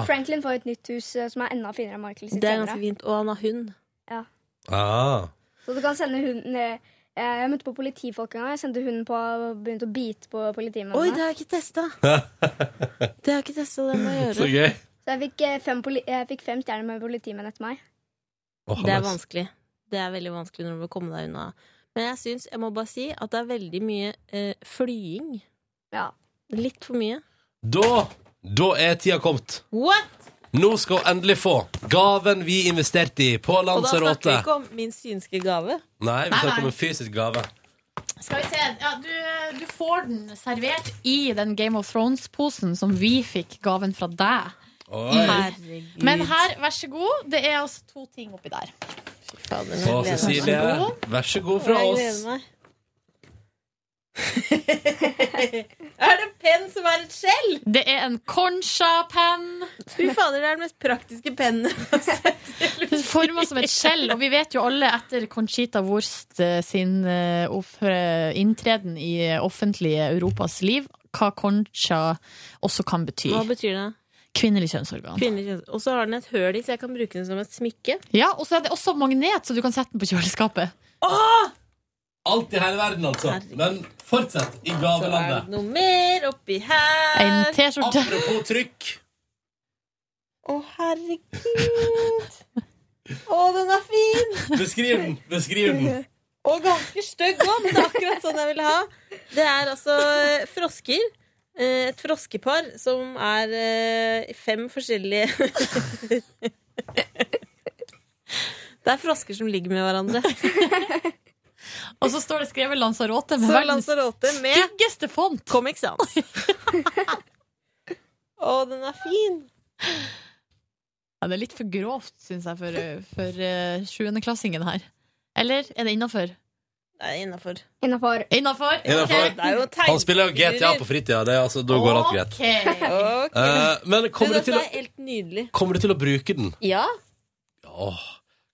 Speaker 2: Ah.
Speaker 9: Franklin får et nytt hus øh, som er enda finere enn Michael sitt
Speaker 4: Det er ganske
Speaker 9: senere.
Speaker 4: fint. Og han har hund.
Speaker 9: Ja.
Speaker 2: Ah.
Speaker 9: Så du kan sende hunden øh, Jeg møtte på politifolk en gang. Jeg sendte hunden på og begynte å bite på politimennene.
Speaker 4: Oi, det har jeg ikke testa!
Speaker 2: *laughs*
Speaker 4: Det har jeg ikke testa, det må jeg gjøre.
Speaker 2: Så gøy.
Speaker 9: Så jeg fikk, eh, fem, poli jeg fikk fem stjerner med politimenn etter meg.
Speaker 2: Åh,
Speaker 4: Det er
Speaker 2: nice.
Speaker 4: vanskelig. Det er veldig vanskelig når du vil komme deg unna. Men jeg syns, jeg må bare si, at det er veldig mye eh, flying. Litt for mye.
Speaker 2: Da, da er tida kommet.
Speaker 4: What?!
Speaker 2: Nå skal hun endelig få gaven vi investerte i på
Speaker 4: Og da snakker vi
Speaker 2: Lanzarote.
Speaker 4: ikke om min synske gave.
Speaker 2: Nei, vi
Speaker 3: Nei,
Speaker 2: snakker om
Speaker 3: nei.
Speaker 2: en fysisk gave.
Speaker 3: Skal vi se. Ja, du, du får den servert i den Game of Thrones-posen som vi fikk gaven fra deg.
Speaker 2: Oi.
Speaker 4: Herregud.
Speaker 3: Men her, vær så god. Det er altså to ting oppi der.
Speaker 2: Så Cecilie, vær så god fra
Speaker 4: Jeg
Speaker 2: oss.
Speaker 4: gleder meg. er det en penn som er et skjell?
Speaker 3: Det er en Concha-penn.
Speaker 4: Fy fader, det er den mest praktiske pennen.
Speaker 3: Forma som et skjell. Og vi vet jo alle etter Conchita Wurst eh, sin eh, off- eh, inntreden i eh, offentlige Europas liv, hva Concha også kan bety.
Speaker 4: Hva betyr det?
Speaker 3: Kvinnelig kjønnsorgan.
Speaker 4: Kvinnelig kjønns- Og så har den et høl i, så jeg kan bruke den som et smykke.
Speaker 3: Ja, Og så er det også magnet, så du kan sette den på kjøleskapet.
Speaker 2: Alt i hele verden, altså. Men fortsett i
Speaker 4: Så er det
Speaker 2: gavelandet.
Speaker 4: noe mer oppi her.
Speaker 3: En T-skjorte.
Speaker 2: Apropos trykk.
Speaker 4: Å, herregud! Å, den er fin!
Speaker 2: Beskriv den. Beskriv
Speaker 4: *laughs*
Speaker 2: den.
Speaker 4: Og ganske stygg òg, men det er akkurat sånn jeg vil ha. Det er altså eh, frosker. eh, et froskepar som er eh, fem forskjellige Det er frosker som ligger med hverandre.
Speaker 3: Og så står det skrevet Lanzarote med
Speaker 4: Så
Speaker 3: verdens
Speaker 4: Lanzarote med
Speaker 3: styggeste font.
Speaker 4: Comic
Speaker 3: *laughs*
Speaker 4: Sans. Å, den er fin!
Speaker 3: Ja, det er litt for grovt, syns jeg, for, eh, for eh, sjuendeklassingen her. Eller er det innafor?
Speaker 4: Det er innafor.
Speaker 9: Innafor.
Speaker 3: Innafor?
Speaker 2: Innenfor. Han spiller jo GTA på fritida. Det, er altså, da går alt greit.
Speaker 4: Ok.
Speaker 2: Eh, men
Speaker 4: Du,
Speaker 2: kommer du,
Speaker 4: dette
Speaker 2: til å,
Speaker 4: er helt nydelig.
Speaker 2: kommer du til å bruke den?
Speaker 4: Ja.
Speaker 2: Åh,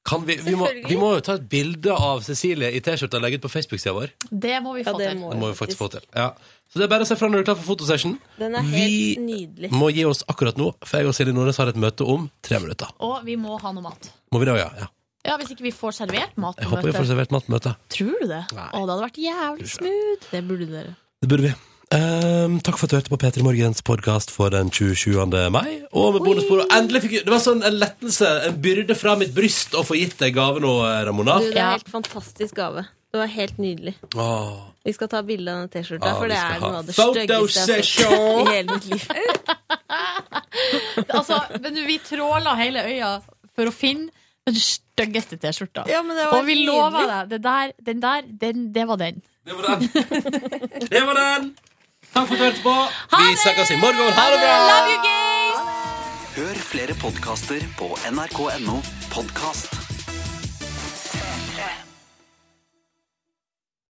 Speaker 2: kan vi, vi, må,
Speaker 4: Selvfølgelig.
Speaker 2: vi må jo ta et bilde av Cecilie i T-skjorta og legge ut på Facebook-sida vår.
Speaker 3: Det må vi
Speaker 4: Ja,
Speaker 3: få
Speaker 4: det
Speaker 3: til.
Speaker 4: må
Speaker 2: Det må vi faktisk få til. Ja. Så det er bare å se fra når du er klar for fotosession.
Speaker 4: Den er
Speaker 2: Vi
Speaker 4: helt nydelig.
Speaker 2: må gi oss akkurat nå, for jeg og Silje Nordnes har et møte om tre minutter.
Speaker 3: Og vi må ha noe mat.
Speaker 2: Må vi det, ja? ja.
Speaker 3: Ja, Hvis ikke vi får servert mat
Speaker 2: Jeg
Speaker 3: på
Speaker 2: håper vi får
Speaker 3: møtet.
Speaker 2: servert nattmøte.
Speaker 3: Tror du det? Å, det hadde vært jævlig smooth. Det burde dere.
Speaker 2: Det burde vi. Ehm, takk for at du hørte på P3 Morgens podkast for den 27. mai. Og med bonusbord. og Endelig fikk jeg- Det var sånn en lettelse, en byrde fra mitt bryst, å få gitt deg gave nå, Ramona.
Speaker 4: Du, det er helt fantastisk gave. Det var helt nydelig.
Speaker 2: Åh.
Speaker 4: Vi skal ta bilde av den T-skjorta,
Speaker 2: Ja,
Speaker 4: for
Speaker 2: vi
Speaker 4: det
Speaker 2: skal
Speaker 4: er
Speaker 2: ha
Speaker 4: noe av det
Speaker 2: photo
Speaker 4: styggeste jeg har sett
Speaker 2: session.
Speaker 4: i hele mitt liv.
Speaker 3: Altså, men vi tråla hele øya for å finne den styggeste T-skjorta.
Speaker 4: Ja, men det var
Speaker 3: Og vi
Speaker 4: nydelig.
Speaker 3: lover deg, det der, den der, den, det var den.
Speaker 2: *laughs* Det var den. Det var den. Takk for at du hørte på. Vi snakkes i morgen. Ha det bra!
Speaker 1: Hør flere podkaster på nrk.no podkast.